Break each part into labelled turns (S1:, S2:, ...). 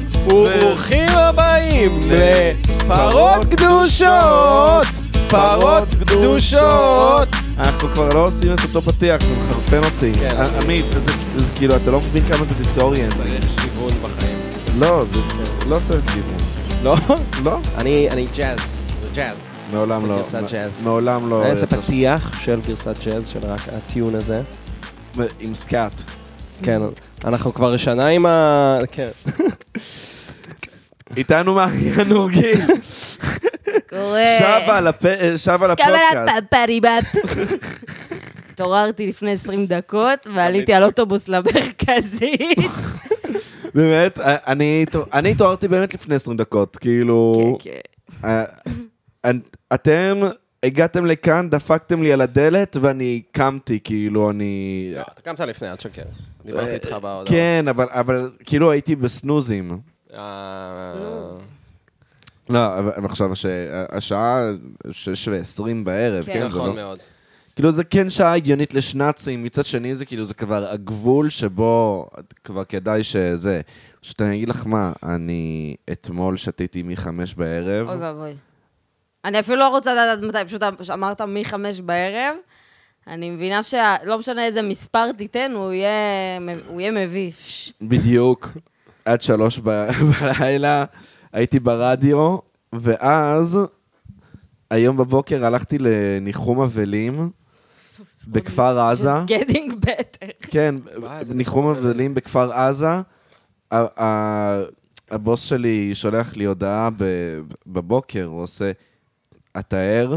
S1: וברוכים הבאים לפרות קדושות! פרות קדושות!
S2: אנחנו כבר לא עושים את אותו פתיח, זה מחרפן אותי.
S1: כן,
S2: ע-
S1: אני-
S2: עמית, זה- זה כאילו, אתה לא מבין כמה זה דיסאוריינט.
S1: צריך שיוון בחיים.
S2: לא, זה לא צריך כיוון.
S1: לא?
S2: לא?
S1: אני אני ג'אז, זה ג'אז.
S2: מעולם
S1: זה
S2: לא.
S1: גרסת
S2: מע-
S1: ג'אז.
S2: מעולם לא.
S1: איזה
S2: יצא-
S1: פתיח של גרסת ג'אז, של רק הטיון הזה.
S2: עם סקאט.
S1: כן, אנחנו כבר שנה עם ה... כן.
S2: איתנו מאריה נורגי,
S3: קורה.
S2: שבה לפ- אה, שבה לפודקאסט.
S3: פאפריבאפ. התעוררתי לפני 20 דקות ועליתי על אוטובוס למרכזית.
S2: באמת, אה, אני התעור- אני התעוררתי באמת לפני 20 דקות, כאילו...
S3: כן, כן.
S2: אה, את- אתם הגעתם לכאן, דפקתם לי על הדלת, ואני קמתי, כאילו,
S3: אה,
S2: אני...
S1: אתה קמת לפני, אל תשקר. דיברתי איתך בהודעה.
S2: כן, אבל, אבל כאילו הייתי בסנוזים.
S1: אה,
S2: אה.
S3: סנוז.
S2: לא, אבל אבל עכשיו הש... השעה שש ועשרים בערב,
S3: כן.
S2: כן? זה
S1: נכון
S2: לא...
S1: מאוד.
S2: כאילו זה כן שעה הגיונית לשנאצים, מצד שני זה כאילו זה כבר הגבול שבו כבר כדאי שזה. פשוט אני אגיד לך מה, אני אתמול שתיתי מחמש בערב.
S3: אוי ואבוי. אני אפילו לא רוצה לדעת עד מתי, פשוט אמ- אמרת מחמש בערב. אני מבינה שלא משנה איזה מספר תיתן, הוא יהיה הוא יהיה מביש.
S2: בדיוק. עד שלוש ב- בלילה הייתי ברדיו, ואז היום בבוקר הלכתי לניחום אבלים בכפר עזה.
S3: Just getting better.
S2: כן,
S1: וואי, זה
S2: ניחום
S1: נכון.
S2: אבלים בכפר עזה. ה- ה- הבוס שלי שולח לי הודעה ב- בבוקר, הוא עושה, אתה ער?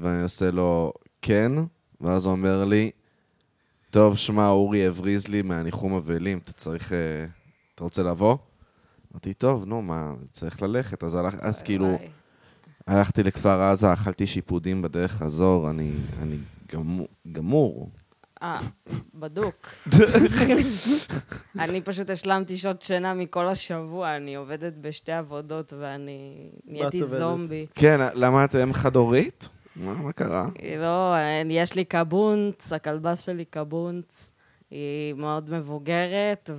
S2: ואני עושה לו, כן, ואז הוא אומר לי, טוב, שמע, אורי הבריז לי מהניחום אבלים, אתה צריך... אה, אתה רוצה לבוא? אמרתי, טוב, נו, מה, צריך ללכת. אז, הלך, אז כאילו,
S3: וואי.
S2: הלכתי לכפר עזה, אכלתי שיפודים בדרך חזור, אני, אני גמור, גמור.
S3: אה, בדוק. אני פשוט השלמתי שעות שינה מכל השבוע, אני עובדת בשתי עבודות ואני נהייתי
S1: עובדת?
S3: זומבי.
S2: כן, למה את אם חד-הורית? מה, מה קרה?
S3: לא, אני- יש לי קבונץ, הכלבה שלי קבונץ. היא מאוד מבוגרת,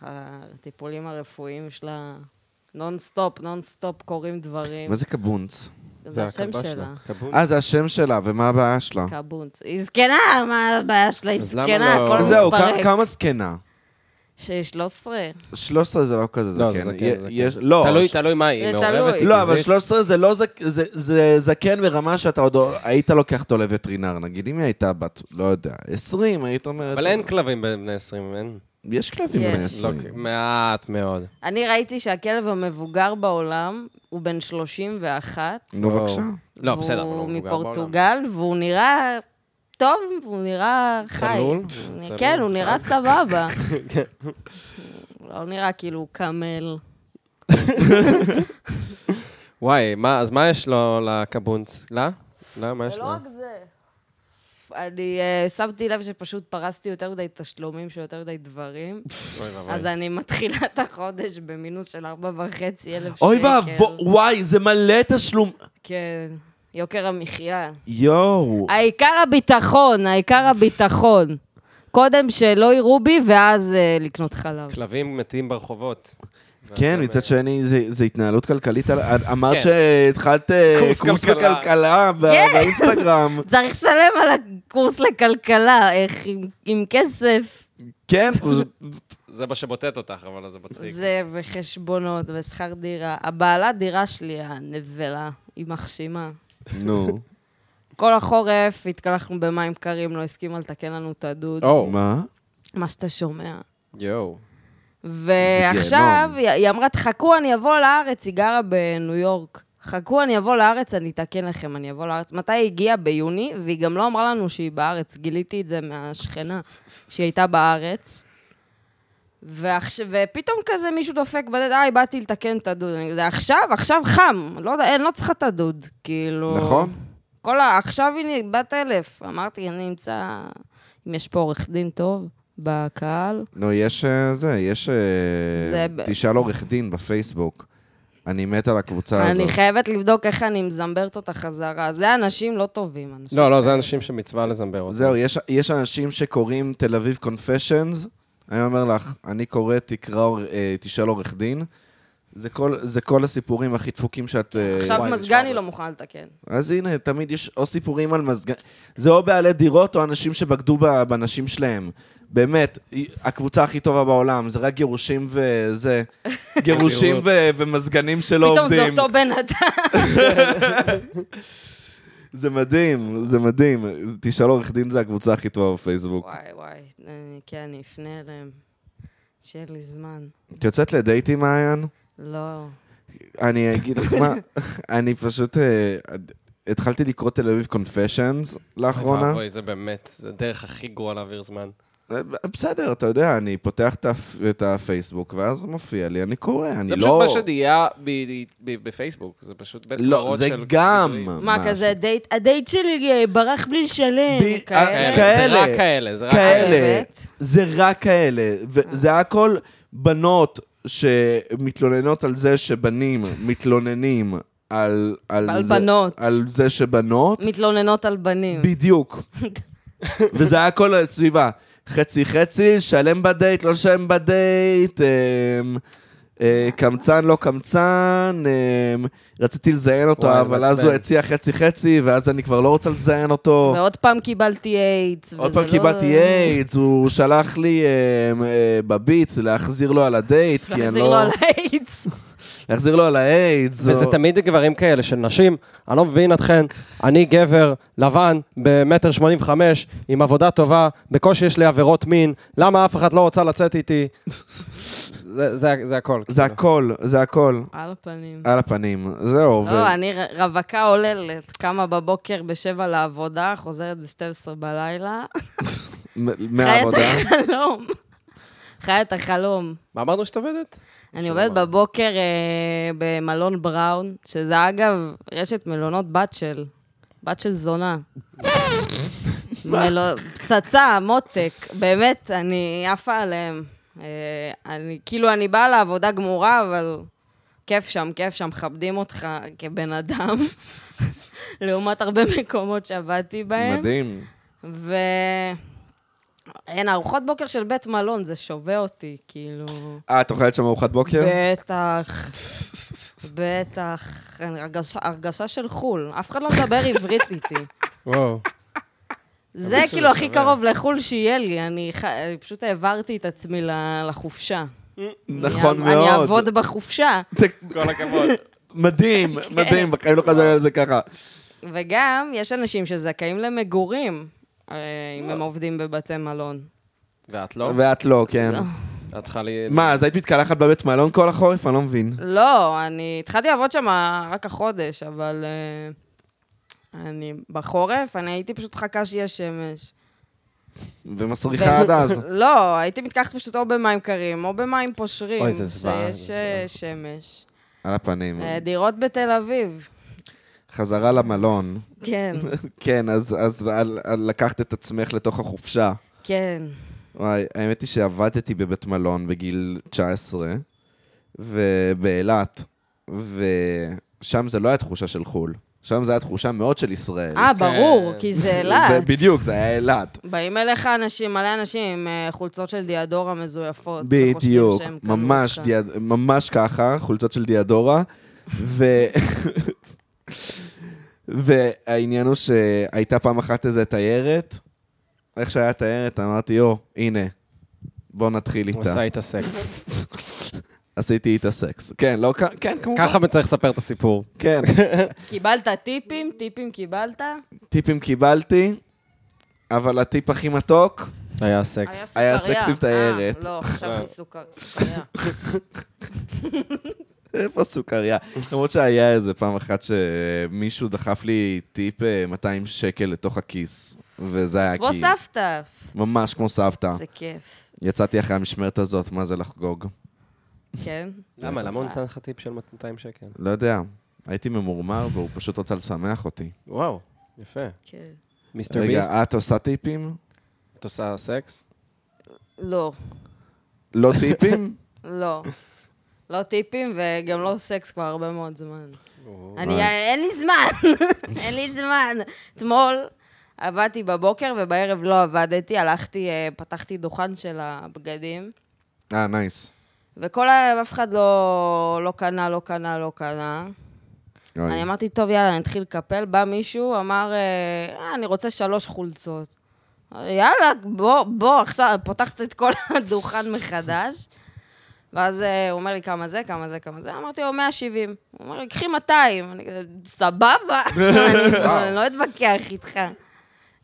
S3: והטיפולים הרפואיים שלה נונסטופ, נונסטופ קורים דברים.
S2: מה זה קבונץ?
S3: זה השם שלה.
S2: אה, זה השם שלה, ומה הבעיה שלה?
S3: קבונץ. היא זקנה, מה הבעיה שלה? היא
S1: אז למה
S3: זקנה,
S1: לא-
S3: הכל
S1: קבונץ.
S2: זהו, כ-
S3: מתפרק.
S2: כמה זקנה?
S3: שהיא 13.
S2: 13 זה לא כזה זקן.
S1: לא, זה זקן,
S2: יה-
S1: זקן.
S2: יש- לא,
S1: תלוי,
S2: ש-
S1: תלוי מה היא,
S3: זה
S1: מעורבת,
S3: תלוי.
S1: היא
S2: לא, אבל
S1: גזעית?
S2: 13 זה לא זק- זה- זה זקן ברמה שאתה עוד היית לוקח אותו לווטרינר, נגיד אם היא הייתה בת, לא יודע, 20, היית אומרת...
S1: אבל אין כלבים בבני 20, אין.
S2: יש כלבים
S3: יש.
S2: בני
S1: לא,
S2: 20.
S1: מעט מאוד.
S3: אני ראיתי שהכלב המבוגר בעולם הוא בן 31.
S2: נו, בבקשה.
S1: לא, בסדר, אבל הוא
S3: הוא
S1: מבוגר בעולם.
S3: מפורטוגל, והוא נראה טוב, והוא נראה חי.
S1: צלול?
S3: הוא-
S1: צלול.
S3: כן, הוא נראה סבבה. לא נראה כאילו הוא קמל.
S1: לא. וואי, מה, אז מה יש לו לקבונץ? לה? לה, מה יש
S3: ולא
S1: לה?
S3: רק זה. לא אני אה, שמתי לב שפשוט פרסתי יותר מדי תשלומים של יותר מדי דברים,
S1: אוי ואבוי.
S3: אז אני מתחילה את החודש במינוס של 4,500 אלף שקל.
S2: אוי ואבוי, וואי, זה מלא תשלום.
S3: כן, יוקר המחיה.
S2: יואו.
S3: העיקר הביטחון, העיקר הביטחון. קודם שלא יראו בי, ואז אה, לקנות חלב.
S1: כלבים מתים ברחובות.
S2: כן, מצד שני, זה- זה התנהלות כלכלית. על- אמרת
S1: כן.
S2: שהתחלת אה,
S1: קורס
S2: קורס
S1: כלכלה.
S2: בכלכלה ב- באינסטגרם.
S3: צריך לשלם על הקורס לכלכלה, איך עם, עם כסף,
S2: כן, פשוט-
S1: זה מה שבוטט אותך, אבל זה מצחיק.
S3: זה וחשבונות ושכר דירה. הבעלת דירה שלי, הנבלה, היא מחשימה.
S2: נו.
S3: כל החורף התקלחנו במים קרים, לא הסכימה לתקן לנו את הדוד,
S1: או,
S2: מה?
S3: מה שאתה שומע.
S1: יואו.
S3: ועכשיו, היא, היא אמרה, תחכו, אני אבוא לארץ, היא גרה בניו יורק. חכו, אני אבוא לארץ, אני אתקן לכם, אני אבוא לארץ. מתי היא הגיעה? ביוני, והיא גם לא אמרה לנו שהיא בארץ. גיליתי את זה מהשכנה, שהיא הייתה בארץ. ועכש... ופתאום כזה מישהו דופק בדלת, היי, באתי לתקן את הדוד. אני כזה, עכשיו, עכשיו חם. לא יודע, אין, לא צריכה את הדוד. כאילו...
S2: נכון.
S3: כל ה... עכשיו היא בת אלף. אמרתי, אני אמצא... אם יש פה עורך דין טוב בקהל,
S2: נו, יש אה, זה, יש... אה,
S3: זה ב-
S2: תשאל עורך דין בפייסבוק. אני מת על הקבוצה
S3: אני
S2: הזאת.
S3: חייבת לבדוק איך אני מזמברת אותה חזרה. זה אנשים לא טובים, אנשים.
S1: לא, לא, זה אנשים שמצווה לזמבר אותם.
S2: זהו, יש- יש אנשים שקוראים תל אביב קונפשיונס, אני אומר לך, אני קורא, תקרא, אור- אה, תשאל עורך דין. זה כל, זה כל הסיפורים הכי דפוקים שאת... אה,
S3: עכשיו
S4: וואי, נשמע
S3: מזגני
S4: בטח.
S3: לא מוכן לתקן.
S2: אז הנה, תמיד יש או סיפורים על מזגן... זה או בעלי דירות או אנשים שבגדו ב- בנשים שלהם. באמת, היא- הקבוצה הכי טובה בעולם, זה רק גירושים וזה. גירושים ו- ומזגנים שלא
S3: פתאום זה
S2: לא עובדים.
S3: אותו בן אדם.
S2: זה מדהים, זה מדהים. תשאל עורך דין, זה הקבוצה הכי טובה בפייסבוק.
S3: וואי, וואי, אני- כן, אני אפנה אליהם. שיהיה לי זמן.
S2: את יוצאת לדייטים, מעיין?
S3: לא.
S2: אני אגיד לך מה, אני פשוט... אה, התחלתי לקרוא תל אביב קונפשנס לאחרונה.
S1: אוי, זה באמת, זה הדרך הכי גרועה להעביר זמן.
S2: בסדר, אתה יודע, אני פותח את הפ- את הפייסבוק, ואז מופיע לי, אני קורא, אני לא...
S5: זה פשוט מה שנהיה ב- ב- בפייסבוק, זה פשוט בית
S2: לא,
S5: קברות
S2: זה
S5: של...
S2: גם...
S5: ביטויים.
S3: מה, כזה דייט? הדייט שלי אה, ברח בלי לשלם.
S2: ב-
S1: כן,
S3: כאלה.
S1: זה
S2: כאלה.
S1: רק כאלה, זה רק
S2: כאלה,
S3: באמת?
S2: זה רק כאלה,
S3: אה.
S2: וזה הכל בנות שמתלוננות על זה שבנים מתלוננים על...
S3: על
S2: זה-
S3: בנות.
S2: על זה שבנות,
S3: מתלוננות על בנים.
S2: בדיוק. וזה היה הכל על סביבה. חצי חצי, שלם בדייט, לא שלם בדייט, אמ, אה, קמצן, לא קמצן, אמ, רציתי לזיין אותו,
S1: וואי,
S2: אבל אז
S1: מעצבן.
S2: הוא הציע חצי חצי, ואז אני כבר לא רוצה לזיין אותו.
S3: ועוד פעם קיבלתי איידס.
S2: עוד
S3: וזה
S2: פעם
S3: לא-
S2: קיבלתי איידס, הוא שלח לי אמ, אה, בביט להחזיר לו על הדייט, כי אני
S3: להחזיר לו
S2: לא...
S3: על האיידס.
S2: להחזיר לו על האיידס.
S1: וזה
S2: או-
S1: תמיד גברים כאלה של נשים, אני לא מבין אתכן, אני גבר לבן במטר שמונים וחמש, עם עבודה טובה, בקושי יש לי עבירות מין, למה אף אחד לא רוצה לצאת איתי? זה- זה זה הכל. כאילו.
S2: זה הכל, זה הכל.
S3: על הפנים.
S2: על הפנים, זהו. ו-
S3: לא, אני ר- רווקה עוללת, קמה בבוקר בשבע לעבודה, חוזרת ב-12 בלילה.
S2: מ-
S3: חיה את
S2: מהעבודה.
S3: החלום. חיה את החלום.
S1: מה אמרנו שאת עובדת?
S3: אני עובדת בבוקר אה, במלון בראון, שזה אגב רשת מלונות בת של, בת של זונה. מלו- פצצה, מותק, באמת, אני עפה עליהם. אה, אני, כאילו, אני באה לעבודה גמורה, אבל כיף שם, כיף שם, מכבדים אותך כבן אדם, לעומת הרבה מקומות שעבדתי בהם.
S2: מדהים.
S3: ו... אין, ארוחות בוקר של בית מלון, זה שובה אותי, כאילו...
S2: אה, את אוכלת שם ארוחת בוקר?
S3: בטח, בטח. אני- הרגשה- הרגשה של חו"ל. אף אחד לא מדבר עברית איתי.
S1: וואו.
S3: זה כאילו הכי קרוב לחו"ל שיהיה לי. אני ח- אני פשוט העברתי את עצמי ל- לחופשה.
S2: נכון
S3: אני אעב- אני
S2: מאוד.
S3: אעבוד בחופשה.
S2: כל הכבוד. מדהים,
S3: כן.
S2: מדהים, בחיים לא חשבתי על זה ככה.
S3: וגם, יש אנשים שזכאים למגורים, אה, אם הם עובדים בבתי מלון.
S1: ואת לא?
S2: ואת לא, כן.
S1: את צריכה לי...
S2: מה, אז היית מתקלחת בבית מלון כל החורף? אני לא מבין.
S3: לא, אני התחלתי לעבוד שם רק החודש, אבל אה, אני בחורף, אני הייתי פשוט מחכה שיהיה שמש.
S2: ומסריחה עד אז.
S3: לא, הייתי מתקחת פשוט או במים קרים, או במים פושרים.
S1: אוי, זה זוועה,
S3: שיש
S1: זה
S3: אה, שמש.
S2: על הפנים.
S3: אה, דירות בתל אביב.
S2: חזרה למלון.
S3: כן,
S2: כן, אז אז על- על- לקחת את עצמך לתוך החופשה.
S3: כן.
S2: וואי, האמת היא שעבדתי בבית מלון בגיל 19, ובאילת, ושם זה לא היה תחושה של חו"ל. שם זה היה תחושה מאוד של ישראל.
S3: אה, ברור, כי זה
S2: זה
S3: אילת.
S2: בדיוק, זה היה אילת.
S3: באים אליך אנשים, מלא אנשים עם אה, חולצות של דיאדורה מזויפות.
S2: בדיוק,
S3: וחושבים שהם קנו
S2: ממש,
S3: אותך.
S2: דיאד... ממש ככה, חולצות של דיאדורה. ו... והעניין הוא שהייתה פעם אחת איזה תיירת, איך שהיה תיירת, אמרתי, יו, הנה, בוא נתחיל
S1: הוא
S2: איתה.
S1: עשה איתה סקס.
S2: עשיתי איתה סקס. כן, לא, כ- כן, כמובן.
S1: ככה צריך לספר את הסיפור.
S2: כן,
S3: קיבלת טיפים? טיפים קיבלת?
S2: טיפים קיבלתי, אבל הטיפ הכי מתוק,
S1: היה
S3: היה
S1: סקס.
S3: סוכריה.
S2: סקס עם תיירת.
S3: אה, לא, חשבתי סוכר- סוכריה.
S2: איפה סוכריה? למרות שהיה איזה פעם אחת שמישהו דחף לי טיפ אה, 200 שקל לתוך הכיס, וזה היה כאילו-
S3: כמו
S2: כי...
S3: סבתא.
S2: ממש כמו סבתא.
S3: זה כיף.
S2: יצאתי אחרי המשמרת הזאת, מה זה לחגוג?
S3: כן.
S1: למה? למה הוא נתן לך טיפ של 200 שקל?
S2: לא יודע. הייתי ממורמר והוא פשוט רצה לשמח אותי.
S1: וואו, יפה.
S3: כן.
S1: מיסטר ביסט,
S2: רגע, אה- את עושה טיפים?
S1: את עושה סקס?
S3: לא.
S2: לא טיפים?
S3: לא. לא טיפים וגם לא סקס כבר הרבה מאוד זמן. אני,
S2: וואי.
S3: אין לי זמן, אין לי זמן. אתמול עבדתי בבוקר ובערב לא עבדתי, הלכתי, אה, פתחתי דוכן של הבגדים,
S2: אה, נייס.
S3: וכל הערב אף אחד לא, לא קנה, לא קנה, לא קנה.
S2: אוי.
S3: אני אמרתי, טוב, יאללה, אני אתחיל לקפל. בא מישהו, אמר, אה, "אה, אני רוצה שלוש חולצות. יאללה, בוא, בוא, עכשיו, פותחת את כל הדוכן מחדש. ואז אה, הוא אומר לי, כמה זה, כמה זה, כמה זה. אמרתי לו, 170. הוא אומר לי, קחי 200. אני כזה, סבבה, אני- אני לא אתווכח איתך.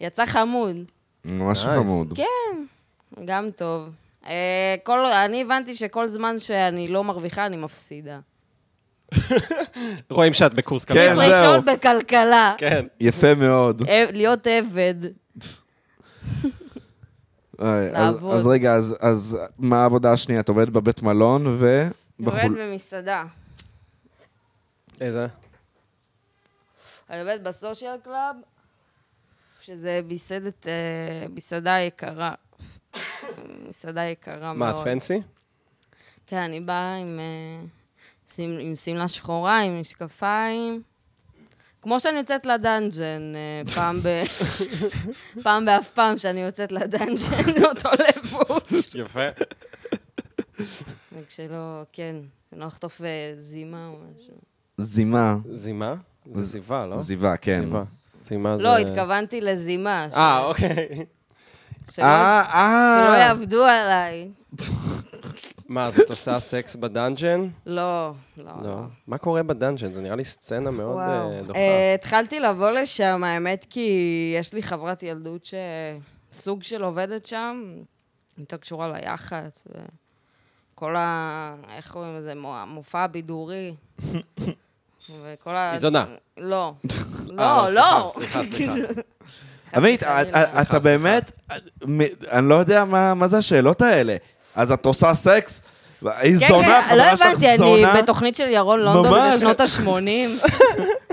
S3: יצא חמוד.
S2: ממש
S5: נייס.
S2: חמוד.
S3: כן. גם טוב. אה, כל, אני הבנתי שכל זמן שאני לא מרוויחה, אני מפסידה.
S5: רואים שאת בקורס
S2: כן,
S3: צריך
S5: כלכלה.
S2: זהו.
S3: לשאול בכלכלה,
S5: כן.
S2: יפה מאוד.
S3: אה, להיות עבד.
S2: אוי, אז-
S3: אה, לעבוד.
S2: אז רגע, אז- אז מה העבודה השנייה? את עובדת בבית מלון ו...
S3: עובדת
S2: בחול-
S3: במסעדה.
S1: איזה?
S3: אני עובדת בסושיאל קלאב, שזה מסעדת, אה, מסעדה יקרה. מסעדה יקרה
S1: מה,
S3: מאוד.
S1: את פנסי?
S3: כן, אני באה עם, אה, שמ- עם שמלה שחורה, עם משקפיים. כמו שאני יוצאת לדאנג'ן, אה, פעם ב... פעם באף פעם שאני יוצאת לדאנג'ן, אותו לבוש.
S5: יפה.
S3: רק שלא, כן, שלא אחטוף אה, זימה או משהו.
S2: זימה.
S1: זימה? זה זיווה, לא?
S2: זיווה, כן.
S1: זיווה. זימה זה...
S3: לא, התכוונתי לזימה. ש-
S1: אה, אוקיי.
S3: שלא-
S2: אה,
S3: שלא
S2: אה.
S3: יעבדו עליי.
S1: מה, אז את עושה סקס בדאנג'ן?
S3: לא, לא.
S1: לא. מה קורה בדאנג'ן? זה נראה לי סצנה מאוד
S3: וואו.
S1: אה, דוחה.
S3: אה, התחלתי לבוא לשם, האמת, כי יש לי חברת ילדות שסוג של עובדת שם, הייתה קשורה ליח"צ, וכל ה... איך קוראים לזה? מו- המופע הבידורי. וכל ה...
S1: היא זונה.
S3: לא.
S1: אה,
S3: לא, לא.
S1: סליחה, סליחה, סליחה.
S3: חס
S2: עמית,
S3: וחלילה.
S2: את- את- אתה באמת... מ- אני לא יודע מה מה זה השאלות האלה. אז את עושה סקס? היא
S3: כן,
S2: זונה,
S3: כן, לא
S2: חברה שלך
S3: הבנתי, אני
S2: זונה.
S3: בתוכנית של ירון לונדון
S2: ממש.
S3: בשנות ה-80.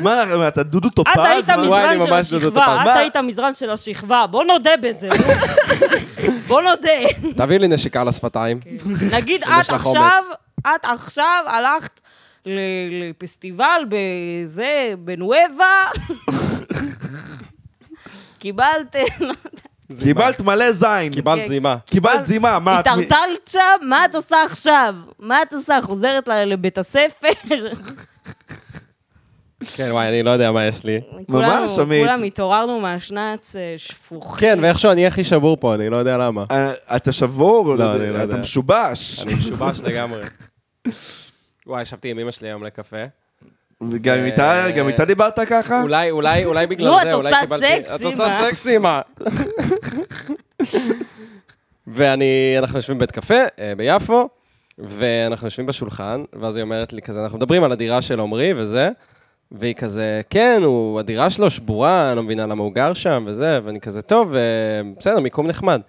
S2: מה לך, מה, אתה דודו טופז?
S3: את היית
S2: מה?
S1: וואי,
S3: מזרן
S1: אני
S3: של
S1: ממש דודו
S3: השכבה,
S1: טופז.
S3: את
S2: מה?
S3: היית מזרן של השכבה, בוא נודה בזה. נו. בוא נודה.
S1: תביא לי נשיקה לשפתיים.
S3: כן. נגיד,
S1: אם
S3: את
S1: יש לך
S3: עכשיו, את עכשיו הלכת ל- לפסטיבל בזה, בנואבה, קיבלת,
S2: קיבלת מלא זין.
S3: כן.
S1: קיבלת זימה.
S2: קיבלת זימה, מה? את-
S3: התערטלת שם, מה את עושה עכשיו? מה את עושה? חוזרת ל- לבית הספר?
S1: כן, וואי, אני לא יודע מה יש לי.
S3: כולנו-
S2: עמית.
S3: כולם התעוררנו מהשנץ אה, שפוכים.
S1: כן, ואיכשהו אני הכי שבור פה, אני לא יודע למה.
S2: אה, אתה שבור,
S1: לא, אני לא
S2: אתה
S1: יודע.
S2: משובש.
S1: אני משובש לגמרי. וואי, ישבתי עם אמא שלי היום לקפה.
S2: גם איתה-
S1: אה,
S2: גם איתה דיברת ככה?
S1: אולי, אולי, אולי בגלל
S3: נו,
S1: זה,
S3: לא, את
S1: אולי
S3: עושה
S1: קיבלתי...
S3: סקס,
S1: את עושה
S3: אמא.
S1: סקס, אמא. ואני, אנחנו יושבים בבית קפה אה, ביפו, ואנחנו יושבים בשולחן, ואז היא אומרת לי כזה, אנחנו מדברים על הדירה של עמרי וזה, והיא כזה, כן, הוא, הדירה שלו שבורה, אני לא מבינה למה הוא גר שם וזה, ואני כזה, טוב, אה, בסדר, מיקום נחמד.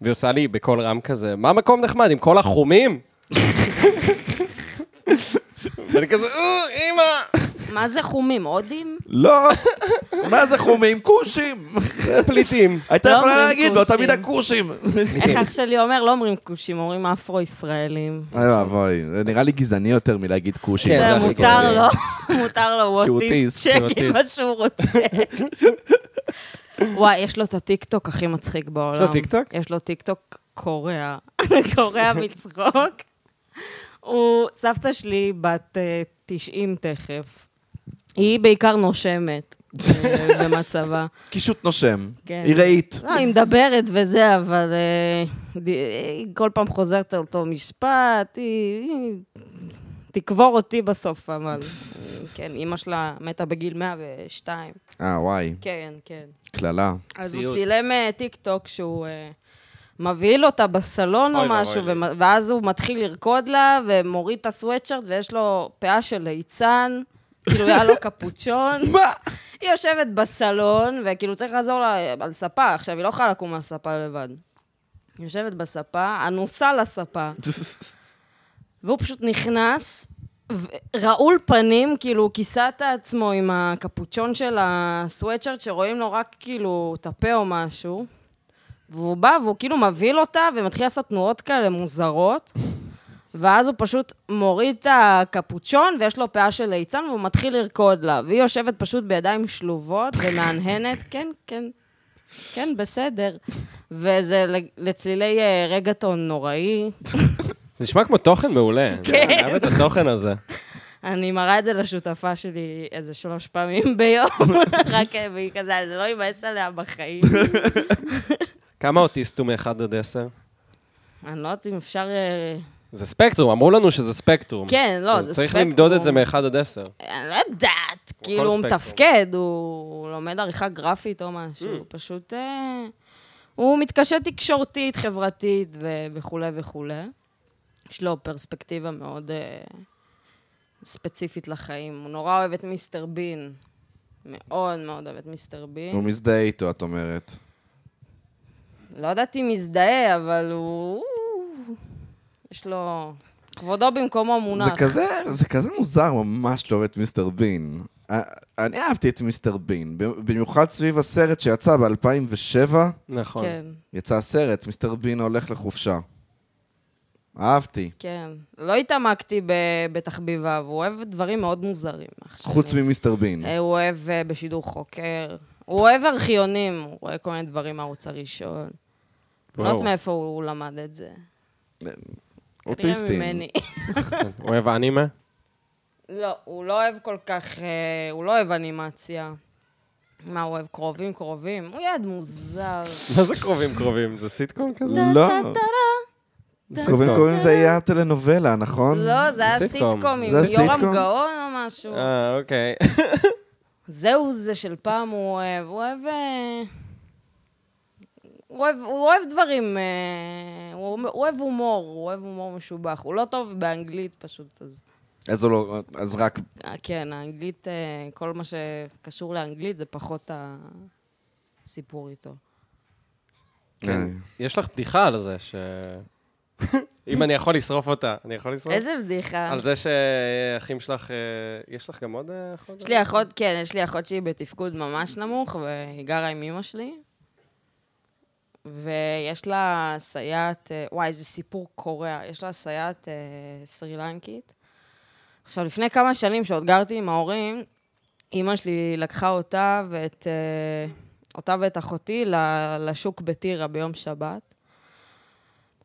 S1: והיא עושה לי בקול רם כזה, מה מקום נחמד, עם כל החומים? ואני כזה, "אה, אמא,
S3: מה זה חומים? הודים?
S2: לא. מה זה חומים? כושים.
S1: פליטים.
S2: הייתה
S3: לא
S2: יכולה
S3: אומרים
S2: להגיד באותה
S3: כושים.
S2: מידה כושים.
S3: איך
S1: כן.
S3: אח שלי אומר? לא אומרים כושים, אומרים אפרו-ישראלים.
S2: אוי ואבוי, זה נראה לי גזעני יותר מלהגיד כושים.
S1: כן, זה
S3: זה לא.
S1: הכי
S3: מותר
S1: גרוע.
S3: לו, מותר לו, הוא
S2: כי הוא
S3: אוטיסט,
S1: כי
S2: אוטיסט,
S3: שיגיד
S1: הוא
S3: מה שהוא רוצה. וואי, יש לו את הטיקטוק הכי מצחיק בעולם.
S1: לו טיקטוק?
S3: יש לו טיקטוק קורע. קורע מצחוק. הוא, סבתא שלי בת אה, 90 תכף. היא בעיקר נושמת אה, במצבה.
S2: קישוט נושם.
S3: כן.
S2: היא ראית.
S3: לא, היא מדברת וזה, אבל אה, ד- היא כל פעם חוזרת על אותו משפט, היא... היא תקבור אותי בסוף, אבל... כן, אימא שלה מתה בגיל 102.
S2: אה, וואי,
S3: כן, כן.
S2: קללה.
S3: אז
S5: ציוד.
S3: הוא צילם אה, טיק טוק שהוא אה, מבהיל אותה בסלון או
S5: אוי
S3: משהו,
S5: ואבוי לי.
S3: ומ- ואז הוא מתחיל לרקוד לה, ומוריד את הסוואטשרט, ויש לו פאה של ליצן, כאילו היה לו קפוצ'ון.
S2: מה?
S3: היא יושבת בסלון, וכאילו צריך לעזור לה אה, על ספה, עכשיו היא לא יכולה לקום מהספה לבד. היא יושבת בספה, אנוסה לספה, והוא פשוט נכנס, ו- רעול פנים, כאילו הוא כיסה את עצמו עם הקפוצ'ון של הסוואטשרט, שרואים לו רק כאילו את הפה או משהו, והוא בא והוא כאילו מבהיל אותה ומתחיל לעשות תנועות כאלה מוזרות. ואז הוא פשוט מוריד את הקפוצ'ון, ויש לו פאה של ליצן, והוא מתחיל לרקוד לה. והיא יושבת פשוט בידיים שלובות ומהנהנת, כן, כן. כן, בסדר. וזה ל- לצלילי אה, רגטון נוראי.
S5: זה נשמע כמו תוכן מעולה.
S3: כן.
S5: אני אוהב את התוכן הזה.
S3: אני מראה את זה לשותפה שלי איזה שלוש פעמים ביום, רק אה, והיא כזה, "אני לא אבאס עליה בחיים.
S5: כמה אוטיסט הוא מ-1 עד 10?
S3: אני לא יודעת אם אפשר... אה,
S5: זה ספקטרום, אמרו לנו שזה ספקטרום.
S3: כן, לא,
S5: אז
S3: זה
S5: צריך
S3: ספקטרום.
S5: למדוד את זה מ-1 עד 10.
S3: אני לא יודעת, כאילו, הוא
S5: ספקטרום.
S3: מתפקד, הוא הוא לומד עריכה גרפית או משהו, הוא פשוט... אה, הוא מתקשה תקשורתית, חברתית ו- וכולי וכולי. יש לו פרספקטיבה מאוד אה, ספציפית לחיים. הוא נורא אוהב את מיסטר בין. מאוד מאוד אוהב את מיסטר
S2: הוא
S3: בין.
S2: מזדהה איתו, את אומרת.
S3: לא יודעת אם מזדהה, אבל הוא... יש לו... כבודו במקומו מונח.
S2: זה כזה, זה כזה מוזר ממש לאהוב את מיסטר בין. אה, אני אהבתי את מיסטר בין, במיוחד סביב הסרט שיצא ב-2007,
S5: נכון.
S3: כן.
S2: יצא הסרט, מיסטר בין הולך לחופשה. אהבתי.
S3: כן. לא התעמקתי ב- בתחביביו, הוא אוהב דברים מאוד מוזרים. אח שלי.
S2: חוץ ממיסטר בין.
S3: אה, הוא אוהב אה, בשידור חוקר, הוא אוהב ארכיונים, הוא רואה כל מיני דברים מהערוץ הראשון. לא יודעת
S5: וואו.
S3: מאיפה הוא למד את זה. כנראה
S2: אה, אוטיסטים.
S3: ממני.
S5: הוא אוהב אנימה?
S3: לא, הוא לא אוהב כל כך, אה, הוא לא אוהב אנימציה. מה, הוא אוהב קרובים? קרובים? הוא ילד מוזר.
S5: מה זה קרובים קרובים? זה סיטקום כזה?
S2: לא.
S3: טה-טה-טה-טה.
S2: קרובים קרובים זה היה הטלנובלה, נכון?
S3: לא, זה היה
S5: זה סיטקום.
S3: סיטקום עם
S2: זה
S3: יורם
S2: סיטקום?
S3: גאון או משהו.
S5: אה, אוקיי.
S3: זהו זה של פעם הוא אוהב, הוא אוהב... אה, הוא אוהב, הוא אוהב דברים, אה, הוא, הוא אוהב הומור, הוא אוהב הומור משובח. הוא לא טוב באנגלית פשוט, אז...
S2: אז הוא לא, אז רק...
S3: אה, כן, האנגלית, אה, כל מה שקשור לאנגלית זה פחות הסיפור איתו.
S5: כן.
S2: אה,
S5: יש לך בדיחה על זה, ש... אם אני יכול לשרוף אותה, אני יכול לשרוף?
S3: איזה בדיחה.
S5: על זה שאחים שלך... אה, יש לך גם עוד אה, אחות?
S3: יש לי אחות, כן, יש לי אחות שהיא בתפקוד ממש נמוך, והיא גרה עם אמא שלי. ויש לה סייעת, אה, וואי, זה סיפור קורע. יש לה סייעת אה, סרילנקית. עכשיו, לפני כמה שנים, שעוד גרתי עם ההורים, אימא שלי לקחה אותה ואת, אה, אותה ואת אחותי ל- לשוק בטירה ביום שבת.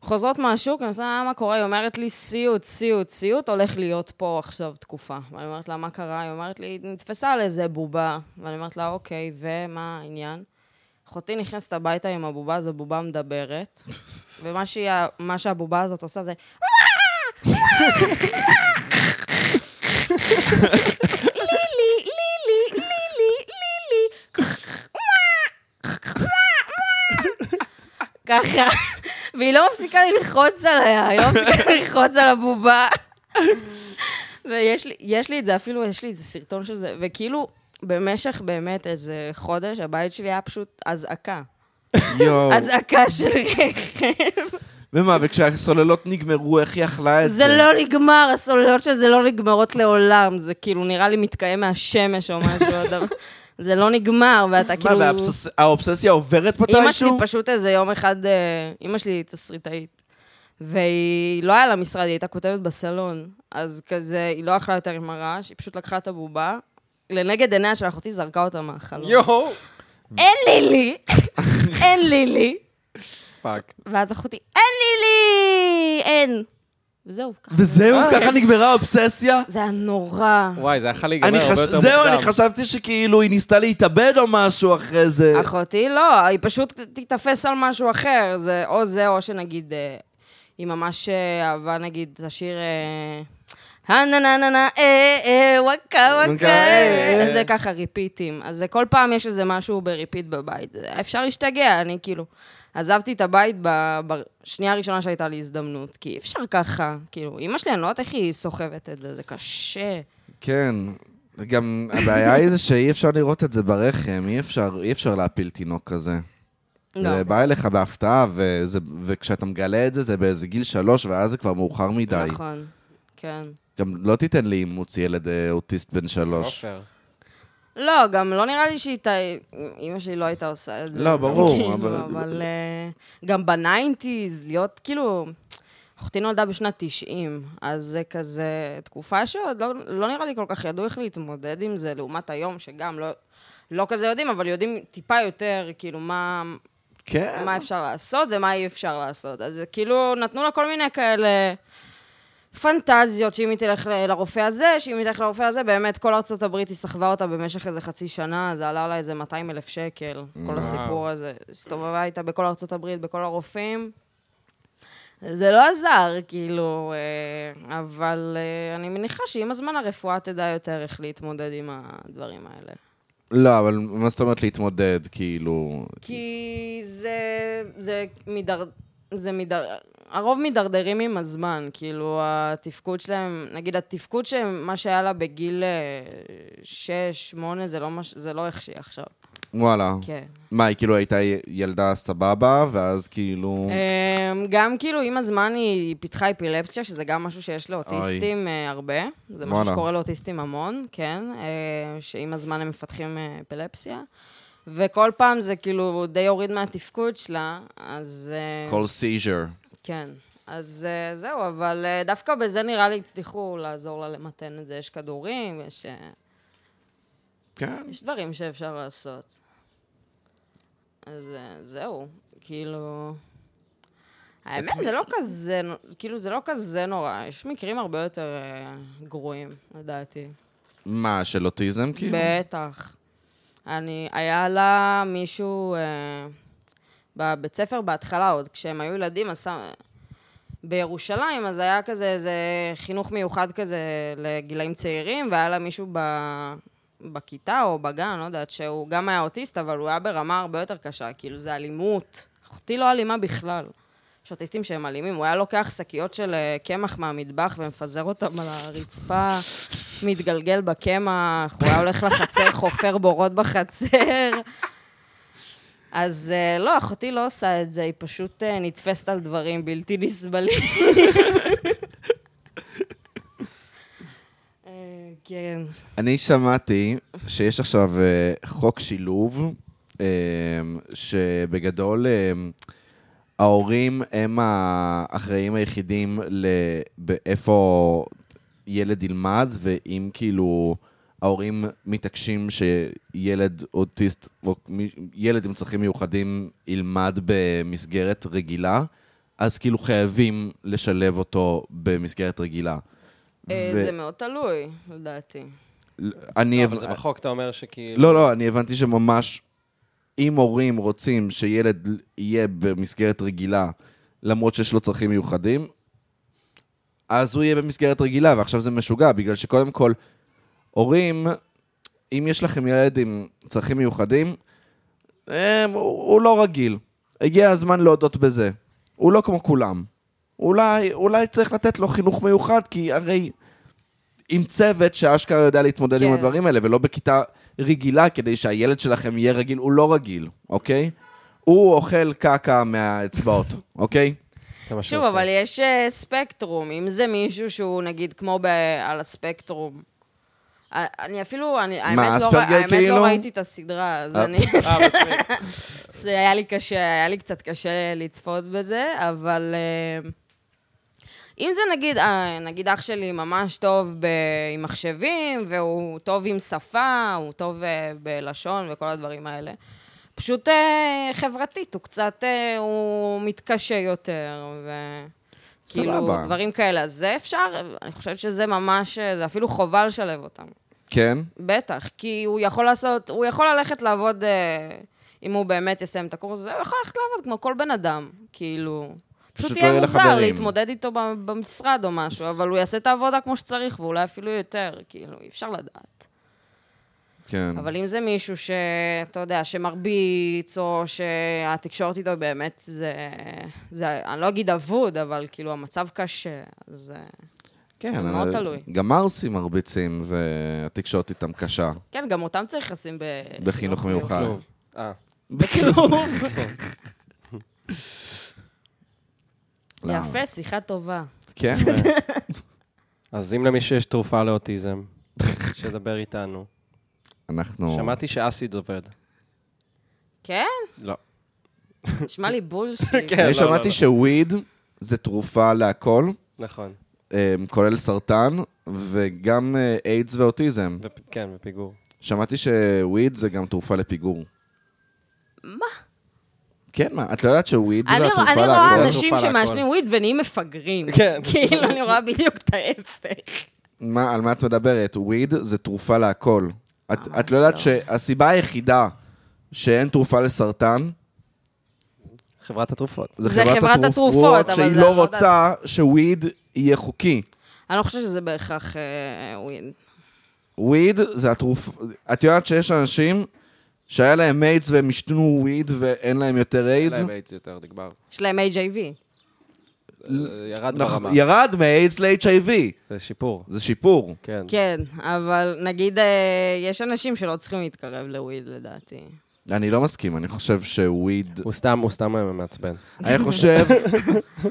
S3: חוזרות מהשוק, אני עושה, "אה, מה קורה? היא אומרת לי, סיוט, סיוט, סיוט, הולך להיות פה עכשיו תקופה. ואני אומרת לה, מה קרה? היא אומרת לי, היא נתפסה על איזה בובה. ואני אומרת לה, אוקיי, ומה העניין? אחותי נכנסת הביתה עם הבובה הזו, בובה מדברת, ומה שהיא, מה שהבובה הזאת עושה זה... לילי, לילי, לילי, לילי. ככה. והיא לא מפסיקה ללחוץ עליה, היא לא מפסיקה ללחוץ על הבובה. ויש לי, יש לי את זה, אפילו יש לי איזה סרטון של זה, וכאילו, במשך באמת איזה חודש, הבית שלי היה פשוט אזעקה.
S2: יואו.
S3: אזעקה של רכב.
S2: ומה, וכשהסוללות נגמרו, איך היא אכלה את זה?
S3: זה לא נגמר, הסוללות של זה לא נגמרות לעולם, זה כאילו נראה לי מתקיים מהשמש או משהו, הדבר- זה לא נגמר, ואתה
S2: מה,
S3: כאילו...
S2: והאובסס- האובססיה עוברת מתישהו?
S3: אימא שלי פשוט איזה יום אחד, אה, אימא שלי היא תסריטאית, והיא לא היה לה משרד, היא הייתה כותבת בסלון, אז כזה, היא לא אכלה יותר עם הרעש, היא פשוט לקחה את הבובה, לנגד עיניה של אחותי זרקה אותה מהחלום.
S5: יואו!
S3: אין לי לי! אין לי לי!
S5: פאק.
S3: ואז אחותי, אין לי לי! אין. וזהו, ככה.
S2: וזהו,
S3: אה, כן.
S2: ככה נגמרה האובססיה?
S3: זה היה נורא.
S5: וואי, זה יכול להיגמר
S2: אני
S5: הרבה
S2: חש...
S5: יותר
S2: זהו, אני
S5: מוקדם.
S2: חשבתי שכאילו היא ניסתה להתאבד או משהו אחרי זה.
S3: אחותי לא, היא פשוט תיתפס על משהו אחר, זה או זה או שנגיד, אה, היא ממש אה, אהבה נגיד את השיר... אה, הנה נה נה נה, אה אה, וואקה
S2: וואקה,
S3: וואקה,
S2: אה, אה.
S3: זה ככה ריפיטים. אז זה כל פעם יש איזה משהו בריפיט בבית. אפשר להשתגע, אני כאילו... עזבתי את הבית ב- בשנייה הראשונה שהייתה לי הזדמנות, כי אי אפשר ככה. כאילו, אימא שלי, אני לא יודעת איך היא סוחבת את זה, זה קשה.
S2: כן. גם הבעיה היא זה שאי אפשר לראות את זה ברחם, אי אפשר, אי אפשר להפיל תינוק כזה.
S3: לא.
S2: זה בא אליך בהפתעה, וזה, וכשאתה מגלה את זה, זה באיזה גיל שלוש, ואז זה כבר מאוחר מדי.
S3: נכון, כן.
S2: גם לא תיתן לי אימוץ ילד אה, אוטיסט בן שלוש.
S5: עופר.
S3: לא, גם לא נראה לי שהיא... תה- אימא שלי לא הייתה עושה את זה.
S2: לא, ברור,
S3: כאילו,
S2: אבל-
S3: אבל אה, גם בניינטיז, להיות כאילו... אחותי נולדה בשנת 90, אז זה כזה תקופה שעוד לא, לא נראה לי כל כך ידעו איך להתמודד עם זה, לעומת היום, שגם לא, לא כזה יודעים, אבל יודעים טיפה יותר, כאילו, מה,
S2: כן.
S3: מה אפשר לעשות ומה אי אפשר לעשות. אז כאילו, נתנו לה כל מיני כאלה פנטזיות, שאם היא תלך ל- לרופא הזה, שאם היא תלך לרופא הזה, באמת, כל ארצות הברית היא סחבה אותה במשך איזה חצי שנה, זה עלה לה איזה 200 אלף שקל, כל הסיפור הזה. הסתובבה איתה בכל ארצות הברית, בכל הרופאים. זה לא עזר, כאילו, אה, אבל אה, אני מניחה שעם הזמן הרפואה תדע יותר איך להתמודד עם הדברים האלה.
S2: לא, אבל מה זאת אומרת להתמודד, כאילו...
S3: כי זה, זה מידר... זה מידר... הרוב מידרדרים עם הזמן, כאילו, התפקוד שלהם, נגיד, התפקוד שהם, מה שהיה לה בגיל 6-8, זה, לא מש... זה לא איך שהיא עכשיו.
S2: וואלה.
S3: כן.
S2: מה, היא כאילו הייתה י- ילדה סבבה, ואז כאילו...
S3: אמ, גם כאילו, עם הזמן היא פיתחה אפילפסיה, שזה גם משהו שיש לאוטיסטים אה, הרבה. זה משהו
S2: וואלה.
S3: שקורה לאוטיסטים המון, כן, אה, שעם הזמן הם מפתחים אה, אפילפסיה. וכל פעם זה כאילו די הוריד מהתפקוד שלה, אז... אה,
S2: כל סיז'ר.
S3: כן. אז אה, זהו, אבל אה, דווקא בזה נראה לי הצליחו לעזור לה למתן את זה. יש כדורים, יש, אה,
S2: כן.
S3: יש דברים שאפשר לעשות. אז אה, זהו, כאילו... האמת, זה לא כזה, נו- כאילו, זה לא כזה נורא. יש מקרים הרבה יותר אה, גרועים, לדעתי.
S2: מה, של אוטיזם כאילו?
S3: בטח. אני, היה לה מישהו אה, בבית ספר בהתחלה, עוד כשהם היו ילדים, אז שם... בירושלים, אז היה כזה איזה חינוך מיוחד כזה לגילאים צעירים, והיה לה מישהו ב... בכיתה או בגן, לא יודעת, שהוא גם היה אוטיסט, אבל הוא היה ברמה הרבה יותר קשה, כאילו זה אלימות. אחותי לא אלימה בכלל. יש אוטיסטים שהם אלימים, הוא היה לוקח שקיות של אה, קמח מהמטבח ומפזר אותם על הרצפה, מתגלגל בקמח, הוא היה הולך לחצר, חופר בורות בחצר. אז אה, לא, אחותי לא עושה את זה, היא פשוט אה, נתפסת על דברים בלתי נסבלים. אה, כן.
S2: אני שמעתי שיש עכשיו אה, חוק שילוב, אה, שבגדול אה, ההורים הם האחראים היחידים ל- באיפה ילד ילמד, ואם כאילו ההורים מתעקשים שילד אוטיסט, או מי- ילד עם צרכים מיוחדים ילמד במסגרת רגילה, אז כאילו חייבים לשלב אותו במסגרת רגילה.
S3: אה,
S2: ו-
S3: זה מאוד תלוי, לדעתי.
S2: אני...
S5: לא, אבל
S2: הבנ-
S5: זה בחוק, אתה אומר שכאילו...
S2: לא, לא, אני הבנתי שממש, אם הורים רוצים שילד יהיה במסגרת רגילה, למרות שיש לו צרכים מיוחדים, אז הוא יהיה במסגרת רגילה, ועכשיו זה משוגע, בגלל שקודם כל, הורים, אם יש לכם ילד עם צרכים מיוחדים, הם, הוא, הוא לא רגיל. הגיע הזמן להודות בזה. הוא לא כמו כולם. אולי, אולי צריך לתת לו חינוך מיוחד, כי הרי עם צוות שאשכרה יודע להתמודד כן. עם
S3: כן.
S2: הדברים האלה, ולא בכיתה רגילה, כדי שהילד שלכם יהיה רגיל, הוא לא רגיל, אוקיי? הוא אוכל קקה מהאצבעות, אוקיי?
S5: זה מה שהוא
S3: שוב,
S5: עושה.
S3: אבל יש אה, ספקטרום. אם זה מישהו שהוא, נגיד, כמו ב- על הספקטרום. אה, אני אפילו, אני, האמת, לא,
S2: אספרגר
S3: רא- האמת
S2: כאילו?
S3: לא ראיתי את הסדרה, אז
S2: אה.
S3: אני...
S5: אה, מצחיק.
S3: זה היה לי קשה, היה לי קצת קשה לצפות בזה, אבל... אה, אם זה נגיד, אה, נגיד אח שלי ממש טוב ב... עם מחשבים, והוא טוב עם שפה, הוא טוב אה, בלשון וכל הדברים האלה. פשוט אה, חברתית, הוא קצת, אה, הוא מתקשה יותר, ו... כאילו,
S2: סבבה.
S3: דברים כאלה. אז זה אפשר, אני חושבת שזה ממש, אה, זה אפילו חובה לשלב אותם.
S2: כן?
S3: בטח, כי הוא יכול לעשות, הוא יכול ללכת לעבוד, אה, אם הוא באמת יסיים את הקורס הזה, הוא יכול ללכת לעבוד כמו כל בן אדם, כאילו.
S2: פשוט
S3: פשוט
S2: לא
S3: יהיה
S2: יהיה לך
S3: מוזר
S2: חברים.
S3: להתמודד איתו ב- במשרד או משהו, אבל הוא יעשה את העבודה כמו שצריך, ואולי אפילו יותר, כאילו, אי אפשר לדעת.
S2: כן.
S3: אבל אם זה מישהו שאתה יודע, שמרביץ, או שהתקשורת איתו באמת, זה, זה, אני לא אגיד אבוד, אבל כאילו, המצב קשה, אז... אה,
S2: כן,
S3: זה מאוד
S2: אבל
S3: תלוי.
S2: גם ערסים מרביצים, והתקשורת איתם קשה.
S3: כן, גם אותם צריך לשים ב...
S2: בחינוך מיוחד.
S5: כלום. אה,
S3: בכלום.
S2: לא.
S3: יפה, שיחה טובה.
S2: כן?
S5: אז אם למישהו יש תרופה לאוטיזם, שידבר איתנו.
S2: אנחנו...
S5: שמעתי שאסיד עובד.
S3: כן?
S5: לא.
S3: נשמע לי בולשיט.
S5: כן.
S2: אני
S5: לא, לא,
S2: שמעתי
S5: לא.
S2: שוויד זה תרופה להכל,
S5: נכון.
S2: אה, כולל סרטן, וגם אה, איידס ואוטיזם.
S5: ופ- כן, בפיגור.
S2: שמעתי שוויד זה גם תרופה לפיגור. כן, מה? את לא יודעת שוויד זה
S3: אני
S2: התרופה
S3: אני
S2: להכל?
S3: רואה
S5: התרופה
S3: אנשים
S5: להכל.
S3: שמעשנים וויד ונהיים מפגרים.
S5: כן.
S3: כאילו, אני רואה בדיוק את ההפך.
S2: מה, על מה את מדברת? וויד זה תרופה להכל. את,
S3: ממש
S2: את לא יודעת
S3: לא.
S2: שהסיבה היחידה שאין תרופה לסרטן,
S5: חברת התרופות.
S2: זה,
S3: זה
S2: חברת,
S3: חברת התרופות, אבל
S2: שהיא
S3: זה
S2: לא
S3: עבודה.
S2: רוצה שוויד יהיה חוקי.
S3: אני לא חושבת שזה בהכרח אה, וויד.
S2: וויד זה התרופה... את יודעת שיש אנשים שהיה להם איידס והם השתנו וויד ואין להם יותר איידס?
S5: להם איידס יותר, נגמר.
S3: יש להם HIV.
S5: אה, ירד
S2: נכון,
S5: ברמה.
S2: ירד מאיידס ל-HIV.
S5: זה שיפור.
S2: זה שיפור.
S5: כן.
S3: כן, אבל נגיד, אה, יש אנשים שלא צריכים להתקרב לוויד, לדעתי.
S2: אני לא מסכים, אני חושב שוויד...
S5: הוא סתם, הוא סתם אה, מעצבן.
S2: אני חושב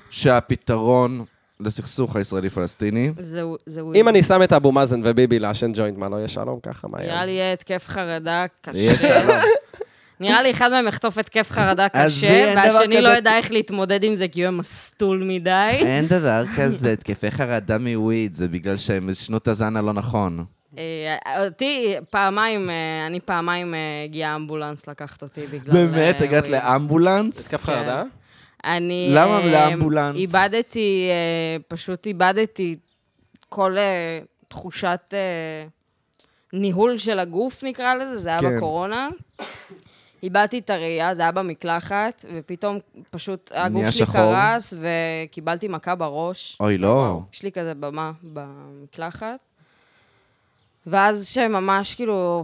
S2: שהפתרון לסכסוך הישראלי-פלסטיני...
S3: זה זה וויד.
S5: אם אני שם את אבו מאזן וביבי לעשן ג'וינט, מה, לא יהיה שלום ככה? מה
S3: נראה
S5: יהיה?
S3: לי יהיה התקף חרדה קשה.
S2: יהיה שלום.
S3: נראה לי אחד מהם יחטוף התקף חרדה
S2: אז
S3: קשה,
S2: אין דבר
S3: והשני לא
S2: כזה-
S3: ידע איך להתמודד עם זה כי הוא יהיה מסטול מדי.
S2: אין דבר כזה, התקפי חרדה מוויד, זה בגלל שהם שנו את הזן הלא נכון.
S3: אה, אותי פעמיים, אה, אני פעמיים אה, הגיע אמבולנס לקחת אותי בגלל...
S2: באמת,
S3: אה,
S2: הגעת
S3: וויד.
S2: לאמבולנס?
S5: התקף
S3: כן.
S5: חרדה?
S2: כן.
S3: אני...
S2: למה
S3: אה,
S2: לאמבולנס?
S3: איבדתי, אה, פשוט איבדתי כל אה, תחושת אה, ניהול של הגוף, נקרא לזה, זה היה
S2: כן.
S3: בקורונה. איבדתי את הראייה, זה היה במקלחת, ופתאום פשוט הגוף
S2: נהיה
S3: שלי
S2: שחור.
S3: קרס, וקיבלתי מכה בראש.
S2: אוי, לא.
S3: יש לי כזה במה במקלחת. ואז שממש כאילו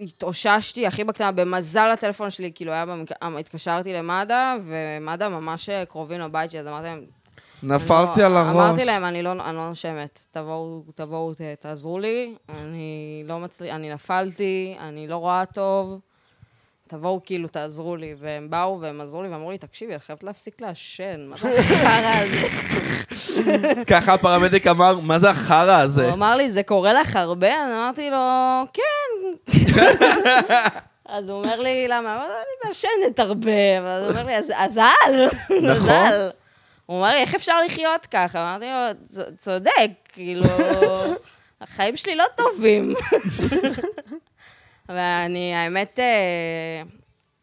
S3: התאוששתי, הכי בקטנה, במזל הטלפון שלי, כאילו היה במקלחת, התקשרתי למד"א, ומד"א ממש אה, קרובים לבית שלי, אז אמרתי להם...
S2: נפלתי
S3: אני
S2: על
S3: לא,
S2: הראש.
S3: אמרתי להם, אני לא, אני לא נושמת, תבואו, תבואו, ת- תעזרו לי, אני לא מצליח, אני נפלתי, אני לא רואה טוב, תבואו כאילו, תעזרו לי. והם באו והם עזרו לי ואמרו לי, תקשיבי, את חייבת להפסיק לעשן, מה זה החרא הזה?
S2: ככה הפרמדיק אמר, מה זה החרא הזה?
S3: הוא אמר לי, זה קורה לך הרבה? אז אמרתי לו, כן. אז הוא אומר לי, למה? אמרתי לו, אני מעשנת הרבה. אבל הוא אומר לי, "אז- אז אל, אז
S2: נכון.
S3: אל. הוא אומר לי, איך אפשר לחיות ככה? אמרתי לו, "צ- צודק, כאילו, החיים שלי לא טובים. ואני, האמת, אה,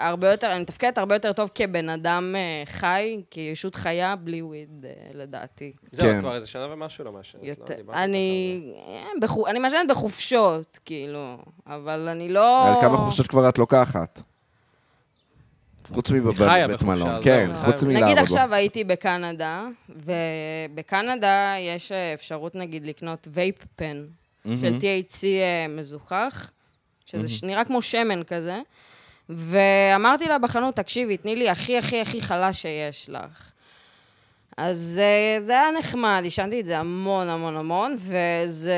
S3: הרבה יותר, אני מתפקדת הרבה יותר טוב כבן אדם אה, חי, כישות חיה, בלי וויד, אה, לדעתי.
S5: זהו,
S2: כן.
S5: את כבר איזה שנה ומשהו לא מעשן.
S3: יותר. אני... אה, בחו- אני מעשנת בחופשות, כאילו, אבל אני לא...
S2: על כמה חופשות כבר את לוקחת? חוץ
S5: חיה
S2: מבבית
S5: בחופשה,
S2: מלון.
S5: זהו,
S2: כן,
S5: חיה
S2: חוץ
S5: בחופשה.
S2: מלעבוד.
S3: נגיד
S2: בו.
S3: עכשיו הייתי בקנדה, ובקנדה יש אה, אפשרות נגיד לקנות וייפ פן של THC אה, מזוכח, שזה נראה כמו שמן כזה, ואמרתי לה בחנות, תקשיבי, תני לי הכי הכי הכי חלש שיש לך. אז אה, זה היה נחמד, עישנתי את זה המון המון המון, וזה...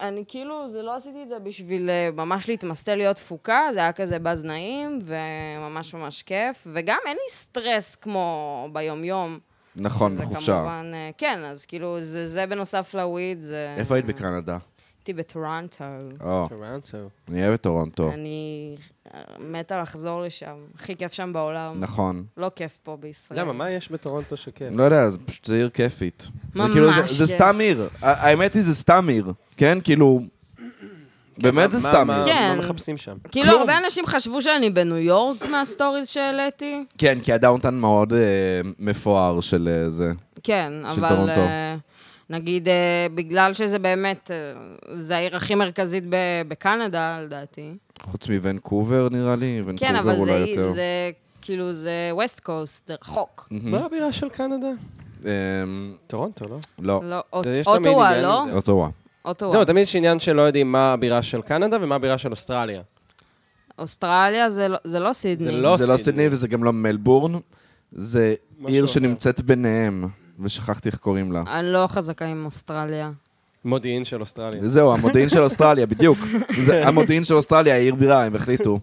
S3: אני כאילו, זה לא עשיתי את זה בשביל אה, ממש להתמסטל להיות תפוקה, זה היה כזה באז נעים, וממש ממש כיף, וגם אין לי סטרס כמו ביומיום.
S2: נכון,
S3: שזה
S2: בחופשה.
S3: כמובן, אה, כן, אז כאילו, זה, זה בנוסף לוויד, זה...
S2: איפה היית בקנדה?
S3: הייתי בטורנטו.
S2: או,
S5: טורנטו.
S2: אני אוהב את טורונטו.
S3: כן, אני אה, מתה לחזור לשם, הכי כיף שם בעולם.
S2: נכון.
S3: לא כיף פה בישראל.
S5: למה, מה יש בטורנטו שכיף?
S2: לא יודע, זה פשוט זה עיר כיפית.
S3: ממש
S2: וכאילו, זה- זה
S3: כיף.
S2: סתם עיר. ה- האמת היא, זה סתם עיר. כן, כאילו... באמת זה
S5: מה-
S2: סתם
S5: מה-
S2: עיר.
S3: כן.
S5: מה מחפשים שם?
S3: כאילו,
S2: כלום.
S3: הרבה אנשים חשבו שאני בניו יורק מהסטוריז שהעליתי.
S2: כן, כי הדאונטן מאוד אה, מפואר של אה, זה.
S3: כן,
S2: של
S3: אבל...
S2: טורונטו.
S3: אה, נגיד, אה, בגלל שזה באמת, אה, זה העיר הכי מרכזית ב- בקנדה, לדעתי.
S2: חוץ מוונקובר, נראה לי.
S3: כן,
S2: וונקובר
S3: אבל
S2: אולי
S3: זה,
S2: יותר.
S3: זה כאילו, זה ווסט קוסט, זה רחוק.
S5: מה לא הבירה של קנדה?
S2: אמ,
S5: טורונטו, לא?
S2: לא,
S3: לא, אוט-
S5: יש תמיד
S3: אוטווה,
S5: עניין עם
S3: לא?
S5: זה.
S2: אוטווה.
S3: אוטווה.
S5: זהו, תמיד יש עניין שלא יודעים מה הבירה של קנדה ומה הבירה של אוסטרליה.
S3: אוסטרליה זה לא- זה לא סידני.
S5: זה לא
S2: זה לא
S5: סידני.
S2: סידני וזה גם לא מלבורן, זה עיר
S5: אחר.
S2: שנמצאת ביניהם, ושכחתי איך קוראים לה.
S3: אני לא חזקה עם אוסטרליה.
S5: מודיעין של אוסטרליה.
S2: זהו, המודיעין של אוסטרליה, בדיוק.
S5: כן.
S2: זה המודיעין של אוסטרליה, היא עיר בירה, הם החליטו.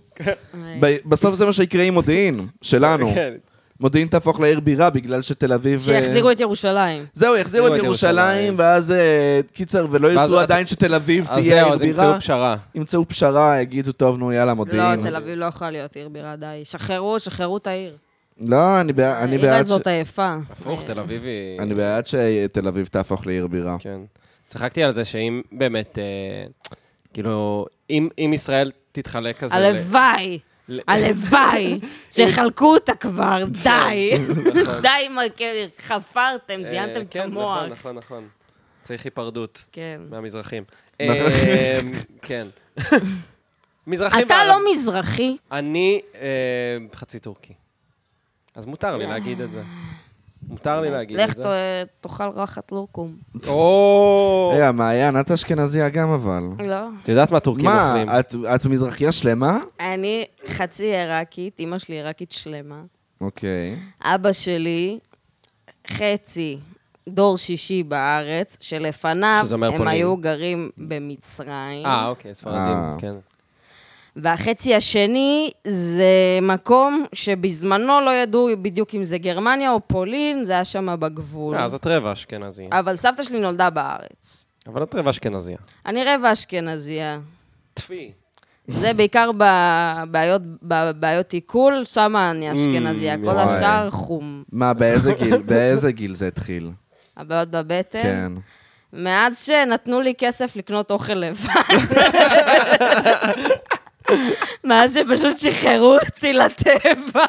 S2: ב- בסוף זה מה שיקרה עם מודיעין, שלנו.
S5: כן.
S2: מודיעין תהפוך לעיר בירה בגלל שתל אביב... אה,
S3: שיחזירו את ירושלים.
S2: זהו, יחזירו את ירושלים, ואז אה, קיצר, ולא
S5: ואז
S2: ירצו
S5: אתה-
S2: עדיין שתל אביב
S5: אז
S2: תהיה
S5: זהו,
S2: עיר
S5: אז ימצאו
S2: בירה.
S5: פשרה.
S2: ימצאו פשרה, יגידו, טוב, נו, יאללה,
S3: לא,
S2: מודיעין.
S3: תל אביב לא יכולה להיות עיר בירה, די. שחררו, שחררו את העיר.
S2: לא, אני בעד... אני
S3: העיר
S2: בעד ש-
S3: הזאת עייפה.
S5: הפוך, תל אביב היא...
S2: אני בעד שתל אביב תהפוך לעיר בירה.
S5: כן. צחקתי על זה שאם באמת... אה, כאילו, אם אם ישראל תתחלק כזה... ל-
S3: הלוואי,
S5: ל-
S3: הלוואי, שיחלקו אותה כבר, די.
S5: נכון.
S3: די, מר- חפרתם,
S5: אה,
S3: זיינתם את
S5: כן,
S3: המוח.
S5: נכון, נכון, נכון. צריך היפרדות
S3: כן.
S5: מהמזרחים.
S2: נכון.
S5: אה, כן. מזרחים
S3: אתה
S5: וערבים.
S3: לא מזרחי?
S5: אני אה, חצי טורקי. אז מותר לי להגיד את זה. מותר לי להגיד את
S3: לך
S5: זה.
S3: ת- תאכל רחת לורקום.
S5: או!
S2: רגע, מעיין, את אשכנזייה גם אבל.
S3: לא.
S5: את יודעת מה טורקים
S2: מה, אה,
S5: אוכלים?
S2: את- את מזרחייה שלמה?
S3: אני חצי עיראקית, אימא שלי עיראקית שלמה.
S2: אוקיי.
S3: אבא שלי, חצי דור שישי בארץ, שלפניו
S5: שזה
S3: הם
S5: אומר פולין.
S3: היו גרים במצרים.
S5: אה, אוקיי,
S2: אה.
S5: ספרדים, כן.
S3: והחצי השני זה מקום שבזמנו לא ידעו בדיוק אם זה גרמניה או פולין, זה היה שם בגבול.
S5: אה, אז את רבע אשכנזי.
S3: אבל סבתא שלי נולדה בארץ.
S5: אבל את רבע אשכנזיה.
S3: אני רבע אשכנזייה.
S5: טפי.
S3: זה בעיקר בבעיות, בבעיות עיכול, שם אני אשכנזייה. כל
S2: וואי.
S3: השאר חום.
S2: מה, באיזה גיל- באיזה גיל זה התחיל?
S3: הבעיות בבטן.
S2: כן.
S3: מאז שנתנו לי כסף לקנות אוכל לבד. מאז שפשוט שחררו אותי לטבע.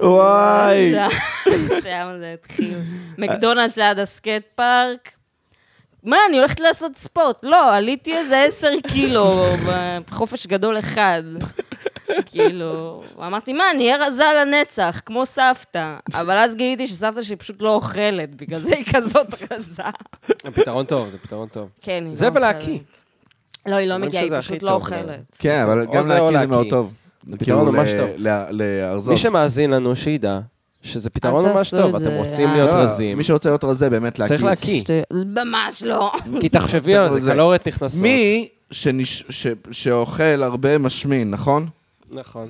S2: וואי!
S3: שם- שם זה התחיל. מקדונלדס ליד הסקייט פארק. מה, אני הולכת לעשות ספורט. לא, עליתי איזה עשר קילו בחופש גדול אחד. כאילו, אמרתי, מה, אני אהיה רזה לנצח, כמו סבתא. אבל אז גיליתי שסבתא שלי פשוט לא אוכלת, בגלל זה היא כזאת רזה.
S5: פתרון טוב, זה פתרון טוב.
S3: כן, היא לא
S5: זה ולהקיא.
S3: אוכלת. לא, היא לא
S5: אומרים
S3: מגיעה, היא
S5: שזה הכי
S3: פשוט לא
S5: טוב,
S3: אוכלת.
S2: כן, אבל
S5: או
S2: גם
S5: זה או
S2: להקיא זה
S5: להקיא.
S2: מאוד טוב.
S5: זה
S2: כאילו,
S5: פתרון ממש
S2: ל-
S5: טוב.
S2: ל- להרזות.
S5: מי שמאזין לנו, שידע שזה פתרון
S3: אל
S5: ממש
S3: תעשו
S5: טוב,
S3: את
S5: אתם
S3: זה,
S5: רוצים
S3: אה.
S5: להיות
S2: לא,
S5: רזים.
S2: מי שרוצה להיות רזה, באמת להקיא.
S5: צריך להקיא.
S3: שטויות. ממש לא.
S5: כי תחשבי על
S2: זה.
S5: זה, קלוריות נכנסות.
S2: מי שנש- ש- שאוכל הרבה משמין, נכון?
S5: נכון.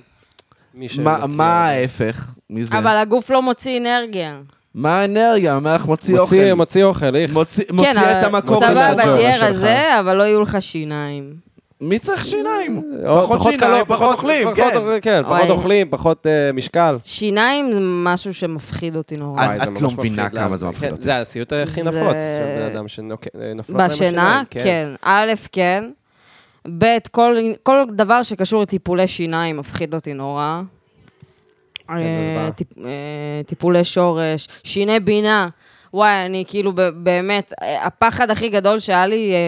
S5: מי
S2: מה-
S5: שמכיר.
S2: מה ההפך מזה?
S3: אבל הגוף לא מוציא אנרגיה.
S2: מה האנרגיה? אומר לך, מוציא אוכל.
S5: מוציא- מוציא אוכל, איך.
S2: מוציא מוציא
S3: כן,
S2: את המקור
S5: של
S3: סבבה,
S5: הג'ובה
S3: תהיה
S5: שלך.
S3: רזה, אבל לא יהיו לך שיניים.
S2: מי צריך שיניים?
S5: או,
S2: פחות
S5: קלור-
S2: שיניים, פחות אוכלים,
S5: פחות
S2: כן.
S5: אוכלים, כן,
S3: וואי.
S5: פחות אוכלים, פחות אה, משקל.
S3: שיניים זה משהו שמפחיד אותי נורא.
S2: את-
S5: וואי, זה
S2: את
S5: ממש
S2: לא מבינה
S5: מפחיד,
S2: כמה
S5: למה?
S2: זה מפחיד
S5: כן,
S2: אותי.
S5: זה הסיוט הכי
S3: זה-
S5: נפוץ של בן אדם אה, שנפלות להם
S3: בשינה,
S5: השיניים,
S3: כן. א', כן. ב', כל- כל דבר שקשור לטיפולי שיניים מפחיד אותי נורא.
S5: זה
S3: אה,
S5: הסברה.
S3: טיפ- אה, טיפולי שורש, שיני בינה. וואי, אני כאילו ב- באמת, אה, הפחד הכי גדול שהיה לי אה,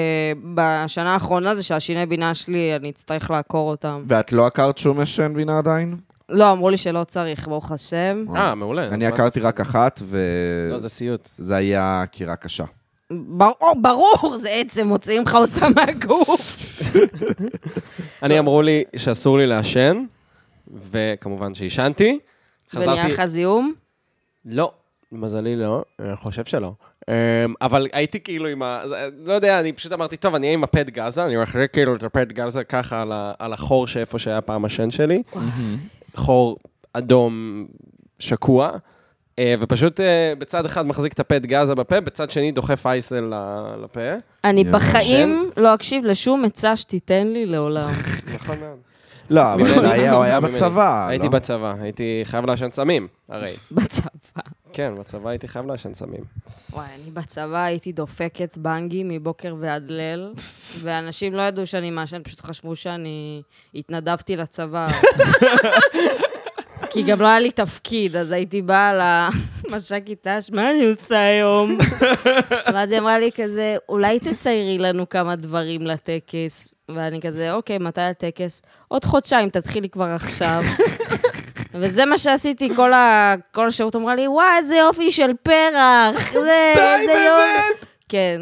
S3: בשנה האחרונה זה שהשיני בינה שלי, אני אצטרך לעקור אותם.
S2: ואת לא עקרת שום משן בינה עדיין?
S3: לא, אמרו לי שלא צריך, ברוך השם.
S5: אה, מעולה.
S2: אני
S5: אז מה-
S2: עקרתי רק אחת,
S5: לא, זה סיוט.
S2: וזה היה עקירה קשה.
S3: ברור, ברור, זה עצם, מוציאים לך אותה מהגוף.
S5: אני אמרו לי שאסור לי לעשן, וכמובן שעישנתי.
S3: ונהיה
S5: חזרתי...
S3: לך זיהום.
S5: לא, מזלי לא, אני חושב שלא. אמ, אבל הייתי כאילו עם ה... זה- לא יודע, אני פשוט אמרתי, טוב, אני אהיה עם הפד גזה, אני הולך כאילו את הפד גזה ככה על, ה... על החור שאיפה שהיה פעם השן שלי. חור אדום שקוע, אה, ופשוט אה, בצד אחד מחזיק את הפד גזה בפה, בצד שני דוחף אייסל ל- לפה.
S3: אני
S2: יואו.
S3: בחיים לא אקשיב לשום עצה שתיתן לי לעולם.
S5: נכון מאוד.
S2: לא, אבל
S5: ממני.
S2: זה היה- הוא היה
S5: ממני.
S2: בצבא, לא?
S5: הייתי בצבא, הייתי חייב לעשן סמים, הרי.
S3: בצבא.
S5: כן, בצבא הייתי חייב לעשן סמים.
S3: וואי, אני בצבא הייתי דופקת בנגי מבוקר ועד ליל, ואנשים לא ידעו שאני מעשן, פשוט חשבו שאני התנדבתי לצבא. כי גם לא היה לי תפקיד, אז הייתי באה למש"קית ת"ש, מה אני עושה היום? ואז היא אמרה לי כזה, אולי תציירי לנו כמה דברים לטקס. ואני כזה, אוקיי, מתי הטקס? עוד חודשיים, תתחילי כבר עכשיו. וזה מה שעשיתי, כל, ה... כל השירות אמרה לי, וואי, איזה יופי של פרח, זה, איזה יופי. כן.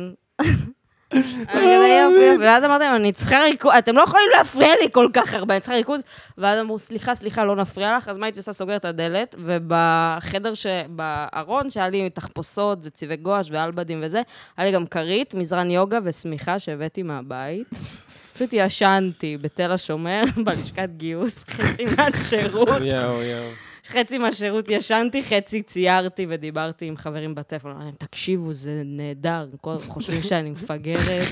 S3: אני כזה, "יופי, יופי." ואז אמרתי להם, אני צריכה ריכוז, אתם לא יכולים להפריע לי כל כך הרבה, אני צריכה ריכוז. ואז אמרו, סליחה, סליחה, לא נפריע לך, אז מה הייתי עושה? סוגרת את הדלת, ובחדר, ש... בארון, שהיה לי תחפושות וצבעי גואש ואלבדים וזה, היה לי גם כרית, מזרן יוגה ושמיכה שהבאתי מהבית. פשוט ישנתי בתל השומר, בלשכת גיוס, חצי מהשירות.
S5: יואו, יואו.
S3: חצי מהשירות ישנתי, חצי ציירתי ודיברתי עם חברים בטלפון. אמרתי להם, תקשיבו, זה נהדר, כל הזמן חושבים שאני מפגרת.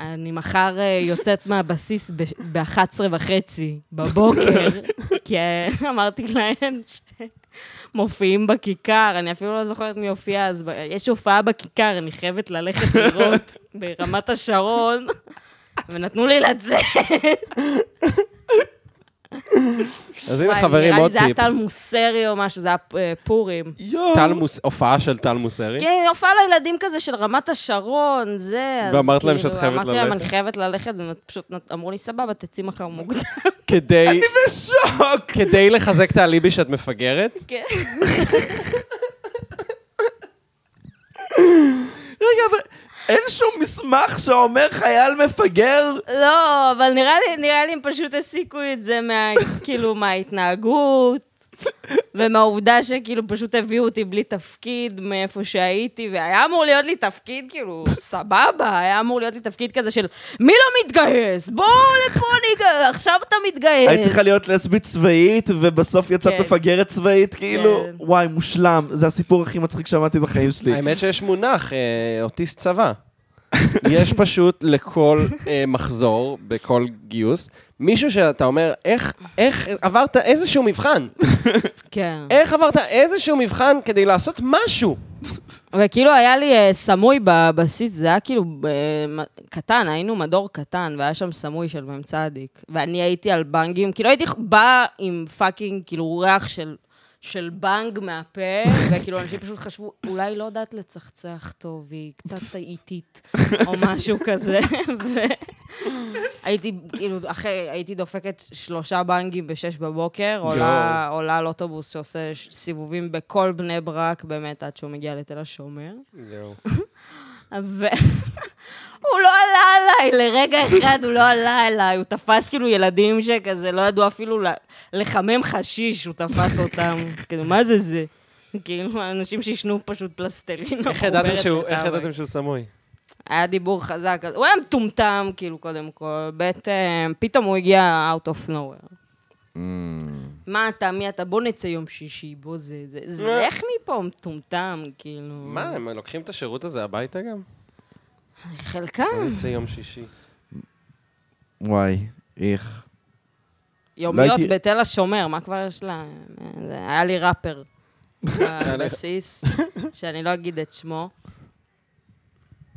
S3: אני מחר אה, יוצאת מהבסיס ב-11 וחצי בבוקר, כי אה, אמרתי להם ש... מופיעים בכיכר, אני אפילו לא זוכרת מי הופיע אז. ב- יש הופעה בכיכר, אני חייבת ללכת לראות ברמת השרון, ונתנו לי לצאת.
S5: אז הנה
S3: וואי,
S5: חברים,
S3: נראה לי
S5: עוד
S3: זה היה
S5: טיפ.
S3: טל מוסרי או משהו, זה היה אה, פורים.
S2: יואו!
S5: טל מוס... הופעה של טל מוסרי?
S3: כן, הופעה לילדים כזה של רמת השרון, זה, אז כאילו,
S5: ואמרת להם שאת חייבת
S3: אמרתי להם,
S5: ללכת?
S3: אני חייבת ללכת, והם פשוט נת- אמרו לי, סבבה, תצאי מחר מוקדם.
S5: כדי...
S2: בשוק!
S5: כדי לחזק את האליבי שאת מפגרת?
S3: כן.
S2: רגע, אבל אין שום מסמך שאומר חייל מפגר?
S3: לא, אבל נראה לי, נראה לי הם פשוט הסיקו את זה מה, כאילו, מההתנהגות, ומהעובדה שכאילו פשוט הביאו אותי בלי תפקיד מאיפה שהייתי, והיה אמור להיות לי תפקיד, כאילו, סבבה, היה אמור להיות לי תפקיד כזה של מי לא מתגייס? בוא לפה ניגייס, עכשיו אתה מתגייס.
S2: היית צריכה להיות לסבית צבאית, ובסוף יצאת
S3: אה. כן.
S2: מפגרת צבאית, כאילו,
S3: כן.
S2: וואי, מושלם. זה הסיפור הכי מצחיק שמעתי בחיים שלי.
S5: האמת שיש מונח, אה, אוטיסט צבא. יש פשוט לכל אה, מחזור, בכל גיוס, מישהו שאתה אומר, איך, איך עברת איזשהו מבחן?
S3: כן.
S5: איך עברת איזשהו מבחן כדי לעשות משהו?
S3: וכאילו היה לי אה, סמוי בבסיס, זה היה כאילו אה, מ- קטן, היינו מדור קטן, והיה שם סמוי של מ"ם צדיק. ואני הייתי על בנגים, כאילו הייתי באה עם פאקינג, כאילו ריח של, של בנג מהפה, וכאילו אנשים פשוט חשבו, אולי לא יודעת לצחצח טוב, היא קצת איטית, או משהו כזה. ו- הייתי, כאילו, אחרי, הייתי דופקת שלושה בנגים בשש בבוקר, עולה, עולה על אוטובוס שעושה ש- סיבובים בכל בני ברק, באמת, עד שהוא מגיע לתל השומר. ו... הוא לא עלה עליי, לרגע אחד הוא לא עלה עליי, הוא תפס כאילו ילדים שכזה לא ידעו אפילו ל- לחמם חשיש, הוא תפס אותם. כאילו, מה זה זה? כאילו, אנשים שישנו פשוט פלסטלינה.
S5: איך ידעתם
S3: מחוברת
S5: שהוא- איך
S3: לטבק.
S5: ידעתם שהוא סמוי?
S3: היה דיבור חזק, אז הוא היה מטומטם, כאילו, קודם כל. ב', אה, פתאום הוא הגיע out of nowhere.
S2: Mm.
S3: מה אתה, מי אתה, בוא נצא יום שישי, בוא זה, זה, זה,
S5: אה.
S3: איך מפה מטומטם, כאילו.
S5: מה, הם לוקחים את השירות הזה הביתה גם?
S2: אה?
S3: חלקם.
S5: נצא יום שישי.
S2: וואי, איך. לא
S3: יומיות
S2: הייתי-
S3: בתל השומר, מה כבר יש לה? זה- היה לי ראפר בבסיס, שאני לא אגיד את שמו.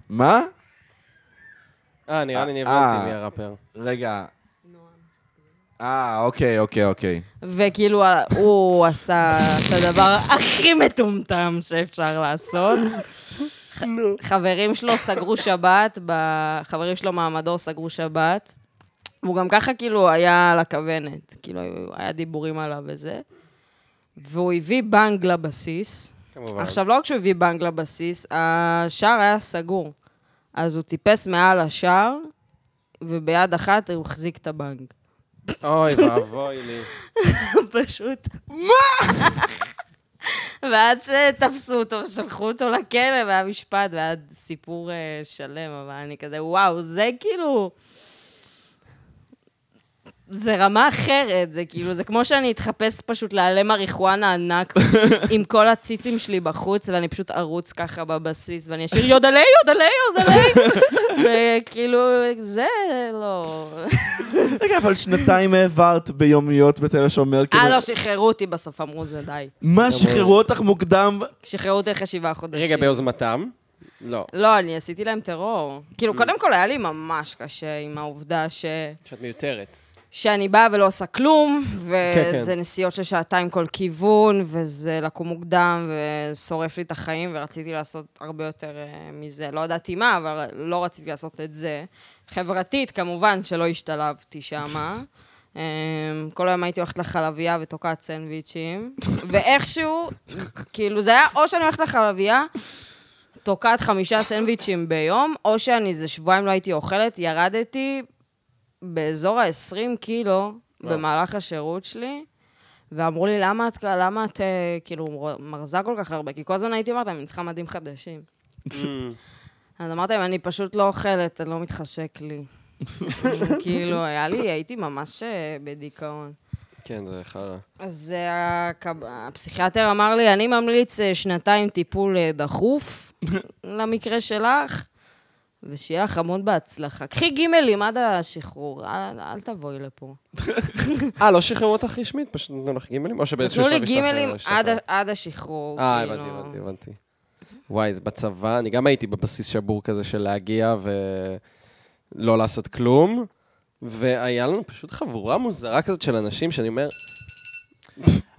S2: מה?
S5: אה, נראה לי אני
S2: אה.
S5: הבנתי מי הראפר.
S2: רגע. אה, אוקיי, אוקיי, אוקיי.
S3: וכאילו, ה- הוא עשה את הדבר הכי מטומטם שאפשר לעשות. ח- חברים שלו סגרו שבת, ב- חברים שלו מהמדור סגרו שבת. והוא גם ככה כאילו היה על הכוונת, כאילו היו- היה דיבורים עליו וזה. והוא הביא בנג לבסיס.
S5: כמובן.
S3: עכשיו, לא רק שהוא הביא בנג לבסיס, השער היה סגור. אז הוא טיפס מעל השער, וביד אחת הוא החזיק את הבנג.
S5: אוי ואבוי לי.
S3: פשוט. מה? ואז שתפסו אותו, שלחו אותו לכלא, והיה משפט, והיה סיפור אה, שלם, אבל אני כזה, וואו, זה כאילו... זה רמה אחרת, זה כאילו, זה כמו שאני אתחפש פשוט להיעלם אריחואנה ענק עם כל הציצים שלי בחוץ, ואני פשוט ארוץ ככה בבסיס, ואני אשאיר יודלי, יודלי, יודלי, וכאילו, זה לא...
S2: רגע, אבל שנתיים העברת ביומיות בתל השומר. כאילו-
S3: אה, לא, שחררו אותי בסוף, אמרו זה די.
S2: מה, שחררו אותך מוקדם?
S3: שחררו אותי אחרי שבעה חודשים.
S5: רגע, ביוזמתם? לא.
S3: לא, אני עשיתי להם טרור. כאילו, קודם כל היה לי ממש קשה עם העובדה ש...
S5: שאת מיותרת.
S3: שאני באה ולא עושה כלום,
S5: כן, כן.
S3: וזה נסיעות של שעתיים כל כיוון, וזה לקום מוקדם, ושורף לי את החיים, ורציתי לעשות הרבה יותר אה, מזה. לא ידעתי מה, אבל לא רציתי לעשות את זה. חברתית, כמובן, שלא השתלבתי שמה. אה, כל היום הייתי הולכת לחלבייה ותוקעת סנדוויצ'ים, ואיכשהו, כאילו, זה היה או שאני הולכת לחלבייה, תוקעת חמישה סנדוויצ'ים ביום, או שאני איזה שבועיים לא הייתי אוכלת, ירדתי באזור ה-20 קילו במהלך השירות שלי, ואמרו לי, למה את, למה את אה, כאילו מרזה כל כך הרבה? כי כל הזמן הייתי אומרת להם, אני צריכה מדים חדשים.
S5: Mm.
S3: אז אמרתי להם, אני פשוט לא אוכלת, אני לא מתחשק לי. כאילו, היה לי, הייתי ממש אה, בדיכאון.
S5: כן, זה חרא.
S3: אז אה, הקב- הפסיכיאטר אמר לי, אני ממליץ אה, שנתיים טיפול אה, דחוף למקרה שלך, ושיהיה לך המון בהצלחה. קחי גימלים עד השחרור, אל, אל תבואי לפה.
S5: אה, לא שחררו אותך רשמית? פשוט נתנו לך גימלים? או שבאיזשהו
S3: נתנו לי
S5: שלב השתחרר-
S3: גימלים
S5: השתחרר?
S3: עד, עד השחרור,
S5: אה,
S3: כאילו.
S5: הבנתי, הבנתי, הבנתי. וואי, זה בצבא, אני גם הייתי בבסיס שבור כזה של להגיע ולא לעשות כלום, והיה לנו פשוט חבורה מוזרה כזאת של אנשים שאני אומר,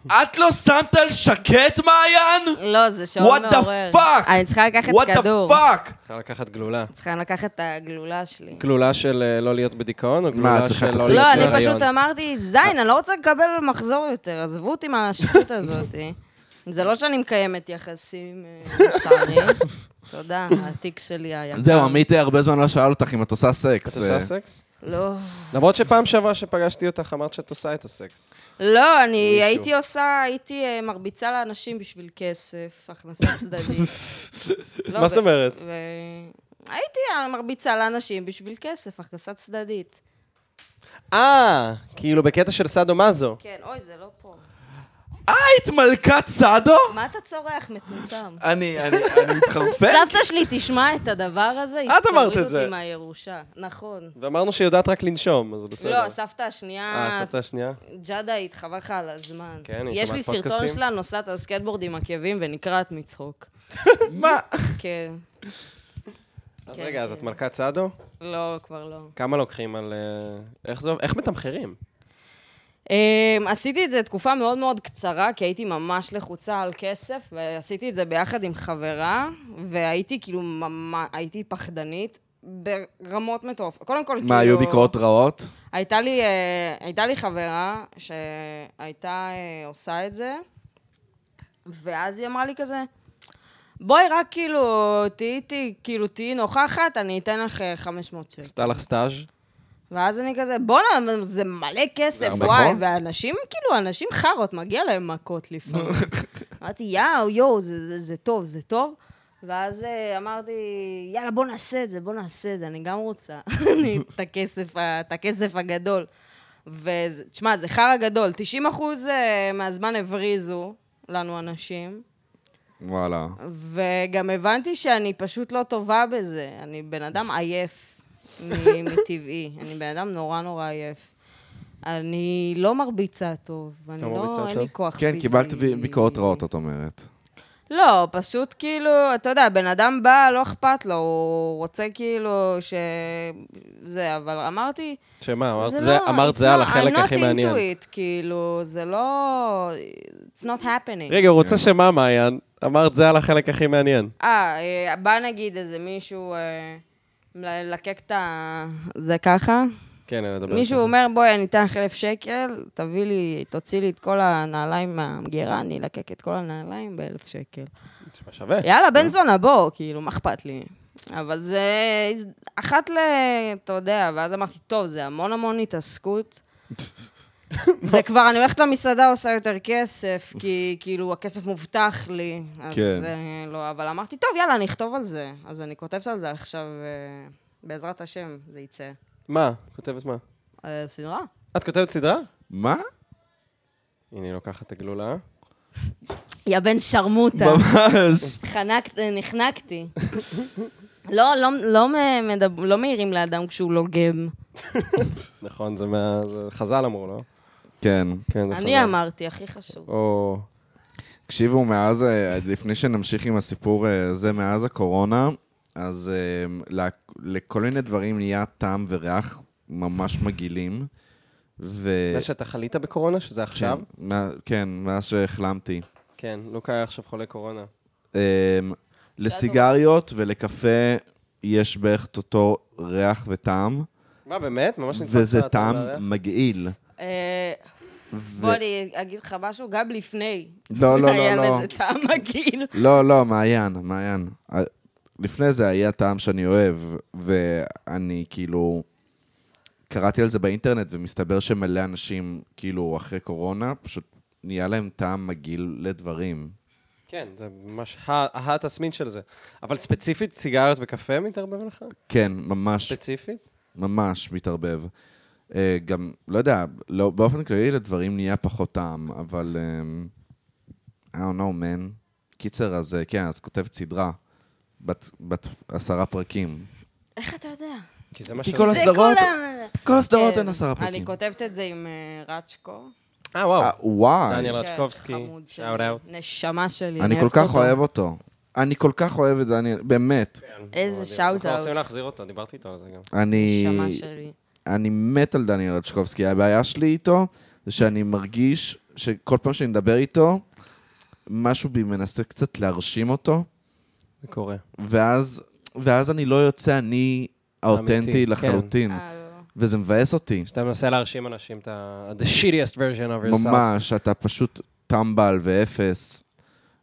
S2: את לא שמת על שקט, מעיין?
S3: לא, זה
S2: What
S3: שעון
S2: the
S3: מעורר.
S2: fuck?
S3: אני צריכה לקחת
S2: What the
S3: כדור.
S2: fuck?
S5: צריכה לקחת גלולה.
S3: צריכה לקחת את הגלולה שלי.
S5: גלולה של אה, לא להיות בדיכאון, או גלולה
S2: צריכה
S5: של
S2: את
S5: לא
S2: הפיל?
S5: להיות
S3: לא,
S2: יש
S3: אני
S5: בהיריון?
S3: פשוט אמרתי, זין, אני לא רוצה לקבל מחזור יותר, עזבו אותי מהשטות הזאת. זה לא שאני מקיימת יחסים, אה, לצערי. תודה, התיק שלי היקר.
S2: זהו, עמית הרבה זמן לא שאל אותך אם את עושה
S5: את
S2: סקס.
S5: עושה
S3: אמ-
S2: אה,
S5: סקס?
S3: לא.
S5: למרות שפעם שעברה שפגשתי אותך, אמרת שאת עושה את הסקס.
S3: לא, אני הייתי עושה, הייתי אה, מרביצה לאנשים בשביל כסף, הכנסה צדדית. לא,
S5: מה זאת
S3: ו-
S5: אומרת?
S3: ו- הייתי אה, מרביצה לאנשים בשביל כסף, הכנסה צדדית.
S5: אה, כאילו בקטע של סאדו מאזו.
S3: כן, אוי, זה לא פה.
S2: אה, את מלכת סאדו?
S3: מה אתה צורח, מטומטם?
S2: אני אני- אני מתחרפן.
S3: סבתא שלי תשמע את הדבר הזה, היא
S5: את אמרת
S3: תוריד
S5: את זה.
S3: אותי מהירושה. נכון.
S5: ואמרנו שהיא יודעת רק לנשום, אז בסדר.
S3: לא, כן, הסבתא
S5: אה,
S3: השנייה,
S5: הסבתא השנייה?
S3: ג'אדאית, חבל לך על הזמן.
S5: כן, היא
S3: יש
S5: שומעת
S3: לי סרטון
S5: פודקאסטים?
S3: שלה נוסעת על סקטבורד עם עקבים ונקרעת מצחוק.
S2: מה?
S3: כן.
S5: אז
S3: כן,
S5: רגע, אז
S3: כן.
S5: את מלכת סאדו?
S3: לא, כבר לא.
S5: כמה לוקחים על... אה, איך זה... איך מתמחרים?
S3: אמ, עשיתי את זה תקופה מאוד מאוד קצרה, כי הייתי ממש לחוצה על כסף, ועשיתי את זה ביחד עם חברה, והייתי כאילו ממש, הייתי פחדנית ברמות מטורפות. קודם כל, כאילו...
S2: מה, היו ביקורות רעות?
S3: הייתה לי, אה, הייתה לי חברה שהייתה אה, עושה את זה, ואז היא אמרה לי כזה, בואי רק כאילו, תהיי איתי, כאילו תהיי נוכחת, אני אתן לך אה, 500 שקל.
S5: עשתה לך סטאז'?
S3: ואז אני כזה, בואנה, זה מלא כסף,
S5: הרבה
S3: וואי,
S5: חום?
S3: ואנשים, כאילו, אנשים חארות, מגיע להם מכות לפעמים. אמרתי, יאו, יואו, זה, זה, זה טוב, זה טוב. ואז אה, אמרתי, יאללה, בוא נעשה את זה, בוא נעשה את זה, אני גם רוצה אני, את, הכסף, ה- את הכסף הגדול. ותשמע, זה חרא גדול, 90 אחוז אה, מהזמן הבריזו לנו אנשים,
S2: וואלה.
S3: וגם הבנתי שאני פשוט לא טובה בזה. אני בן אדם עייף מ- מטבעי. אני בן אדם נורא נורא עייף. אני לא מרביצה טוב, ואני
S5: לא מרביצה
S3: לא, אין
S5: טוב?
S3: לי כוח פיזי.
S2: כן, קיבלת ב- ביקורות רעות, את אומרת.
S3: לא, פשוט כאילו, אתה יודע, בן אדם בא, לא אכפת לו, הוא רוצה כאילו ש... זה, אבל אמרתי,
S5: שמה, אמרת
S3: זה
S5: זה,
S3: לא,
S5: אמרת
S3: it's
S5: זה על
S3: not-
S5: החלק הכי
S3: I'm not
S5: מעניין.
S3: into it, כאילו, זה לא... It's not happening.
S5: רגע, הוא רוצה שמה, מעיין? אמרת זה על החלק הכי מעניין.
S3: אה, אה, בא נגיד איזה מישהו אה, מלקק את ה... זה ככה?
S5: כן, אני מדבר.
S3: מישהו אומר, בואי, אני אתן לך אלף שקל, תביא לי, תוציא לי את כל הנעליים מהמגירה, אני אלקק את כל הנעליים באלף שקל.
S5: איתך. מה שווה.
S3: יאללה, בן זונה, בוא, כאילו, מה אכפת לי? אבל זה הז- אחת ל... אתה יודע, ואז אמרתי, טוב, זה המון המון התעסקות. זה כבר, אני הולכת למסעדה, עושה יותר כסף, כי כאילו, הכסף מובטח לי. אז
S2: כן.
S3: אה, לא, אבל אמרתי, טוב, יאללה, אני אכתוב על זה. אז אני כותבת על זה עכשיו, אה, בעזרת השם, זה יצא.
S5: מה? כותבת מה?
S3: אה, סדרה.
S5: את כותבת סדרה?
S2: מה?
S5: הנה, היא לוקחת את הגלולה.
S3: יא בן שרמוטה.
S2: ממש.
S3: חנק- אה, נחנקתי. לא, לא, לא, מ- מדב- לא מעירים לאדם כשהוא לא גם.
S5: נכון, זה מה... זה חז"ל אמרו, לא?
S2: כן.
S5: כן, זה
S3: אני אמרתי, הכי חשוב.
S5: או...
S2: תקשיבו, מאז, אה, לפני שנמשיך עם הסיפור אה, הזה, מאז הקורונה, אז אה, ל- לכל מיני דברים נהיה טעם וריח ממש מגעילים. ו...
S5: מאז שאתה חלית בקורונה, שזה עכשיו?
S2: כן, מה- כן, מאז שהחלמתי.
S5: כן, לוקה היה עכשיו חולה קורונה.
S2: אמ, לסיגריות ולקפה יש בערך את אותו ריח וטעם,
S5: מה, באמת? ממש נתפסת.
S2: וזה טעם מגעיל.
S3: אה,
S2: ו-
S3: בוא, אני אגיד לך משהו, גם לפני.
S2: לא, לא,
S3: היה
S2: לא, לא.
S3: לזה טעם מגעיל.
S2: לא, לא, מעיין, מעיין. ה- לפני זה היה טעם שאני אוהב, ואני כאילו... קראתי על זה באינטרנט, ומסתבר שמלא אנשים, כאילו, אחרי קורונה, פשוט נהיה להם טעם מגעיל לדברים.
S5: כן, זה ממש ה- התסמין של זה. אבל ספציפית, סיגריות וקפה מתערבב לך?
S2: כן, ממש
S5: ספציפית?
S2: ממש מתערבב. אה, גם, לא יודע, לא, באופן כללי לדברים נהיה פחות טעם, אבל... אה, I don't know, man. קיצר, אז אה, כן, אז כותבת סדרה, בת, בת עשרה פרקים.
S3: איך אתה יודע?
S5: כי זה מה
S2: כי
S5: ש... אה,
S2: כל
S3: זה
S2: הסדרות,
S3: כל ה-
S2: כל הסדרות
S3: כן.
S2: אין עשרה
S3: אני
S2: פרקים.
S3: כותבת את זה עם אה, רצ'קו.
S5: אה, וואו.
S2: אה, וואי,
S5: דניאל
S3: כן,
S5: רצ'קובסקי,
S3: חמוד שלי,
S5: שאוט אאוט.
S3: נשמה שלי,
S2: אני כל
S3: אוהבת
S2: כך
S3: אותו.
S2: אוהב אותו. אני כל כך אוהב את דניאל, באמת.
S3: איזה
S5: אנחנו רוצים
S3: שאוט-אאוט.
S5: להחזיר אותו, דיברתי איתו על זה גם.
S2: אני...
S3: נשמה שלי.
S2: אני מת על דניאל רצ'קובסקי. הבעיה שלי איתו זה שאני מרגיש שכל פעם שאני מדבר איתו, משהו בי מנסה קצת להרשים אותו,
S5: זה קורה.
S2: ואז, ואז אני לא יוצא אני האותנטי
S5: אמיתי, כן.
S2: לחלוטין.
S3: אה, לא.
S2: וזה מבאס אותי.
S5: שאתה מנסה להרשים אנשים את ה... the shittiest version of yourself.
S2: ממש, אתה פשוט טמבל ואפס.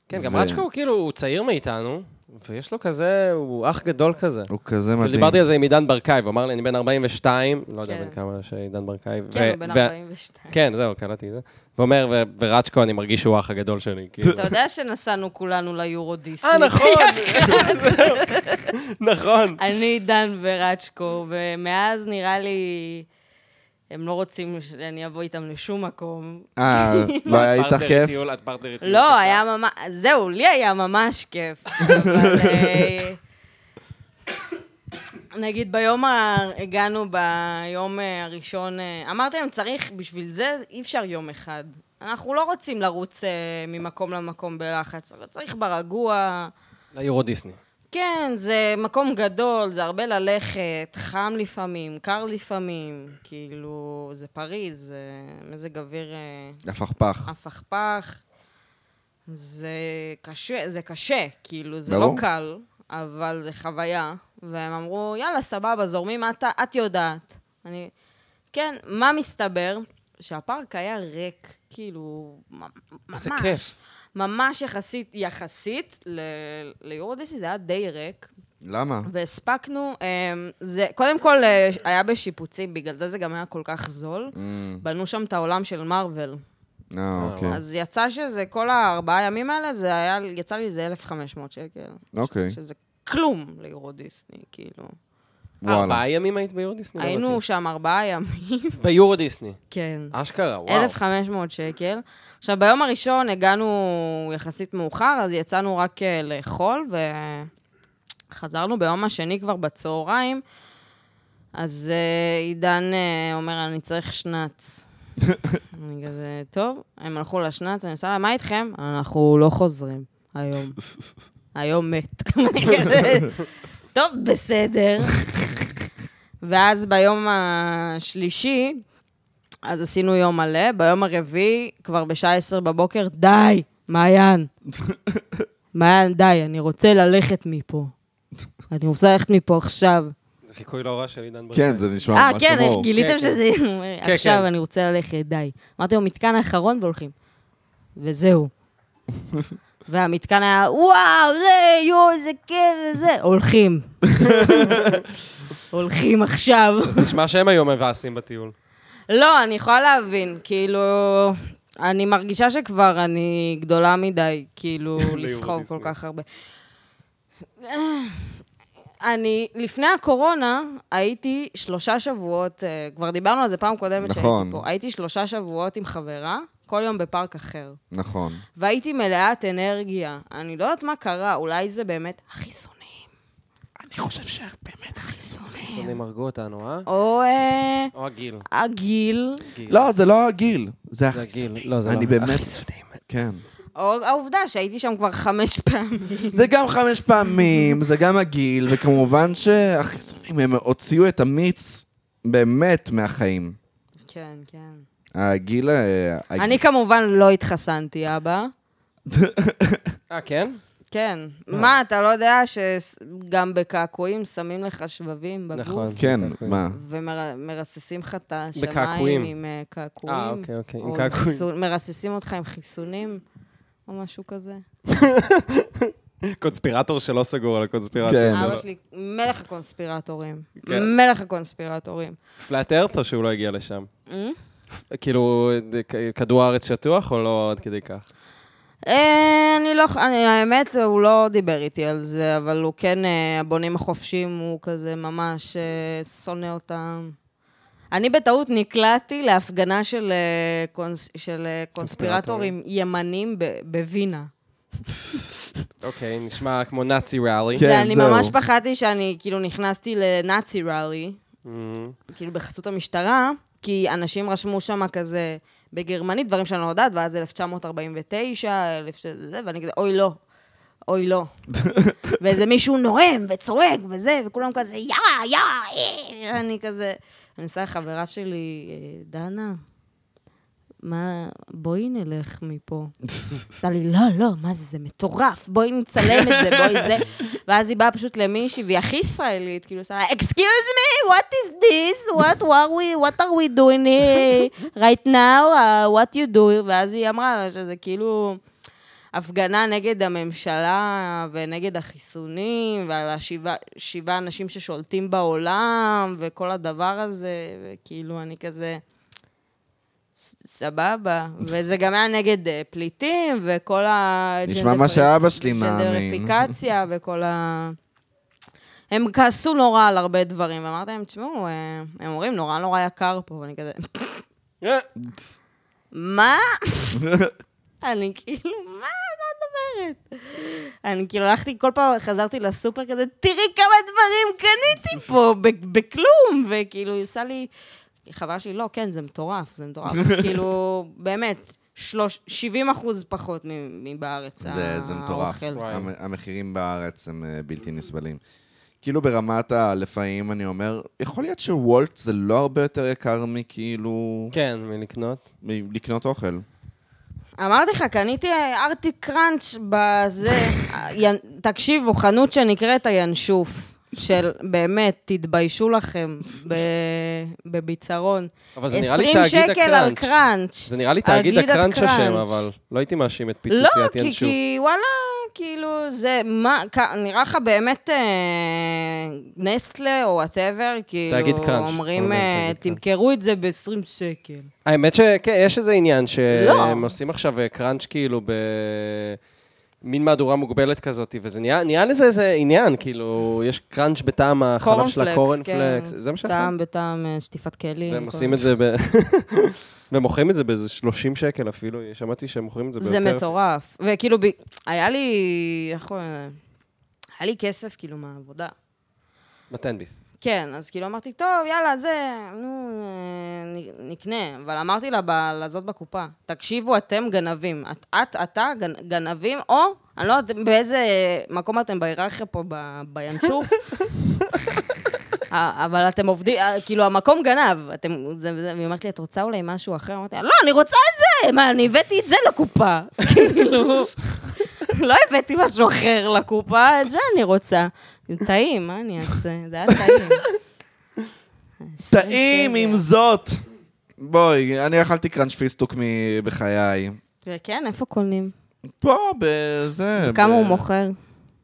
S5: כן, גם
S2: ו-
S5: רצ'קו הוא כאילו, הוא צעיר מאיתנו, ויש לו כזה, הוא אח גדול כזה.
S2: הוא כזה
S5: כאילו,
S2: מדהים.
S5: דיברתי על זה עם עידן ברקאי, והוא אמר לי, אני בן 42, לא יודע
S3: כן.
S5: בן כמה שעידן ברקאי.
S3: כן,
S5: ו-
S3: הוא בן
S5: ו-
S3: 42.
S5: כן, זהו, קלטתי את זה. והוא אומר, "ו- ורצ'קו, אני מרגיש שהוא האח הגדול שלי. כאילו.
S3: אתה יודע שנסענו כולנו ליורו דיסני.
S5: אה, נכון! זהו. נכון.
S3: אני, דן ורצ'קו, ומאז נראה לי... הם לא רוצים שאני אבוא איתם לשום מקום.
S2: אה, לא היה איתך
S5: פרטנרית
S2: כיף?
S5: טיול, את פרטנרית טיול
S3: לא,
S5: קשה.
S3: היה ממש... זהו, לי היה ממש כיף. אבל... אה, נגיד ביום ה... הגענו ביום אה, הראשון, אה, אמרתם, צריך, בשביל זה אי אפשר יום אחד. אנחנו לא רוצים לרוץ אה, ממקום למקום בלחץ, אבל צריך ברגוע.
S5: ליורו דיסני.
S3: כן, זה מקום גדול, זה הרבה ללכת, חם לפעמים, קר לפעמים, כאילו, זה פריז, זה מזג אוויר אה,
S2: הפכפך.
S3: הפכפך. זה קשה, זה קשה, כאילו, זה לא
S2: ברור.
S3: קל, אבל זה חוויה. והם אמרו, יאללה, סבבה, זורמים, את, את יודעת. אני... כן, מה מסתבר? שהפארק היה ריק, כאילו, מ- ממש.
S5: איזה כיף.
S3: ממש יחסית, יחסית ל- ליורודסי, זה היה די ריק.
S2: למה?
S3: והספקנו, אמ, זה, קודם כל אה, היה בשיפוצים, בגלל זה זה גם היה כל כך
S5: Mm.
S3: זול. בנו שם את העולם של מארוול.
S2: אה, אוקיי.
S3: אז יצא שזה, כל הארבעה ימים האלה, זה היה, יצא לי איזה 1,500 שקל.
S2: אוקיי.
S3: שזה כלום ליורו דיסני, כאילו.
S2: וואלה.
S5: ארבעה ימים היית ביורו דיסני? לא
S3: היינו
S5: הבנתי.
S3: שם ארבעה ימים.
S5: ביורו דיסני.
S3: כן.
S5: אשכרה, וואו.
S3: 1,500 שקל. עכשיו, ביום הראשון הגענו יחסית מאוחר, אז יצאנו רק אה, לאכול, וחזרנו ביום השני כבר בצהריים. אז אה, עידן אה, אומר, אני צריך שנץ. אני כזה, טוב, הם הלכו לשנץ, אני עושה לה, מה איתכם? אנחנו לא חוזרים היום. היום מת. אני כזה, טוב, בסדר. ואז ביום השלישי, אז עשינו יום מלא, ביום הרביעי, כבר בשעה עשר בבוקר, די, מעיין. מעיין, די, אני רוצה ללכת מפה. אני רוצה ללכת מפה עכשיו.
S5: זה חיקוי לא רע של עידן ברקאי.
S2: כן, זה נשמע
S3: אה,
S2: ממש
S3: כן,
S2: כמוהו.
S5: כן,
S3: גיליתם
S5: כן.
S3: שזה...
S5: כן, כן.
S3: עכשיו אני רוצה ללכת, די. אמרתי לו, מתקן האחרון והולכים. וזהו. והמתקן היה, וואו, זה, יואו, איזה כיף, וזה. הולכים. הולכים עכשיו.
S5: זה נשמע שהם היו מבאסים בטיול.
S3: לא, אני יכולה להבין, כאילו... אני מרגישה שכבר אני גדולה מדי, כאילו, לסחוב כל
S5: דיסני.
S3: כך הרבה. אני, לפני הקורונה, הייתי שלושה שבועות, אה, כבר דיברנו על זה פעם קודמת
S2: נכון.
S3: שהייתי פה, הייתי שלושה שבועות עם חברה, כל יום בפארק אחר.
S2: נכון.
S3: והייתי מלאת אנרגיה. אני לא יודעת מה קרה, אולי זה באמת החיסונים. אני חושב שבאמת החיסונים.
S5: חיסונים הרגו אותנו, אה?
S3: או אה,
S5: או הגיל.
S3: הגיל.
S2: לא, זה לא הגיל, זה החיסונים.
S5: הגיל, לא, זה לא.
S2: אני באמת...
S5: החיסונים.
S2: כן.
S3: או העובדה שהייתי שם כבר חמש פעמים.
S2: זה גם חמש פעמים, זה גם הגיל, וכמובן שהחיסונים, הם הוציאו את המיץ באמת מהחיים.
S3: כן, כן.
S2: הגיל... אה, הג-
S3: אני כמובן לא התחסנתי, אבא.
S5: אה, כן?
S3: כן.
S5: אה.
S3: מה, אתה לא יודע שגם בקעקועים שמים לך שבבים בגוף?
S5: נכון.
S2: כן,
S5: בקעקועים.
S2: מה?
S3: ומרססים לך את השמיים
S5: בקעקועים.
S3: עם אה, קעקועים.
S5: אה, אוקיי, אוקיי, עם
S3: או
S5: קעקועים.
S3: חיסון- מרססים אותך עם חיסונים, או משהו כזה.
S5: קונספירטור שלא סגור על
S2: כן.
S5: הקונספירציה
S3: אבא
S5: שלו.
S3: שלי, מלך הקונספירטורים.
S5: כן.
S3: מלך הקונספירטורים.
S5: פלאט ארת או שהוא לא הגיע לשם?
S3: אה?
S5: כאילו, כ- כדור הארץ שטוח או לא עד כדי כך?
S3: אה, אני לא, ח- אני, האמת, הוא לא דיבר איתי על זה, אבל הוא כן, אה, הבונים החופשיים, הוא כזה ממש אה, שונא אותם. אני בטעות נקלעתי להפגנה של, אה, קונס, של אה, קונספירטורים ימנים ב, בווינה.
S5: אוקיי, נשמע כמו נאצי ראלי.
S2: כן,
S3: זה, אני
S2: זהו.
S3: ממש פחדתי שאני כאילו נכנסתי לנאצי ראלי,
S5: כן.
S3: כאילו בחסות המשטרה, כי אנשים רשמו שם כזה בגרמנית דברים שאני לא יודעת, ואז 1949, אלף ש- זה, ואני כזה, אוי לא, אוי לא. ואיזה מישהו נואם וצועק וזה, וכולם כזה, יאה, יאה, אה", אני כזה... אני עושה לחברה שלי, "אה, דנה, מה, בואי נלך מפה. עשה לי, לא, לא, מה זה, זה מטורף, בואי נצלם את זה, בואי זה. ואז היא באה פשוט למישהי, והיא הכי ישראלית, כאילו, עושה לה, excuse me, what is this? What, what, we, what are we doing here right now? Uh, what you do? ואז היא אמרה לה שזה כאילו הפגנה נגד הממשלה ונגד החיסונים, ועל השבעה שבעה אנשים ששולטים בעולם, וכל הדבר הזה, וכאילו, אני כזה... "ס- סבבה. וזה גם היה נגד אה, פליטים, וכל ה...
S2: נשמע מה שאבא שלי מאמין.
S3: ג'נדריפיקציה וכל ה... הם כעסו נורא על הרבה דברים, ואמרתי להם, תשמעו, אה, הם אומרים, נורא נורא יקר פה, ואני כזה,
S5: אה,
S3: מה? אני כאילו, מה? מה את אומרת? אני כאילו הלכתי, כל פעם חזרתי לסופר כזה, תראי כמה דברים קניתי פה, ב- בכלום, וכאילו, היא עושה לי... חבל שלי, לא, כן, זה מטורף, זה מטורף. כאילו, באמת, שלוש, 70 אחוז פחות מ- מבארץ,
S2: זה, זה מטורף.
S3: האוכל.
S2: המ- המחירים בארץ הם אה, בלתי נסבלים. כאילו ברמת הלפעמים, אני אומר, יכול להיות שוולט זה לא הרבה יותר יקר מכאילו...
S5: כן, מלקנות.
S2: מ- לקנות אוכל.
S3: אמרתי לך, קניתי ארטיק קראנץ' בזה. ין- תקשיבו, חנות שנקראת הינשוף, של באמת, תתביישו לכם, ב- בביצרון.
S5: אבל זה נראה לי
S3: 20
S5: תאגיד
S3: שקל על
S5: הקראנץ'.
S3: קראנץ'.
S5: זה נראה לי
S3: תאגיד
S5: תאגיד הקראנץ' השם,
S3: הקראנץ'.
S5: אבל לא הייתי מאשים את
S3: לא,
S5: פיצוציית
S3: כי,
S5: ינשוף.
S3: כי וואלה, כאילו, זה מה, כ- נראה לך באמת אה, נסטלה או וואטאבר, כאילו,
S5: תאגיד קראנץ'.
S3: אומרים,
S5: אומרים
S3: אה,
S5: תאגיד קראנץ'.
S3: תמכרו את זה ב-20 שקל.
S5: האמת שכן, יש איזה עניין שהם
S3: לא.
S5: עושים עכשיו אה, קראנץ' כאילו ב... מין מהדורה מוגבלת כזאת, וזה נהיה, נהיה לזה איזה עניין, כאילו, יש קראנץ' בטעם החלב של הקורנפלקס, זה מה שאכלתי.
S3: כן. טעם בטעם אה, שטיפת כלים.
S5: והם
S3: כל
S5: עושים
S3: מיני.
S5: את זה ב... והם מוכרים את זה באיזה 30 שקל אפילו, שמעתי שהם מוכרים את זה ביותר.
S3: זה מטורף. וכאילו, ב... היה לי... איך קוראים לזה? היה לי כסף, כאילו, מהעבודה.
S5: מתן ביס.
S3: כן, אז כאילו אמרתי, טוב, יאללה, זה, נו, אה, נ- נקנה. אבל אמרתי לה, ב- לזאת בקופה, תקשיבו, אתם גנבים. את, את אתה גנ- גנבים, או, אני לא יודעת באיזה מקום אתם בהיררכיה פה, ב- בינשוף. אה, אבל אתם עובדים, אה, כאילו, המקום גנב. אתם, זה, זה, והיא אומרת לי, את רוצה אולי משהו אחר? אמרתי לה, לא, אני רוצה את זה! מה, אני הבאתי את זה לקופה. כאילו, לא הבאתי משהו אחר לקופה, את זה אני רוצה. טעים, מה אני אעשה? זה היה טעים.
S2: טעים עם זאת! בואי, אני אכלתי קראנץ' פיסטוק מ- בחיי.
S3: כן, איפה קונים?
S2: פה, בזה...
S3: כמה
S2: ב-
S3: הוא מוכר?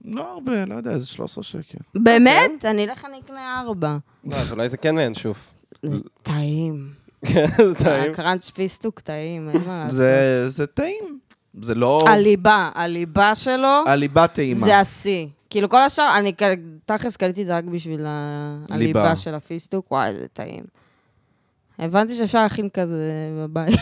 S2: לא הרבה, לא יודע, איזה 13 שקל.
S3: באמת? אני אלך, אני אקנה ארבע.
S5: לא, אז אולי זה כן ינשוף.
S3: זה טעים.
S5: כן, זה טעים.
S3: הקראנץ' פיסטוק טעים, אין מה לעשות.
S2: זה זה טעים. זה לא...
S3: הליבה, הליבה שלו
S2: הליבה טעימה.
S3: זה השיא. כאילו כל השאר, אני כ- תכלס קניתי את זה רק בשביל ה-
S2: ליבה.
S3: הליבה של הפיסטוק, וואי, זה טעים. הבנתי שאפשר להכין כזה בבית.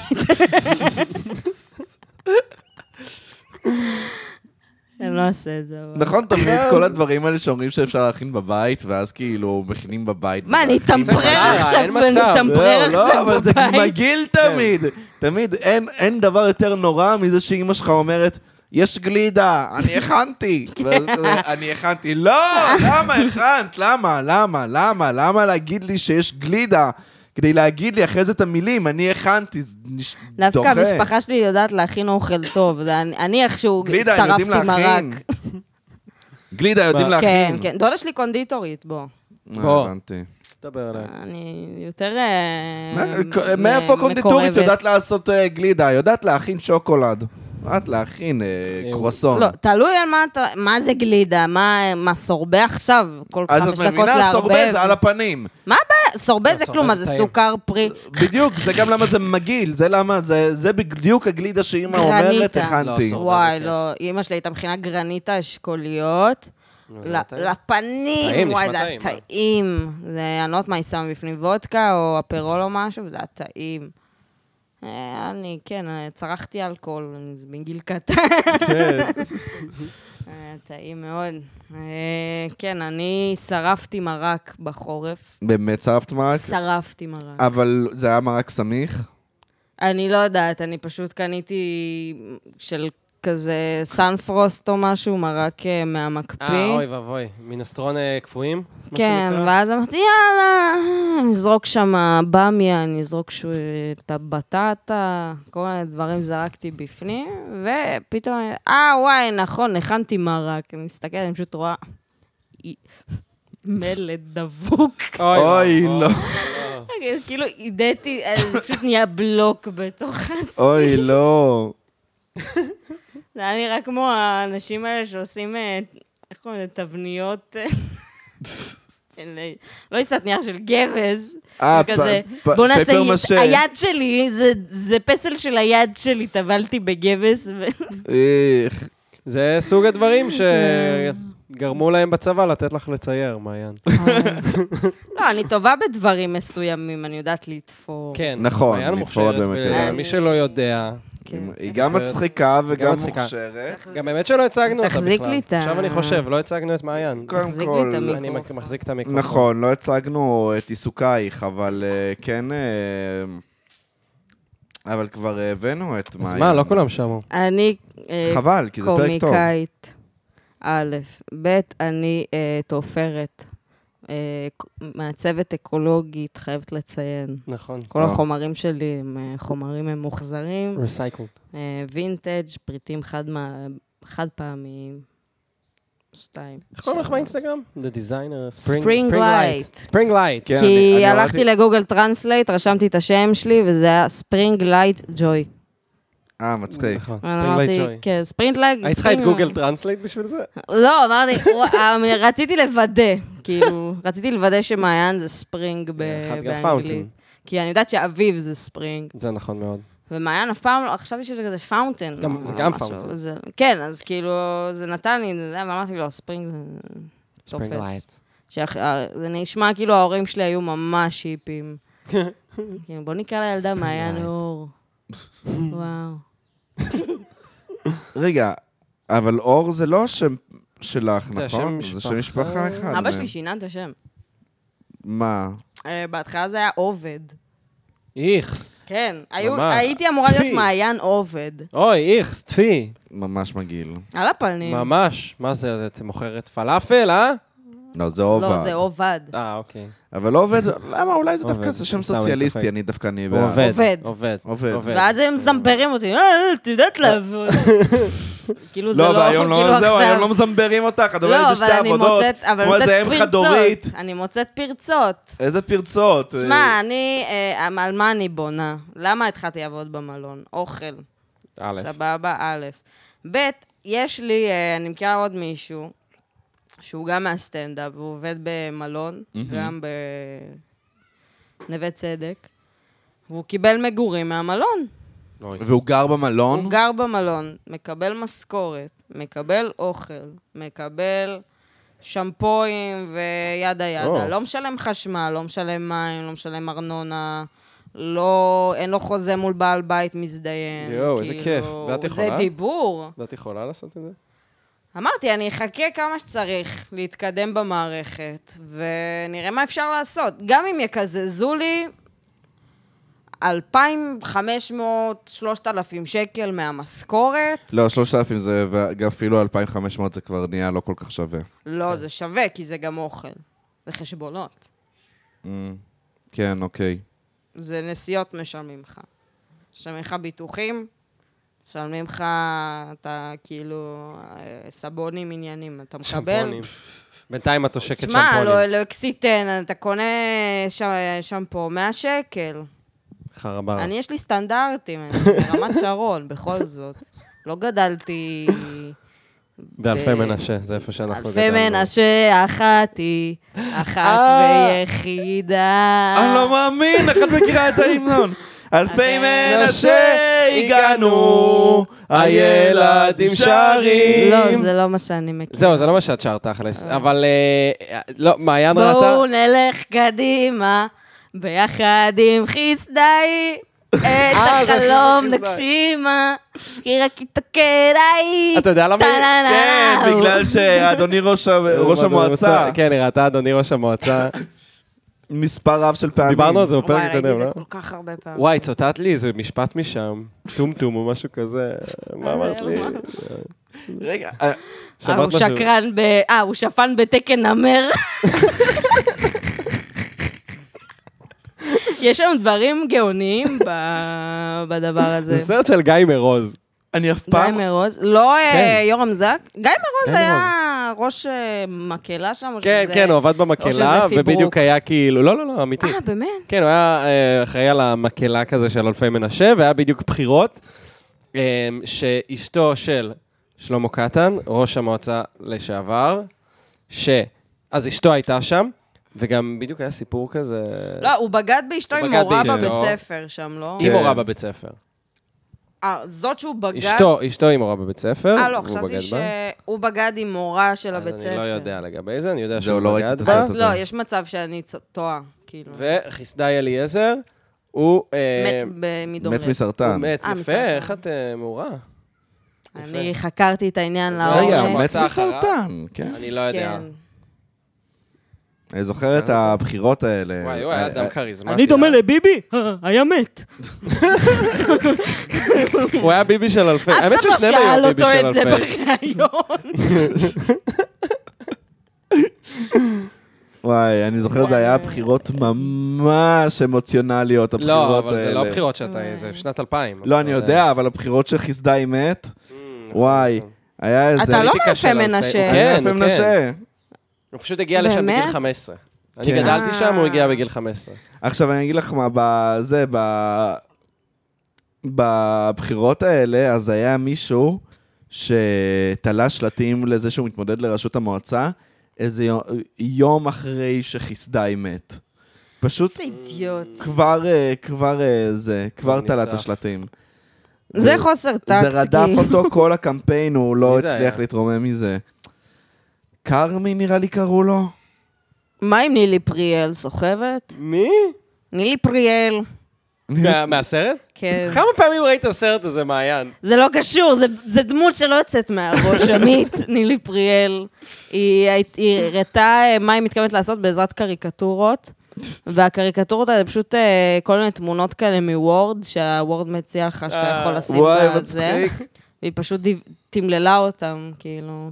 S3: אני לא אעשה את זה. אבל-
S2: נכון, תמיד כל הדברים האלה שאומרים שאפשר להכין בבית, ואז כאילו מכינים בבית.
S3: מה, אני
S2: וזה הכי-
S3: אטמפרר
S5: אין
S3: עכשיו,
S5: מצב.
S3: אני אטמפרר
S2: אה, לא,
S3: עכשיו
S2: אבל זה
S3: בבית?
S2: מגעיל תמיד. תמיד, אין- אין דבר יותר נורא מזה שאימא שלך אומרת, יש גלידה, אני הכנתי.
S3: כן.
S2: ואז כזה, אני הכנתי, לא, למה הכנת? למה? למה? למה? למה להגיד לי שיש גלידה? כדי להגיד לי אחרי זה את המילים, אני הכנתי, זה נש-
S3: דווקא
S2: דוחה.
S3: המשפחה שלי יודעת להכין אוכל טוב, זה אני- אני איכשהו
S2: גלידה, הם יודעים
S3: שרפתי מרק.
S2: להכין. גלידה, יודעים
S5: מה?
S2: להכין.
S3: כן, כן. דודה שלי קונדיטורית, בוא.
S2: אה, הבנתי.
S5: דבר עליי.
S3: אני יותר... אה,
S2: מה-
S3: מ-
S2: מאיפה קונדיטורית
S3: מקורבת.
S2: יודעת לעשות אה, גלידה? יודעת להכין שוקולד. יודעת להכין אה,
S5: אה,
S2: קרואסון.
S3: לא, תלוי על מה אתה... מה זה גלידה? מה- מה, סורבה עכשיו? כל
S2: אז את
S3: חמש דקות לערבב?
S2: מבינה, סורבה זה על הפנים.
S3: סורבה זה כלום,
S5: סורבה
S3: מה
S5: לא, זה
S3: זה
S5: טעים.
S3: סוכר פרי?
S2: בדיוק, זה גם למה זה מגעיל, זה למה, זה- זה בדיוק הגלידה שאימא
S3: גרניטה.
S2: אומרת,
S5: לא,
S2: הכנתי.
S5: סורבה.
S3: וואי,
S5: כיף.
S3: לא, אימא שלי הייתה מכינה גרניטה אשכוליות.
S5: נו, זה
S3: ל-
S5: טעים.
S3: לפנים,
S5: טעים,
S3: וואי,
S5: נשמע
S3: זה היה
S5: טעים, אה?
S3: טעים. זה, אני לא יודעת מה היא שמה בפנים, וודקה או אפרול או משהו, וזה היה טעים. אה, אני, כן, אה, צרכתי אלכוהול אני- זה מגיל קטן. אה, טעים מאוד. אה, כן, אני שרפתי מרק בחורף.
S2: באמת שרפת מרק?
S3: שרפתי מרק.
S2: אבל זה היה מרק סמיך?
S3: אני לא יודעת, אני פשוט קניתי של כזה סנפרוסט או משהו, מרק אה, מהמקפיא.
S5: אה, אוי ואבוי, מינסטרון אה, קפואים? מה
S3: כן,
S5: שנקרא?
S3: ואז אמרתי, יאללה, נזרוק שם במיה, נזרוק ש- את הבטטה, כל מיני דברים זרקתי בפנים, ופתאום, אני, אה, וואי, נכון, הכנתי מרק. אני מסתכלת, אני פשוט רואה אי- מלט דבוק.
S2: אוי, לא.
S5: אה.
S3: כאילו, עידיתי, זה פשוט נהיה בלוק בתוך
S5: אה.
S3: הס...
S2: אוי, לא.
S3: זה היה נראה כמו האנשים האלה שעושים, אה, איך קוראים לזה, תבניות... אה, של, לא עיסת נייר של גבז,
S2: אה,
S3: של כזה,
S2: פ- פ-
S3: בוא נעשה,
S2: פפר
S3: יד-
S2: משה."
S3: היד שלי, זה- זה פסל של היד שלי, טבלתי בגבס, ו-
S2: איך.
S5: זה סוג הדברים שגרמו להם בצבא לתת לך לצייר, מעיין.
S3: לא, אני טובה בדברים מסוימים, אני יודעת לתפור.
S5: כן,
S2: נכון,
S5: מעיין
S2: אני
S5: מוכשרת,
S2: כבר באמת
S5: ו-
S2: יודע.
S5: מי שלא יודע,
S3: כן.
S2: היא גם מצחיקה וגם
S5: מצחיקה.
S2: מוכשרת.
S5: גם באמת שלא הצגנו אותה בכלל.
S3: תחזיק לי את ה-
S5: עכשיו אני חושב, לא הצגנו את מעיין.
S2: קודם
S3: תחזיק לי
S2: כל,
S3: את
S5: אני
S3: המיקרופון.
S5: מק- מחזיק את המיקרופון.
S2: נכון, לא הצגנו את עיסוקייך, אבל אה, כן... אה, אבל כבר הבאנו את מאי.
S5: אז מה, לא כולם שמעו.
S3: אני אה,
S2: חבל, כי זה פרק טוב.
S3: קומיקאית, א', ב', אני אה, תופרת, אה, ק- מעצבת אקולוגית, חייבת לציין.
S5: נכון.
S3: כל
S2: אה.
S3: החומרים שלי הם אה, חומרים ממוחזרים,
S5: ריסייקל.
S3: אה, וינטג', פריטים חד מה- חד פעמיים. שתיים.
S5: איך קוראים נכון, לך באינסטגרם? The designer.
S3: Spring Light.
S5: ספרינג לייט.
S2: כן, אני- אני
S3: כי הלכתי
S2: הורדתי-
S3: לגוגל טרנסלייט, רשמתי את השם שלי, וזה היה ספרינג לייט ג'וי.
S2: אה, מצחיק.
S5: נכון, ספרינג לייט
S3: אמרתי,
S5: ג'וי.
S3: כן, ספרינג לייט...
S5: היית צריכה אה, את גוגל טרנסלייט בשביל זה?
S3: לא, אמרתי, וואו, אני- רציתי לוודא, כאילו, רציתי לוודא שמעיין זה ספרינג ב-
S5: אחת גם
S3: באנגלית.
S5: פאונטין.
S3: כי אני יודעת שאביב זה ספרינג,
S5: זה נכון מאוד.
S3: ומעיין אף פעם לא, חשבתי שזה כזה פאונטן.
S5: גם-
S3: או
S5: זה גם
S3: משהו,
S5: fountain.
S3: זה- כן, אז כאילו, זה נתן לי, זה, אבל אמרתי לו, ספרינג זה
S5: ספרינג
S3: תופס.
S5: לייט.
S3: שאח- אה, זה נשמע כאילו ההורים שלי היו ממש שיפים. כאילו, בוא נקרא לילדה
S5: Spring
S3: מעיין
S5: light.
S3: אור. וואו.
S2: רגע, אבל אור זה לא השם שלך,
S5: זה
S2: נכון?
S5: השם
S2: זה שם משפחה
S5: משפחה.
S2: אחד.
S3: אבא
S2: מהם.
S3: שלי שינה את השם.
S2: מה?
S3: אה, בהתחלה זה היה עובד.
S5: איכס.
S3: כן, היו,
S5: ממש.
S3: הייתי אמורה להיות
S5: טפי.
S3: מעיין עובד.
S5: אוי, איכס, טפי.
S2: ממש מגעיל.
S3: על הפנים.
S5: ממש. מה זה, את מוכרת פלאפל, אה?
S2: לא, זה עובד.
S3: לא, זה עובד.
S5: אה, אוקיי.
S2: אבל לא עובד, למה? אולי זה דווקא
S5: עובד.
S2: זה שם
S5: סתם, אני
S2: סוציאליסטי,
S5: צוחק.
S2: אני דווקא אני
S5: הוא
S2: בעד.
S5: עובד.
S3: עובד.
S5: עובד.
S2: עובד.
S3: ואז הם מזמברים אותי, אה, את יודעת לעבוד. כאילו זה
S2: לא,
S3: לא,
S2: והיום
S3: כאילו
S2: לא, זהו, היום
S3: עכשיו... לא,
S2: לא מזמברים אותך, את עובדת בשתי
S3: אבל אני
S2: עבודות.
S3: מוצאת, אבל
S2: כמו
S3: מוצאת
S2: איזה אם חד-הורית.
S3: פרצות. אני מוצאת פרצות.
S2: איזה פרצות.
S3: תשמע, אני, אה, על מה אני בונה? למה התחלתי לעבוד במלון? אוכל.
S5: א',
S3: סבבה, א'. ב', יש לי, אה, אני מכירה עוד מישהו, שהוא גם מהסטנדאפ, הוא עובד במלון, גם בנווה צדק, והוא קיבל מגורים מהמלון.
S5: נויס.
S2: והוא גר במלון?
S5: נכון?
S3: הוא גר במלון, מקבל משכורת, מקבל אוכל, מקבל שמפויים וידה ידה.
S5: או.
S3: לא משלם חשמל, לא משלם מים, לא משלם ארנונה, לא, אין לו חוזה מול בעל בית מזדיין.
S5: יואו, איזה
S3: כאילו,
S5: כיף. ואת יכולה?
S3: זה דיבור.
S5: ואת יכולה לעשות את זה?
S3: אמרתי, אני אחכה כמה שצריך להתקדם במערכת, ונראה מה אפשר לעשות. גם אם יקזזו לי 2,500, 3,000 שקל מהמשכורת,
S2: לא, 3,000 זה, ואפילו 2,500 זה כבר נהיה לא כל כך שווה.
S3: לא, זה שווה, כי זה גם אוכל. זה חשבונות.
S2: כן, אוקיי.
S3: זה נסיעות משלמים לך. משלמים לך ביטוחים, משלמים לך, אתה כאילו, אה, סבונים עניינים, אתה מקבל.
S5: שמפונים. בינתיים את עושקת
S3: שמע, לא-
S5: שמפונים.
S3: לאקסיטן, אתה קונה ש- שמפו 100 שקל.
S5: חרברה.
S3: אני, יש לי סטנדרטים, אני ברמת שרון, בכל זאת. לא גדלתי...
S5: באלפי
S3: ב-
S5: מנשה, זה איפה שאנחנו
S3: אה, אלפי מנשה, אחת היא, אחת ויחידה.
S2: אני לא מאמין, איך את מכירה את ההמנון?
S3: אוקיי.
S2: אלפי מנשה הגענו, הילדים שרים.
S3: לא, זה לא מה שאני מכירה.
S5: זהו, זה לא מה שאת שרת, תכלס. אבל אה, לא, מעיין ראתה...
S3: בואו נלך קדימה, ביחד עם חיסדאי.
S5: אה,
S3: את החלום נגשימה, כי רק התקדאי.
S5: אתה יודע למה היא-
S2: כן, בגלל שאדוני ראש ה-
S3: לא.
S2: ראש המועצה,
S5: כן, נראה, אתה אדוני ראש המועצה.
S2: מספר רב של פעמים.
S5: דיברנו על זה
S3: וואי,
S5: בפרק
S3: ראיתי את
S5: הקודם,
S3: זה
S5: לא?
S3: כל כך הרבה פעמים.
S5: וואי, צוטט לי איזה משפט משם, טומטום או משהו כזה. מה אמרת לי?
S2: רגע, אה,
S5: שמעת
S3: אה, הוא
S5: משהו?
S3: שקרן ב... אה, הוא שפן בתקן נמר. יש שם דברים גאוניים ב- בדבר הזה.
S5: זה סרט של גיא מרוז.
S2: אני אף
S3: גיא
S2: פעם...
S3: מרוז, לא אה,
S5: כן.
S3: יורם זק. גיא מרוז
S5: גיא
S3: היה ראש אה, מקהלה שם, או
S5: כן,
S3: שזה-
S5: כן, הוא עבד
S3: לא שזה
S5: במקהלה,
S3: פיברוק.
S5: ובדיוק היה כאילו, לא, לא, לא, אמיתי.
S3: אה, באמת?
S5: כן, הוא היה אה, אחראי על המקהלה כזה של אלפי מנשה, והיה בדיוק בחירות, אה, שאשתו של שלמה קטן, ראש המועצה לשעבר, ש... אז אשתו הייתה שם, וגם בדיוק היה סיפור כזה...
S3: לא, הוא בגד באשתו
S5: כן. הוא
S3: עם
S5: בגד
S3: מורה
S5: באשתו.
S3: בבית ספר שם, לא?
S5: היא
S2: כן.
S5: מורה בבית ספר.
S3: אה, זאת שהוא בגד...
S5: אשתו, אשתו היא מורה בבית ספר.
S3: אה, לא,
S5: והוא בגד
S3: חשבתי
S5: בה.
S3: שהוא בגד עם מורה של
S5: אז
S3: הבית ספר.
S5: אני לא יודע לגבי זה, אני יודע
S2: זהו,
S5: שהוא
S2: לא ראיתי
S5: בגד
S2: את
S5: בה.
S2: הסרט הזה.
S3: לא, יש מצב שאני צ- טועה, כאילו.
S5: וחסדאי אליעזר, הוא... אה,
S3: מת ב- מדום
S2: מת
S3: לב.
S5: הוא
S2: מסרטן.
S5: מת,
S3: אה,
S5: יפה,
S3: מסרטן.
S5: איך את אה, מעורה?
S3: אני חקרתי את העניין
S5: אז רגע,
S3: לעומק.
S2: רגע, מת
S5: המועצה אחריו?
S2: מסרטן, כן.
S5: אני לא יודע.
S3: כן.
S2: אני זוכר את הבחירות האלה. אה,
S5: וואי, הוא היה אדם כריזמטי. אה?
S4: אני דומה לביבי? היה מת.
S5: הוא היה ביבי של אלפי.
S3: אף
S5: אה, האמת
S3: אחד לא
S5: ששניהם
S3: שאל
S5: היו
S3: אותו
S5: ביבי של
S3: את זה
S5: אלפי.
S3: בריאיון.
S2: וואי, אני זוכר, זה היה בחירות ממש אמוציונליות, הבחירות האלה.
S5: לא, אבל זה לא בחירות שאתה... זה שנת אה, 2000.
S2: לא, אני יודע, אבל הבחירות שחיסדאי מת,
S5: Hmm,
S2: וואי, היה איזה...
S3: אתה לא
S5: פוליטיקה
S3: מאלפי
S5: של אלפי-
S3: מנשה.
S5: נכון, כן,
S2: היה יפה
S5: כן.
S2: מנשה.
S5: הוא פשוט הגיע לשם
S3: באמת?
S5: בגיל 15. אני
S2: כן.
S5: גדלתי שם, הוא הגיע בגיל 15.
S2: עכשיו אני אגיד לך מה, בזה, ב... בבחירות האלה, אז היה מישהו שתלה שלטים לזה שהוא מתמודד לראשות המועצה, איזה יום, יום אחרי שחיסדאי מת. פשוט
S3: איזה אידיוט.
S2: כבר, אה, כבר אה, זה, כבר
S5: הוא
S2: תלה את
S5: נשרף.
S2: השלטים.
S3: זה חוסר טקט.
S2: זה רדף
S3: כאילו.
S2: אותו כל הקמפיין, הוא
S5: מי
S2: לא
S5: זה
S2: הצליח
S5: היה?
S2: להתרומם מזה. כרמי נראה לי קראו לו.
S3: מה עם נילי פריאל? סוחבת?
S5: מי?
S3: נילי פריאל.
S5: מהסרט?
S3: כן.
S5: כמה פעמים ראית את הסרט הזה, מעיין?
S3: זה לא קשור, זה- זה דמות שלא יוצאת מהראש. עמית, נילי פריאל, היא היית- היא הראתה אה, מה היא מתכוונת לעשות בעזרת קריקטורות, והקריקטורות האלה פשוט אה, כל מיני תמונות כאלה מוורד, שהוורד מציע לך שאתה יכול לשים
S2: וואי,
S3: בזה,
S2: מצחיק.
S3: והיא פשוט דיו- תמללה אותם, כאילו.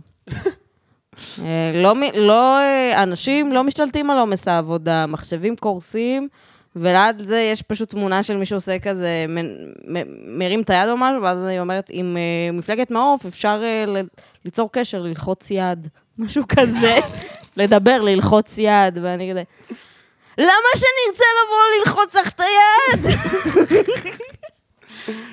S3: אה, לא, מ- לא, אה, אנשים לא משתלטים על עומס העבודה, מחשבים קורסים, וליד זה יש פשוט תמונה של מישהו עושה כזה, מ- מ- מרים את היד או משהו, ואז היא אומרת, עם אה, מפלגת מעוף אפשר אה, ל- ליצור קשר, ללחוץ יד, משהו כזה, לדבר, ללחוץ יד, ואני כזה... למה שאני ארצה לבוא ללחוץ לך את היד?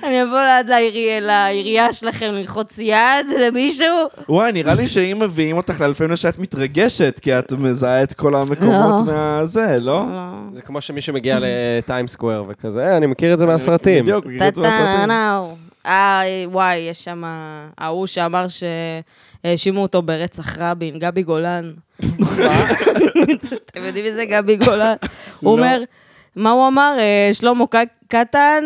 S3: אני אבוא ליד לעירי- לעירייה שלכם ללחוץ יד למישהו?
S2: וואי, נראה לי שאם מביאים אותך לאלפי מנשה, את מתרגשת, כי את מזהה את כל המקומות מהזה, לא?
S3: לא.
S5: זה כמו שמישהו מגיע לטיים סקוואר וכזה, אה, אני מכיר את זה מהסרטים.
S2: בדיוק, בגלל זה בסרטים.
S3: טה-טה-נאו. אה, וואי, יש שם... ההוא שאמר שהאשימו אותו ברצח רבין, גבי גולן. אתם יודעים מי זה גבי גולן? הוא אומר, מה הוא אמר? אה, שלמה ק- קטן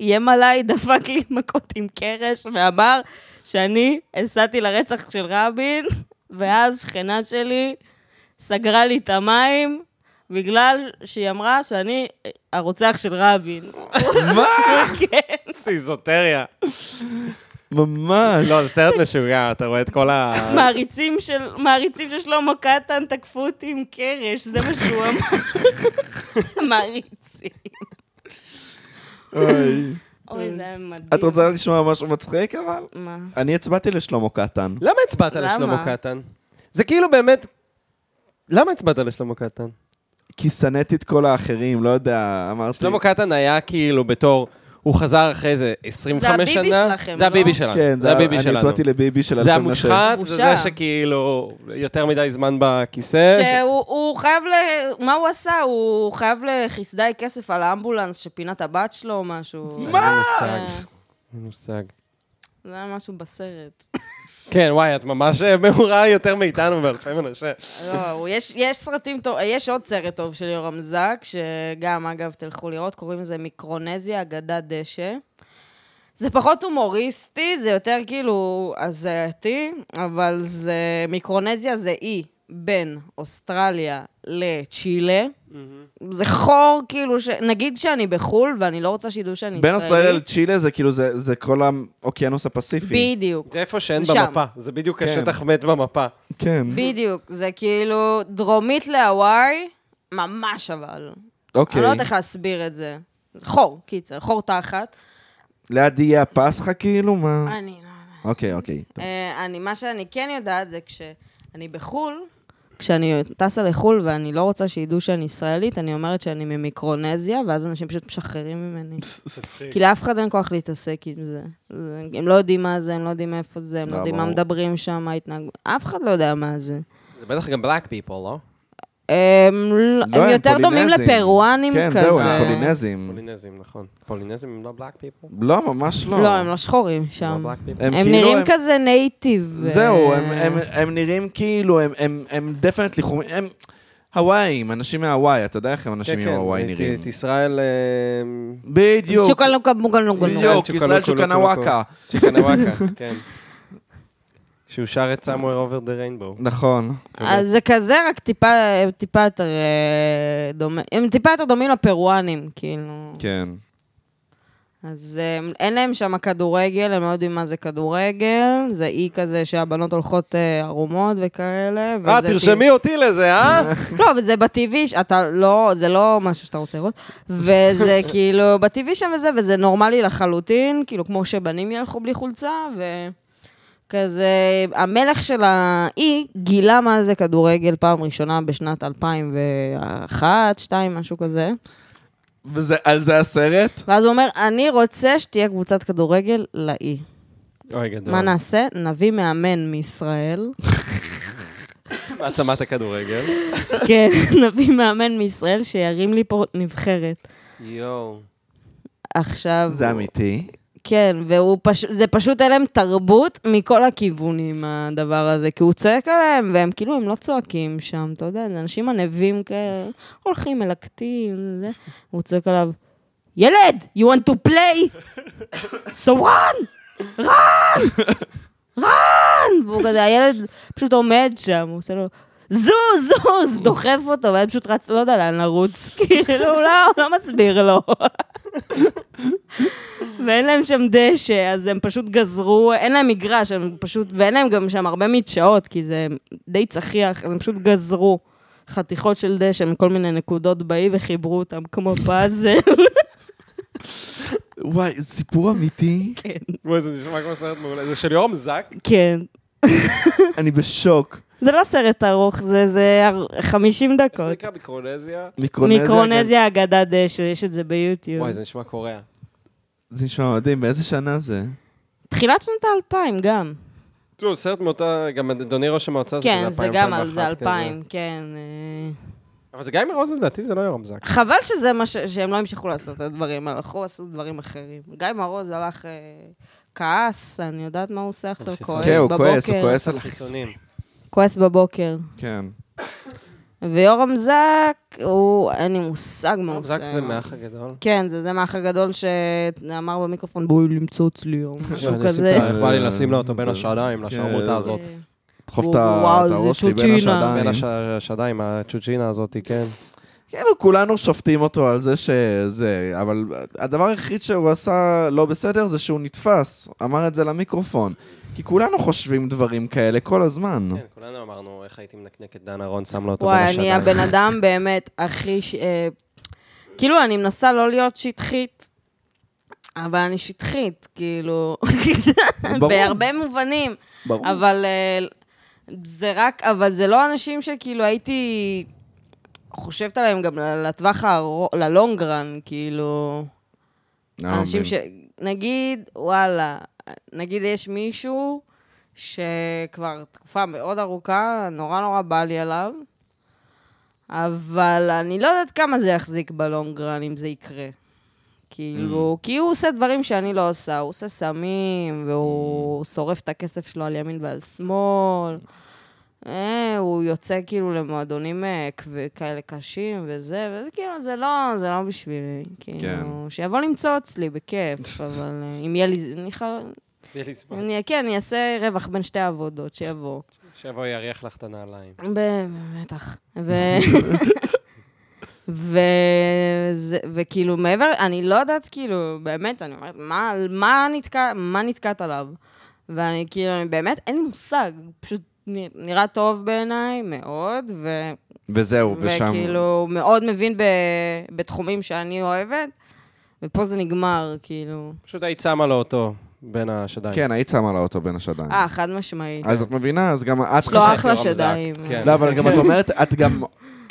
S3: איים עליי, דפק לי מכות עם קרש, ואמר שאני הסעתי לרצח של רבין, ואז שכנה שלי סגרה לי את המים. בגלל שהיא אמרה שאני הרוצח של רבין.
S2: מה?
S3: כן.
S5: סיזוטריה.
S2: ממש.
S5: לא, זה סרט משוגע, אתה רואה את כל ה...
S3: מעריצים של, מעריצים של שלמה קטן תקפו אותי עם קרש, זה מה שהוא אמר. מעריצים.
S2: אוי.
S3: אוי, זה היה מדהים.
S2: את רוצה לשמוע משהו מצחיק, אבל?
S3: מה?
S2: אני הצבעתי לשלמה קטן.
S5: למה הצבעת
S3: למה?
S5: לשלמה קטן? זה כאילו באמת... למה הצבעת לשלמה קטן?
S2: כי שנאתי את כל האחרים, לא יודע, אמרתי...
S5: שלמה קטן היה כאילו בתור... הוא חזר אחרי זה 25
S3: זה
S5: שנה.
S3: הביבי שלכם,
S5: זה
S3: לא?
S5: הביבי שלנו.
S2: כן,
S5: זה הביבי
S2: אני
S5: שלנו.
S2: הצבעתי לביבי של
S5: זה
S2: אלפי מנשה.
S5: המושחת, זה
S3: בושה.
S5: זה שכאילו יותר מדי זמן בכיסא. ש-
S3: שהוא הוא חייב ל... מה הוא עשה? הוא חייב לחסדאי כסף על האמבולנס שפינה את הבת שלו או משהו.
S5: אין לי
S3: זה-
S5: מושג.
S3: זה היה משהו בסרט.
S5: כן, וואי, את ממש אה, מעורה יותר מאיתנו באלפי מנשה.
S3: לא, הוא- יש, יש סרטים טוב, יש עוד סרט טוב של יורם זק, שגם, אגב, תלכו לראות, קוראים לזה מיקרונזיה, אגדת דשא. זה פחות הומוריסטי, זה יותר כאילו הזייתי, אבל זה... מיקרונזיה זה אי בין אוסטרליה לצ'ילה. זה חור, כאילו, ש... נגיד שאני בחו"ל ואני לא רוצה שידעו שאני ישראלית.
S2: בין אוסטרליה לצ'ילה זה כאילו, זה זה כל האוקיינוס הפסיפי.
S3: בדיוק.
S5: זה איפה שאין
S3: שם.
S5: במפה, זה בדיוק השטח מת במפה.
S2: כן.
S3: בדיוק, זה כאילו דרומית להוואי, ממש אבל.
S2: אוקיי.
S3: אני לא יודעת איך להסביר את זה. חור, קיצר, חור תחת.
S2: ליד יהיה הפסחא כאילו? מה?
S3: אני לא...
S2: אוקיי, אוקיי. טוב.
S3: אה, אני, מה שאני כן יודעת זה כשאני בחו"ל, כשאני טסה לחו"ל ואני לא רוצה שידעו שאני ישראלית, אני אומרת שאני ממיקרונזיה, ואז אנשים פשוט משחררים ממני. כי לאף אחד אין כוח להתעסק עם זה. זה- הם לא יודעים מה זה, הם לא יודעים מאיפה זה, הם לא
S2: לא,
S3: יודעים מה
S2: ברור.
S3: מדברים שם, מה ההתנהגות. אף אחד לא יודע מה זה.
S5: זה בטח גם black people, לא?
S3: הם, לא,
S2: לא,
S3: הם יותר דומים
S2: פולינזים.
S3: לפרואנים
S2: כן,
S3: כזה.
S2: זהו, הם פולינזים.
S5: פולינזים, נכון. פולינזים הם לא black people?
S2: לא, ממש לא.
S3: לא, הם לא שחורים שם.
S5: לא black people.
S3: הם
S2: כאילו,
S3: נראים
S2: הם-
S3: כזה נייטיב.
S2: זהו,
S3: אה,
S2: הם- הם- הם נראים כאילו, הם- הם- הם דפנטלי חומים, הם הוואיים, אנשים מהוואי, אתה יודע איך הם אנשים
S5: כן, כן,
S2: מהוואי
S5: את-
S2: נראים.
S5: את ישראל... אה,
S2: בדיוק,
S3: צ'וקלנוקה בוגלנוגה.
S2: בדיוק, ישראל צ'וקנוואקה.
S5: צ'יקנוואקה, כן. שהוא שר את סמואר אובר דה ריינבו.
S2: נכון.
S3: אז זה כזה, רק טיפה טיפה יותר אה, דומה, הם טיפה יותר דומים לפרואנים, כאילו.
S2: כן.
S3: אז אה, אין להם שם כדורגל, הם לא יודעים מה זה כדורגל, זה אי כזה שהבנות הולכות אה, ערומות וכאלה.
S5: אה,
S3: וזה
S5: תרשמי אותי לזה, אה?
S3: לא, אבל זה בטבעי, ש- אתה לא, זה לא משהו שאתה רוצה לראות, וזה כאילו בטבעי שם וזה, וזה נורמלי לחלוטין, כאילו כמו שבנים ילכו בלי חולצה, וכזה, המלך של האי גילה מה זה כדורגל פעם ראשונה בשנת 2001, 2002, משהו כזה,
S2: ועל זה הסרט?
S3: ואז הוא אומר, אני רוצה שתהיה קבוצת כדורגל לאי.
S5: אוי, גדול.
S3: מה נעשה? נביא מאמן מישראל.
S5: מעצמת הכדורגל.
S3: כן, נביא מאמן מישראל שירים לי פה נבחרת.
S5: יואו.
S3: עכשיו...
S2: זה אמיתי.
S3: כן, והוא פש... זה פשוט היה להם תרבות מכל הכיוונים, הדבר הזה, כי הוא צועק עליהם, והם כאילו, הם לא צועקים שם, אתה יודע, זה אנשים ענבים כאלה, הולכים, מלקטים, זה, הוא צועק עליו, ילד, you want to play? so run! run! run! והוא כזה, הילד פשוט עומד שם, הוא עושה לו... זוז, זוז, דוחף אותו, והילד פשוט רץ, לא יודע לאן לרוץ, כאילו, הוא לא, הוא לא מסביר לו. ואין להם שם דשא, אז הם פשוט גזרו, אין להם מגרש, הם פשוט, ואין להם גם שם הרבה מדשאות, כי זה די צחיח, אז הם פשוט גזרו חתיכות של דשא מכל מיני נקודות באי וחיברו אותם כמו פאזל.
S2: וואי, זה סיפור אמיתי?
S5: וואי, זה נשמע כמו סרט מעולה. זה של יורם זק?
S3: כן.
S2: אני בשוק.
S3: זה לא סרט ארוך, זה, זה אר- 50
S5: איך זה
S3: דקות.
S5: נקרא? מיקרונזיה?
S2: מיקרונזיה.
S3: מיקרונזיה אגדת דשא, יש את זה ביוטיוב.
S5: וואי, זה נשמע קוריאה.
S2: זה נשמע מדהים, באיזה שנה זה?
S3: תחילת שנות האלפיים גם.
S5: תראו, סרט מאותה, גם אדוני ראש המועצה, זה
S3: כן,
S5: כזה
S3: זה
S5: 2000,
S3: גם על
S5: 2001
S3: זה
S5: כזה.
S3: אלפיים, כן. אה.
S5: אבל זה גם עם רוזן, לדעתי זה לא יורם זק.
S3: חבל שזה מה ש... שהם לא המשיכו לעשות את הדברים האלה, הלכו עשו דברים אחרים. גיא מרוז הלך אה, כעס, אני יודעת מה הוא עושה עכשיו,
S5: חיסון.
S3: כועס
S2: כן, הוא כועס, הוא
S3: בבוקר.
S2: כועס על החיסון.
S5: חיסונים.
S3: כועס בבוקר.
S2: כן.
S3: ויורם זק, הוא... אין לי מושג מה הוא
S5: יורם
S3: לא עושה.
S5: זק זה מהאח הגדול.
S3: כן, זה זה מהאח הגדול שאמר במיקרופון, בואי למצוץ לי, או משהו
S5: שאני
S3: כזה.
S5: אשים את ה- איך בא לי לשים לו אותו בין השעדיים, לשערמוטה הזאת.
S3: אה,
S2: דחוף את
S3: וואו,
S2: ה- את
S3: זה
S2: הראש שלי בין
S3: צ'וצ'ינה.
S2: השדיים.
S5: בין הש- השעדיים, הצ'וצ'ינה הזאת, כן.
S2: כאילו, כולנו שופטים אותו על זה שזה, אבל הדבר היחיד שהוא עשה לא בסדר זה שהוא נתפס, אמר את זה למיקרופון. כי כולנו חושבים דברים כאלה כל הזמן.
S5: כן, כולנו אמרנו איך הייתי מנקנק את דן אהרון, שם לו אותו בין
S3: וואי, אני
S5: השעדיים.
S3: הבן אדם באמת הכי... ש- אה, כאילו, אני מנסה לא להיות שטחית, אבל אני שטחית, כאילו,
S2: ברור.
S3: בהרבה מובנים.
S2: ברור.
S3: אבל אה, זה רק, אבל זה לא אנשים שכאילו הייתי חושבת עליהם גם ל- לטווח הארוך, ללונגרן, כאילו...
S2: לא,
S3: אנשים
S2: מבין.
S3: ש... נגיד, וואלה, נגיד יש מישהו שכבר תקופה מאוד ארוכה, נורא נורא בא לי עליו, אבל אני לא יודעת כמה זה יחזיק בלונגרן אם זה יקרה. כאילו, כי הוא עושה דברים שאני לא עושה, הוא עושה סמים, והוא שורף את הכסף שלו על ימין ועל שמאל. אה, הוא יוצא כאילו למועדונים אה, כב- כאלה קשים וזה, וזה כאילו, זה לא, זה לא בשבילי.
S2: כן.
S3: כאילו, שיבוא למצוא אצלי, בכיף, אבל אה, אם יהיה לי... אני חי-
S5: יהיה לי זמן.
S3: אני, כן, אני אעשה רווח בין שתי העבודות, שיבוא.
S5: שיבוא יריח לך את הנעליים.
S3: ב- בטח. ו... וזה, וכאילו, מעבר, אני לא יודעת, כאילו, באמת, אני אומרת, מה, מה, נתקע, מה נתקעת עליו? ואני כאילו, אני באמת, אין לי מושג, פשוט נ- נראה טוב בעיניי, מאוד, ו...
S2: וזהו, ושם...
S3: וכאילו, מאוד מבין ב... בתחומים שאני אוהבת, ופה זה נגמר, כאילו.
S5: פשוט היית שמה לו אותו בין השדיים.
S2: כן, היית שמה לה אותו בין השדיים.
S3: אה, חד משמעית.
S2: אז את מבינה, אז גם את
S3: יש לו
S2: חשבת...
S3: אחלה
S5: רמזק,
S3: שדיים.
S5: כן.
S2: לא, אבל גם את אומרת, את גם...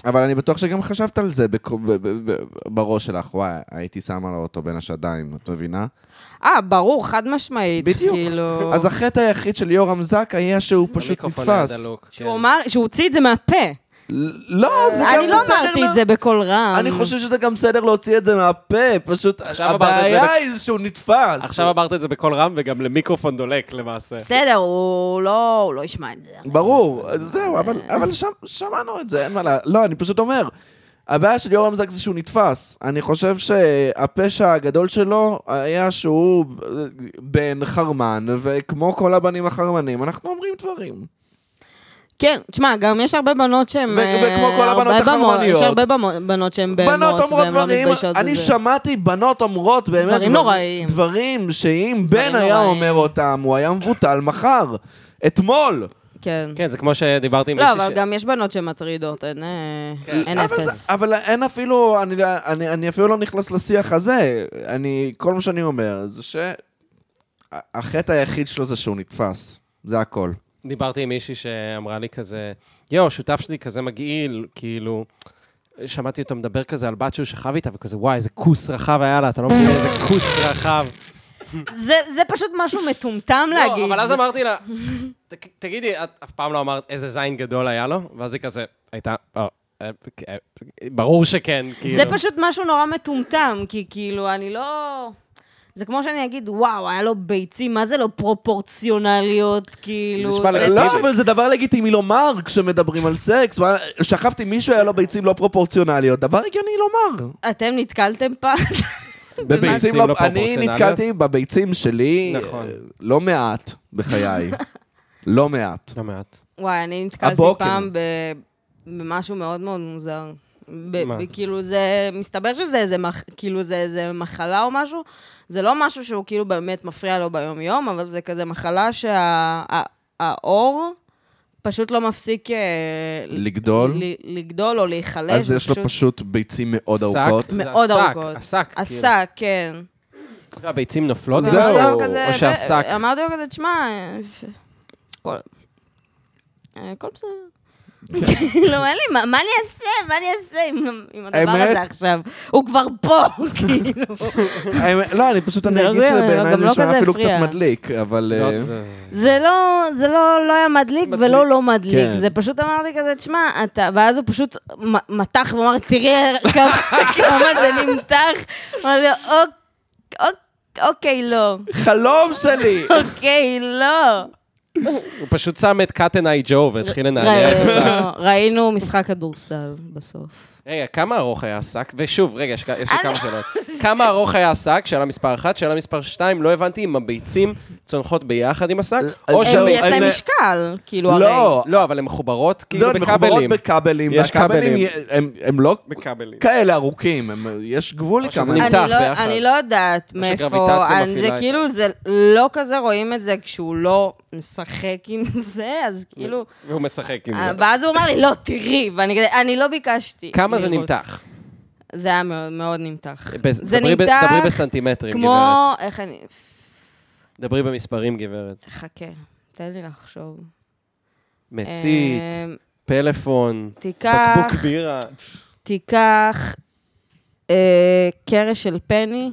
S2: אבל אני בטוח שגם חשבת על זה בכ- ב- ב- ב- בראש שלך, וואי, הייתי שמה לה אותו בין השדיים, את מבינה?
S3: אה, ברור, חד משמעית.
S2: בדיוק.
S3: כאילו...
S2: אז החטא היחיד של יורם זק היה שהוא פשוט
S5: המיקרופון היה
S2: נתפס.
S5: דלוק, כן.
S3: שהוא אמר, שהוא הוציא את זה מהפה.
S2: ל- לא, זה גם בסדר
S3: אני לא אמרתי
S2: לה-
S3: את זה בקול רם.
S2: אני חושב שזה גם בסדר להוציא את זה מהפה, פשוט
S5: עכשיו אמרת את זה
S2: הבעיה
S5: בק-
S2: היא שהוא נתפס.
S5: עכשיו אמרת את זה בקול רם וגם למיקרופון דולק למעשה.
S3: בסדר, הוא לא הוא לא ישמע את זה.
S2: ברור, אז זהו, אבל,
S3: אה.
S2: אבל שם, שמענו את זה, אין מה ל... לא, אני פשוט אומר, הבעיה של יורם זק זה שהוא נתפס. אני חושב שהפשע הגדול שלו היה שהוא אה, בן חרמן, וכמו כל הבנים החרמנים, אנחנו אומרים דברים.
S3: כן, תשמע, גם יש הרבה בנות שהן...
S2: ו-
S3: אה,
S2: וכמו כל הבנות
S3: הרבה במו-
S2: החרמניות.
S3: יש הרבה במו- בנות שהן בהמות,
S2: בנות אומרות
S3: והן לא
S2: דברים,
S3: מתביישות
S2: אני
S3: בזה.
S2: שמעתי בנות אומרות באמת...
S3: דברים נוראים.
S2: דברים שאם
S3: דברים
S2: בן היה
S3: נוראים.
S2: אומר אותם, הוא היה מבוטל מחר. אתמול.
S3: כן.
S5: כן, זה כמו שדיברתי עם
S3: לא,
S5: מישהי
S3: אבל
S5: ש-
S3: גם יש בנות שמטרידות, אין אה,
S5: כן.
S3: אין
S2: אבל
S3: אפס.
S2: זה- אבל אין אפילו, אני, אני, אני אפילו לא נכנס לשיח הזה. אני, כל מה שאני אומר זה שהחטא היחיד שלו זה שהוא נתפס. זה הכל.
S5: דיברתי עם מישהי שאמרה לי כזה, יואו, שותף שלי כזה מגעיל, כאילו, שמעתי אותו מדבר כזה על בת שהוא שכב איתה, וכזה, וואי, איזה כוס רחב היה לה, אתה לא מבין איזה כוס רחב.
S2: אה-
S3: זה- זה פשוט משהו מטומטם להגיד.
S5: לא, אבל אז אמרתי לה, "ת- תגידי, את אף פעם לא אמרת איזה זין גדול היה לו? ואז היא כזה, הייתה, "אה, אה, אה, ברור שכן, כאילו.
S3: זה פשוט משהו נורא מטומטם, כי כאילו, אני לא... זה כמו שאני אגיד, וואו, היה לו ביצים, מה זה לא פרופורציונליות, כאילו...
S5: נשמע
S3: זה-
S5: לגיטימי.
S2: לא, אבל זה דבר לגיטימי לומר כשמדברים על סקס. מה, שכבתי עם מישהו, היה לו ביצים לא פרופורציונליות. דבר הגיוני לומר.
S3: אתם נתקלתם פעם?
S2: בביצים
S5: ביצים
S2: לא...
S5: לא
S2: אני
S5: פרופורציונליות?
S2: נתקלתי בביצים שלי
S5: נכון.
S2: אה, לא מעט בחיי. לא מעט.
S5: לא מעט.
S3: וואי, אני נתקלתי
S2: הבוקר.
S3: פעם ב- במשהו מאוד מאוד מוזר. ב-
S5: מה?
S3: ב- כאילו זה, מסתבר שזה איזה, מח, כאילו זה איזה מחלה או משהו, זה לא משהו שהוא כאילו באמת מפריע לו ביום-יום, אבל זה כזה מחלה שהאור פשוט לא מפסיק אה, ל-
S2: לגדול,
S3: ל- לגדול או להיחלש.
S2: אז יש לו
S3: ופשוט-
S2: פשוט ביצים מאוד
S5: שק.
S2: ארוכות.
S5: זה
S3: מאוד
S5: השק,
S3: ארוכות.
S5: השק, כאילו.
S3: עסק, כן.
S5: הביצים נופלות?
S2: זהו.
S5: עליו?
S3: בסוף
S2: או-
S3: כזה,
S5: או
S3: ו-
S5: שהשק.
S3: אמרתי לו כזה, תשמע, הכל- אה, הכל בסדר.
S2: כן.
S3: כאילו, אין לי, מה- מה אני אעשה? מה אני אעשה עם- עם הדבר
S2: האמת?
S3: הזה עכשיו? הוא כבר פה, כאילו.
S2: האמת- לא, אני פשוט, אני
S3: לא
S2: אגיד
S3: זה,
S2: שבעיניי
S3: גם
S2: זה
S3: לא
S2: נשמע
S3: כזה
S2: אפילו קצת
S3: הפריע.
S2: מדליק, אבל...
S5: לא,
S2: אה,
S5: זה-
S3: זה לא, זה לא, לא היה מדליק ולא לא מדליק.
S2: כן.
S3: זה פשוט אמרתי כזה, תשמע, אתה... ואז הוא פשוט מ- מתח ואמר, תראה כמה כמה זה נמתח. אמרתי לו, "אוק- אוק- אוקיי, לא.
S2: חלום שלי!
S3: אוקיי, לא.
S5: הוא פשוט שם את קאטן איי ג'ו והתחיל לנענע את השק.
S3: ראינו- ראינו משחק כדורסל בסוף.
S5: רגע, כמה ארוך היה השק? ושוב, רגע, יש יש לי כמה שאלות. כמה ארוך היה השק? שאלה מספר אחת. שאלה מספר שתיים, לא הבנתי אם הביצים צונחות ביחד עם השק, או
S2: אז
S5: ש...
S2: זהו,
S3: יש להם
S2: אני-
S3: משקל, כאילו, הרי.
S2: לא,
S5: לא, אבל הן מחוברות כאילו
S2: זהו, הן מחוברות
S5: בכבלים.
S2: בכבלים.
S5: יש
S2: והכבלים
S5: כבלים.
S2: י- הם- הם לא
S5: בכבלים.
S2: כאלה ארוכים, הם- יש גבול
S5: שזה
S2: לכמה...
S5: נמתח
S3: אני לא,
S5: ביחד.
S3: אני לא יודעת מאיפה,
S5: שגרביטציה
S3: אני- זה
S5: מפעילה את
S3: כאילו,
S5: ה-
S3: זה לא כזה רואים את זה כשהוא לא משחק עם זה, אז כאילו...
S5: והוא משחק עם
S3: אה,
S5: זה.
S3: ואז הוא אמר לי, לא, תראי, ואני כזה, אני לא ביקשתי.
S5: כמה זה
S3: לראות."
S5: נמתח?
S3: זה היה מאוד מאוד נמתח.
S5: ב-
S3: זה
S5: דברי ב-
S3: נמתח
S5: דברי בסנטימטרים, גברת.
S3: כמו... איך אני...
S5: דברי במספרים, גברת.
S3: חכה, תן לי לחשוב.
S5: מצית,
S3: אמ,
S5: פלאפון,
S3: תיקח...
S5: בקבוק בירה.
S3: תיקח אה, קרש של פני,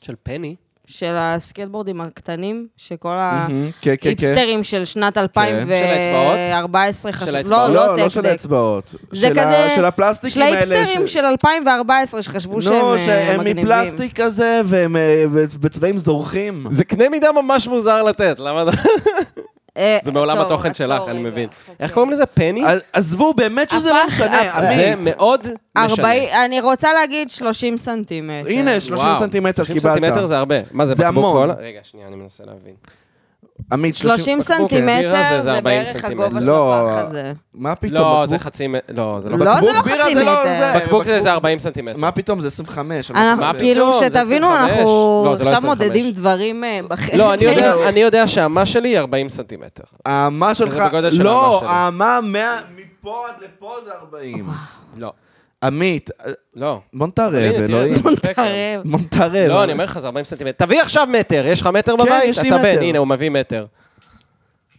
S5: של פני?
S3: של הסקייטבורדים הקטנים, שכל ה...
S2: מהמם, כן, כן, כן.
S3: היפסטרים של שנת
S5: האצבעות?
S3: 2014
S5: של
S3: חשבו,
S5: האצבעות?
S3: לא, לא
S2: לא, לא של
S3: טקדק,
S2: האצבעות.
S3: זה
S2: של ה-
S3: כזה-
S2: של
S3: של
S2: הפלסטיקים האלה.
S3: האיפסטרים
S2: ש-
S3: של 2014 שחשבו שהם
S2: נו,
S3: אה,
S2: לא, שהם
S3: מגניבים.
S2: מפלסטיק כזה, והם אה, בצבעים זורחים.
S5: זה קנה מידה ממש מוזר לתת, למה אתה...
S3: אה,
S5: זה מעולם
S3: עצור,
S5: התוכן
S3: עצור
S5: שלך,
S3: רגע,
S5: אני מבין.
S3: אוקיי.
S5: איך קוראים לזה? פני?
S2: אז- עזבו, באמת שזה לא
S3: הפך-
S2: משנה,
S3: הפ-
S5: זה
S2: עמית.
S5: מאוד משנה.
S3: ארבעים- אני רוצה להגיד 30 סנטימטר.
S2: הנה, 30
S5: כן, וואו,
S2: סנטימטר
S5: 30
S2: קיבלת.
S5: סנטימטר זה הרבה. מה זה,
S2: זה
S5: בקבוק
S2: המון.
S5: קולה? רגע, שנייה, אני מנסה להבין.
S2: עמית,
S3: 30
S5: בקבוק בירה
S3: סנטימטר
S5: אוקיי, זה- זה
S3: זה
S5: 40
S3: בערך
S5: סנטימטר.
S3: הגובה של
S2: לא,
S3: הפח הזה.
S2: מה פתאום?
S5: לא,
S2: בקבוק-
S5: זה חצי... מ- לא, זה לא...
S3: לא,
S5: בקבוק.
S3: זה לא
S2: בקבוק בירה
S3: חצי
S2: זה לא-
S3: מטר.
S2: זה-
S5: בקבוק זה
S2: בקבוק-
S5: איזה 40 סנטימטר.
S2: מה פתאום? זה 25.
S5: מה
S3: אנחנו,
S5: פתאום?
S3: כאילו,
S5: זה
S3: שתבינו,
S5: 25.
S3: אנחנו
S5: לא, זה לא
S3: עכשיו
S5: 25.
S3: מודדים דברים אה, בחיים.
S5: לא, אני יודע-
S2: זהו.
S5: אני יודע שהמה שלי היא 40 סנטימטר.
S2: האמה שלך...
S5: בגודל של האמה
S2: לא,
S5: שלי.
S2: האמה 100... מפה עד לפה זה 40.
S5: לא.
S2: עמית, אה,
S5: לא.
S2: בוא נתערב,
S5: הנה, תראה
S2: אלוהים.
S5: איזה מרפק.
S3: תערב.
S2: בוא נתערב.
S5: לא, אני אומר לך, זה 40 סנטימטר. תביא עכשיו מטר, יש לך מטר בבית?
S2: כן, יש לי
S5: אתה בן,
S2: מטר.
S5: הנה, הוא מביא מטר.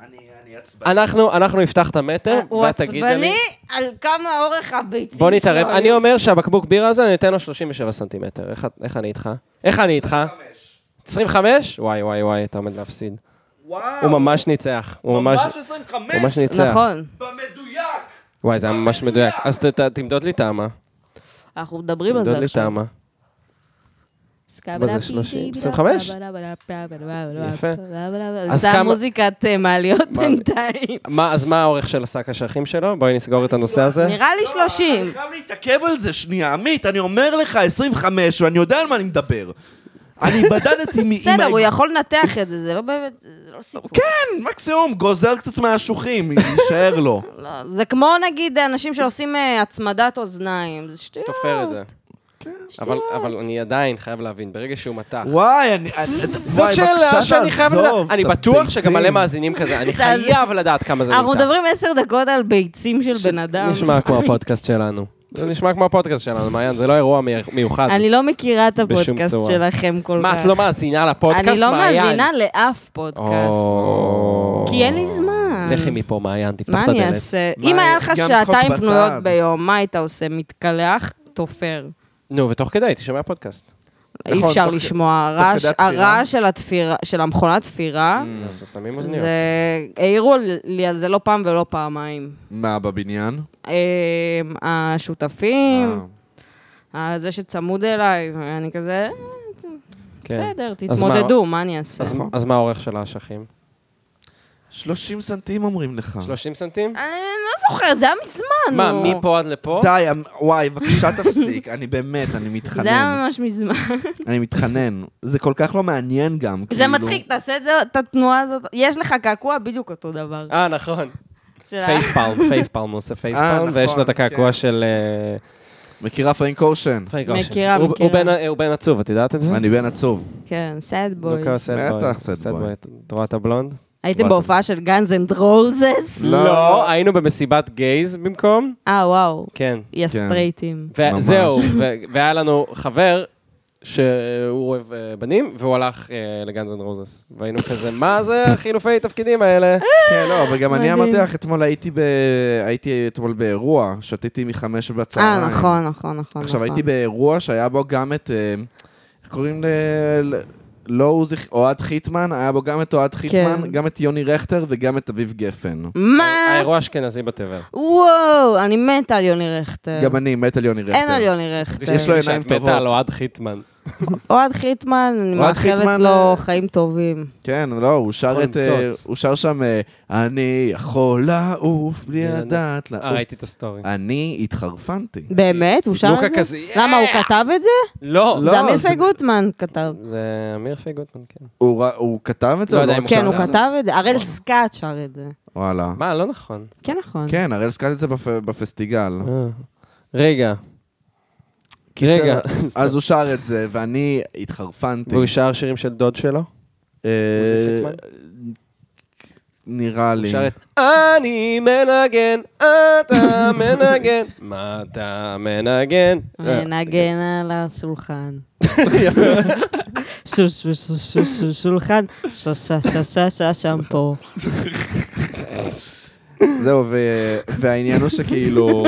S2: אני אני עצבני.
S5: אנחנו אנחנו נפתח את המטר,
S3: אה, הוא
S5: ואת תגידי לי...
S3: עצבני לא על כמה אורך הביצים
S5: בוא נתערב.
S3: שלו.
S5: אני אומר שהבקבוק בירה הזה, אני אתן לו 37 סנטימטר. איך- איך אני איתך? איך אני איתך? 25? וואי, וואי, וואי, אתה עומד להפסיד.
S2: וואו,
S5: הוא ממש ניצח. הוא ממש...
S2: ממש 25
S5: הוא ממש ניצח.
S3: נכון.
S2: במדויק.
S5: וואי, זה היה ממש מדויק. אז ת- ת- תמדוד לי את האמה.
S3: אנחנו מדברים על זה
S5: תמדוד לי את
S3: עכשיו.
S5: האמה. מה זה, 30? 25? יפה. אז
S3: זה
S5: כמה-
S3: המוזיקת אה, מעליות
S5: מעליות.
S3: בינתיים.
S5: מה- אז מה האורך של השק אשכים שלו? בואי נסגור את הנושא הזה.
S3: נראה לי 30.
S5: אה,
S2: אני חייב להתעכב על זה שנייה, עמית, אני אומר לך 25, ואני יודע על מה אני מדבר. אני בדדתי מ...
S3: בסדר,
S2: עם
S3: הוא
S2: ה-
S3: יכול לנתח את זה, זה לא באמת, זה לא סיפור.
S2: כן, מקסימום, גוזר קצת מהשוחים, יישאר לו.
S3: לא, זה כמו נגיד אנשים שעושים אה, הצמדת אוזניים, זה שטויות. כן.
S5: תופר את זה. אבל, אבל אני עדיין חייב להבין, ברגע שהוא מתח.
S2: וואי, אני... אני-
S5: זאת
S2: וואי, בבקשה,
S5: שאלה שאני חייב
S2: תעזוב,
S5: לדעת. אני
S2: את
S5: בטוח
S2: הביצים.
S5: שגם מלא מאזינים כזה, אני
S3: תעזוב.
S5: חייב לדעת כמה זה נמתח.
S3: אנחנו מדברים עשר דקות על ביצים של בן אדם.
S5: נשמע כמו הפודקאסט שלנו. זה נשמע כמו הפודקאסט שלנו, מעיין, זה לא אירוע מי- מיוחד.
S3: אני לא מכירה את
S5: בשום
S3: הפודקאסט
S5: צורה.
S3: שלכם כל כך.
S5: מה, את לא מאזינה לפודקאסט,
S3: אני לא
S5: מעיין?
S3: מאזינה לאף פודקאסט.
S5: או.
S3: כי אין לי זמן.
S5: לכי מפה, מעיין, תפתח
S3: מה
S5: את
S3: אני
S5: הדלת.
S3: אעשה?
S2: מה,
S3: אם היה לך
S2: גם צחוק
S3: שעתיים
S2: בצד.
S3: פנויות ביום, מה היית עושה? מתקלח? תופר.
S5: נו, ותוך כדי הייתי שומע פודקאסט.
S3: אי
S2: נכון,
S3: אפשר
S2: תוך-
S3: לשמוע. הרעש-
S2: כדי התפירה. Mm,
S3: הרעש של התפירה, של המכונת תפירה,
S5: אז שמים אוזניות.
S3: זה... העירו לי על זה לא פעם ולא פעמיים.
S2: מה, בבניין?
S3: אה, השותפים, אה, זה שצמוד אליי, אני כזה,
S5: כן.
S3: בסדר,
S5: אז מה-
S3: תתמודדו, מה אני אעשה?
S5: אז-
S2: נכון.
S5: אז מה האורך של האשכים?
S2: 30 סנטים אומרים לך.
S5: 30 סנטים?
S3: אני לא זוכרת, זה היה מזמן.
S5: מה,
S3: נו.
S5: מפה עד לפה?
S2: די, אמ- וואי, בבקשה תפסיק. אני באמת, אני
S3: זה היה
S2: מתחנן.
S3: ממש מזמן.
S2: אני מתחנן. זה כל כך לא מעניין גם, כאילו.
S3: זה מצחיק, תעשה את זה, את התנועה הזאת. יש לך קעקוע בדיוק אותו דבר.
S5: אה, נכון.
S3: של ה-
S5: פייספלם, פייספלם, הוא עושה פייספלם,
S2: נכון,
S5: ויש לו את הקעקוע
S2: כן.
S5: של... אה,
S2: מכירה פרנק אושן?
S5: פרנק אושן.
S3: מכירה,
S5: הוא-
S3: מכירה.
S5: הוא בן- הוא בן עצוב, את יודעת את זה?
S2: אני בן עצוב.
S3: כן, סאד
S2: לא
S5: לוקה
S3: בויז.
S5: עושה את בוי.
S2: בטח,
S5: עושה את
S2: סד בוי.
S5: בוי. את רואה את הבלונד?
S3: הייתם בהופעה של גאנז אנד
S2: Mm.
S3: רוזס?
S5: לא, היינו במסיבת גייז במקום.
S3: אה, וואו.
S5: כן.
S3: יא
S2: כן.
S3: סטרייטים.
S2: ממש.
S5: וזהו, ו- והיה לנו חבר שהוא אוהב אה, בנים, והוא הלך אה, לגאנז אנד רוזס. והיינו כזה, מה זה החילופי תפקידים האלה?
S3: אה.
S2: כן, לא, אבל גם אני
S3: מדהים.
S2: אמרתי לך, אתמול הייתי ב... הייתי אתמול באירוע, שתיתי מחמש בצהריים.
S3: אה, נכון, נכון, נכון.
S2: עכשיו,
S3: נכון.
S2: הייתי באירוע שהיה בו גם את... אה, איך קוראים ל... ל- לא עוזי, אוהד חיטמן, היה בו גם את אוהד
S3: כן.
S2: חיטמן, גם את יוני רכטר וגם את אביב גפן. אה,
S3: מה?
S5: האירוע אשכנזי בתבל.
S3: וואו, אני מתה על יוני רכטר.
S2: גם אני מת על יוני רכטר.
S3: אה. אין על יוני רכטר.
S2: יש לו עיניים
S5: שאת
S2: טובות.
S5: מתה על אוהד חיטמן.
S3: אוהד חיטמן, אני
S2: אוהד
S3: מאחלת
S2: חיטמן,
S3: לו
S2: אה,
S3: חיים טובים.
S2: כן, לא, הוא שר
S5: יכול
S2: את... אה,
S5: למצוץ.
S2: הוא שר שם, אה, אני יכול לעוף בלי
S5: בלי
S2: לדעת
S5: אה,
S2: לעוף.
S5: ראיתי את הסטורי.
S2: אני התחרפנתי.
S3: באמת? הוא שר
S5: לוקה
S3: את זה?
S5: כזה, "Yeah!"
S3: למה, הוא כתב את זה?
S5: לא!
S2: אה! לא,
S3: זה אמיר
S2: זה-
S3: פי גוטמן כתב.
S5: זה אמיר פי גוטמן, כן.
S2: הוא ר- הוא כתב את זה?
S5: לא
S2: או
S5: יודע אם
S2: רק
S5: הוא
S3: כן,
S2: שר
S3: הוא
S2: את זה?
S3: כתב את זה. הראל סקאט שר את זה.
S2: וואלה.
S5: מה, לא נכון.
S3: כן, נכון.
S2: כן, הראל סקאט את זה בפ- בפסטיגל.
S5: אה. רגע. רגע.
S2: אז הוא שר את זה, ואני התחרפנתי.
S5: והוא שר שירים של דוד שלו?
S2: אה,
S5: עוזי חיטמן?
S2: נראה לי.
S5: הוא שר את אני מנגן, אתה מנגן, מה אתה מנגן?
S3: אה, נגן על השולחן. שוש ושוש שוש שוש שולחן, שושה שושה שושה שמפו.
S2: זהו, ו- והעניין הוא שכאילו...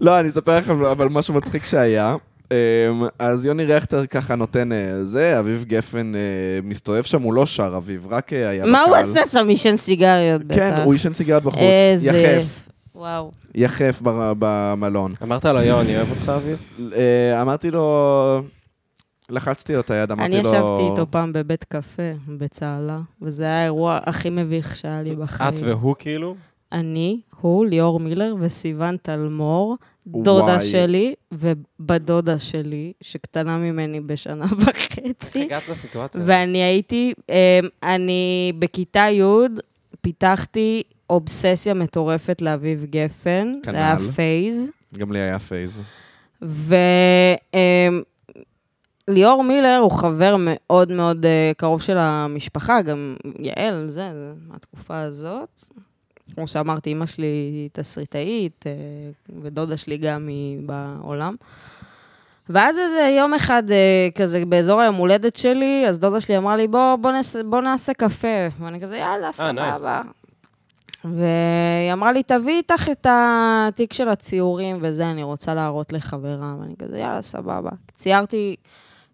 S2: לא, אני אספר לכם אבל משהו מצחיק שהיה. אמ, אז יוני רכטר ככה נותן אה, זה, אביב גפן אה, מסתובב שם, הוא לא שר אביב, רק אה, היה
S3: מה הוא
S2: בקהל.
S3: עשה שם? עישן סיגריות בטח.
S2: כן, הוא עישן סיגריה בחוץ,
S3: איזה-
S2: יחף,
S3: וואו.
S2: יחף בר- במלון.
S5: אמרת לו, יואו, אני אוהב אותך, אביב?
S2: אה, אמרתי לו, לחצתי לו את היד, אמרתי
S3: אני
S2: לו...
S3: ישבתי איתו פעם בבית קפה, בצהלה, וזה היה האירוע הכי מביך שהיה לי בחיים.
S5: את והוא כאילו?
S3: אני, הוא, ליאור מילר וסיון תלמור, דודה
S2: וואי.
S3: שלי ובת דודה שלי, שקטנה ממני בשנה וחצי.
S5: הגעת לסיטואציה.
S3: ואני הייתי, אמ, אני בכיתה י' פיתחתי אובססיה מטורפת לאביב גפן. זה היה
S2: כנ"ל.
S3: פייז.
S2: גם לי היה פייז.
S3: וליאור מילר הוא חבר מאוד מאוד אה, קרוב של המשפחה, גם יעל, זה, זה מהתקופה הזאת. כמו שאמרתי, אימא שלי היא תסריטאית, אה, ודודה שלי גם היא בעולם. ואז איזה יום אחד, אה, כזה באזור היום הולדת שלי, אז דודה שלי אמרה לי, בוא, בוא, נעשה, בוא נעשה קפה. ואני כזה, יאללה,
S5: nice.
S3: סבבה. והיא אמרה לי, תביאי איתך את התיק של הציורים וזה, אני רוצה להראות לחברה. ואני כזה, יאללה, סבבה. ציירתי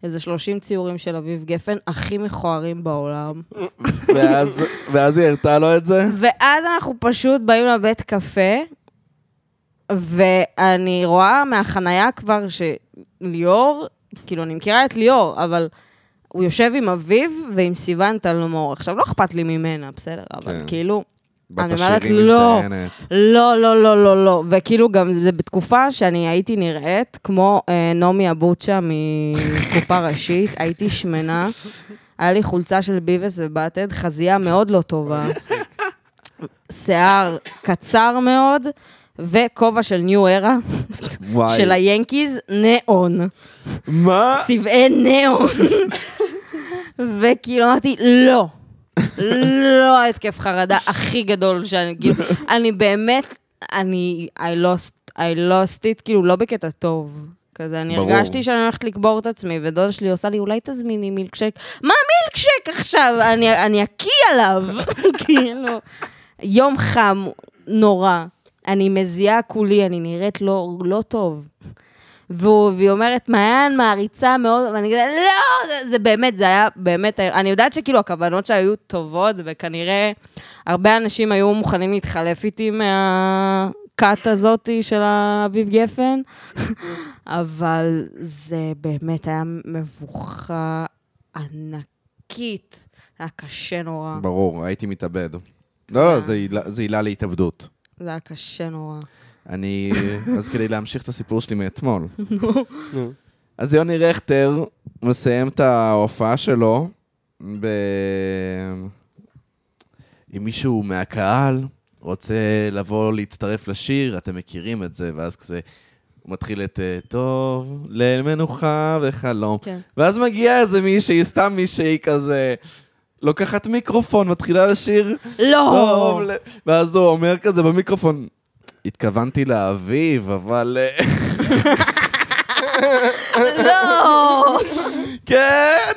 S3: איזה 30 ציורים של אביב גפן, הכי מכוערים בעולם.
S2: ואז- ואז היא הראתה לו את זה.
S3: ואז אנחנו פשוט באים לבית קפה, ואני רואה מהחנייה כבר שליאור, כאילו, אני מכירה את ליאור, אבל הוא יושב עם אביו ועם סיון תלמור. עכשיו, לא אכפת לי ממנה, בסדר, אבל
S2: כן.
S3: כאילו...
S2: בת
S3: אני אומרת,
S2: השירים
S3: לא.
S2: מזדיינת.
S3: לא, לא, לא, לא, לא. וכאילו גם זה בתקופה שאני הייתי נראית כמו אה, נעמי אבוצ'ה מקופה ראשית, הייתי שמנה, היה לי חולצה של ביבס ובטד, חזייה מאוד לא טובה, שיער קצר מאוד, וכובע של ניו ארה,
S2: וואי.
S3: של היאנקיז, ניאון.
S2: מה?
S3: צבעי ניאון. וכאילו אמרתי, לא. לא ההתקף חרדה הכי גדול שאני, כאילו, אני באמת, אני, I lost, I lost it, כאילו, לא בקטע טוב. כזה, אני
S2: ברור.
S3: הרגשתי שאני הולכת לקבור את עצמי, ודודה שלי עושה לי, אולי תזמיני מילקשק. מה מילקשק עכשיו? אני, אני אקיא עליו. כאילו, יום חם, נורא. אני מזיעה כולי, אני נראית לא, לא טוב. והוא, והיא אומרת, מעיין מעריצה מאוד, ואני כזה, לא, זה, זה באמת, זה היה באמת, אני יודעת שכאילו הכוונות שלה היו טובות, וכנראה הרבה אנשים היו מוכנים להתחלף איתי מהכת הזאתי של אביב גפן, אבל זה באמת היה מבוכה ענקית, היה קשה נורא,
S2: ברור, הייתי מתאבד. לא, לא, זה עילה- זה עילה להתאבדות.
S3: זה היה קשה נורא.
S2: אני... אז כדי להמשיך את הסיפור שלי מאתמול. אז יוני רכטר מסיים את ההופעה שלו ב... אם מישהו מהקהל רוצה לבוא להצטרף לשיר, אתם מכירים את זה, ואז כזה... הוא מתחיל את אה, טוב, ליל מנוחה וחלום.
S3: כן.
S2: ואז מגיעה איזה מישהי, סתם מישהי כזה, לוקחת מיקרופון, מתחילה לשיר
S3: לא!
S2: טוב, ל- ואז הוא אומר כזה במיקרופון, התכוונתי לאביב, אבל... אה,
S3: לא!
S2: כן!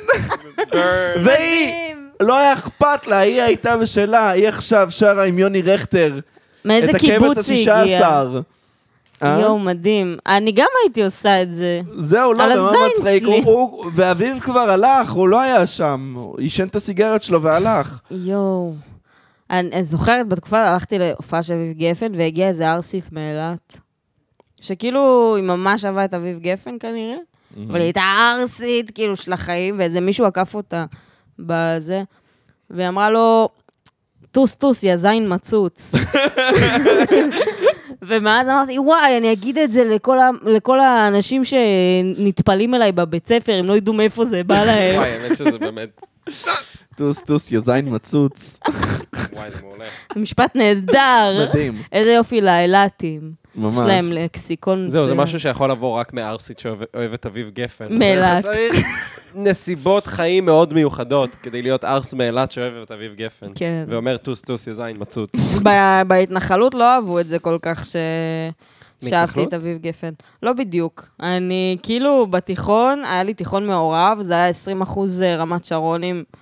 S2: והיא, לא היה אכפת לה, היא הייתה בשלה, היא עכשיו שרה עם יוני רכטר.
S3: מאיזה
S2: את
S3: קיבוץ היא הגיעה?
S2: אה?
S3: יואו, מדהים. אני גם הייתי עושה את זה.
S2: זהו, לא,
S3: על
S2: זה מאוד
S3: הזין
S2: מצחיק.
S3: שלי.
S2: הוא- הוא- ואביו כבר הלך, הוא לא היה שם. הוא עישן את הסיגריות שלו והלך.
S3: יואו. אני, אני זוכרת בתקופה, הלכתי להופעה של אביב גפן, והגיע איזה ארסית מאילת, שכאילו, היא ממש אהבה את אביב גפן כנראה, אבל היא הייתה ארסית, כאילו, של החיים, ואיזה מישהו עקף אותה בזה, והיא אמרה לו, טוס טוס, יא זין מצוץ. ומאז אמרתי, וואי, אני אגיד את זה לכל, ה- לכל האנשים שנטפלים אליי בבית ספר, הם לא ידעו מאיפה זה בא להם.
S5: וואי, האמת שזה באמת...
S2: טוס טוס, יא זין מצוץ.
S5: וואי, זה מעולה.
S3: משפט נהדר.
S2: מדהים,
S3: איזה יופי לאילתים.
S2: ממש.
S3: יש להם לקסיקון
S5: זהו, זה
S3: מצוין.
S5: משהו שיכול לבוא רק מארסית שאוהבת אביב גפן.
S3: מאילת.
S5: צריך נסיבות חיים מאוד מיוחדות כדי להיות ארס מאילת שאוהבת אביב גפן.
S3: כן.
S5: ואומר טוס טוס יא זין מצוץ.
S3: ב- בהתנחלות לא אהבו את זה כל כך ש... שאהבתי
S5: מהתנחלות?
S3: את אביב גפן. לא בדיוק. אני כאילו בתיכון, היה לי תיכון מעורב, זה היה 20 אחוז רמת שרונים אה,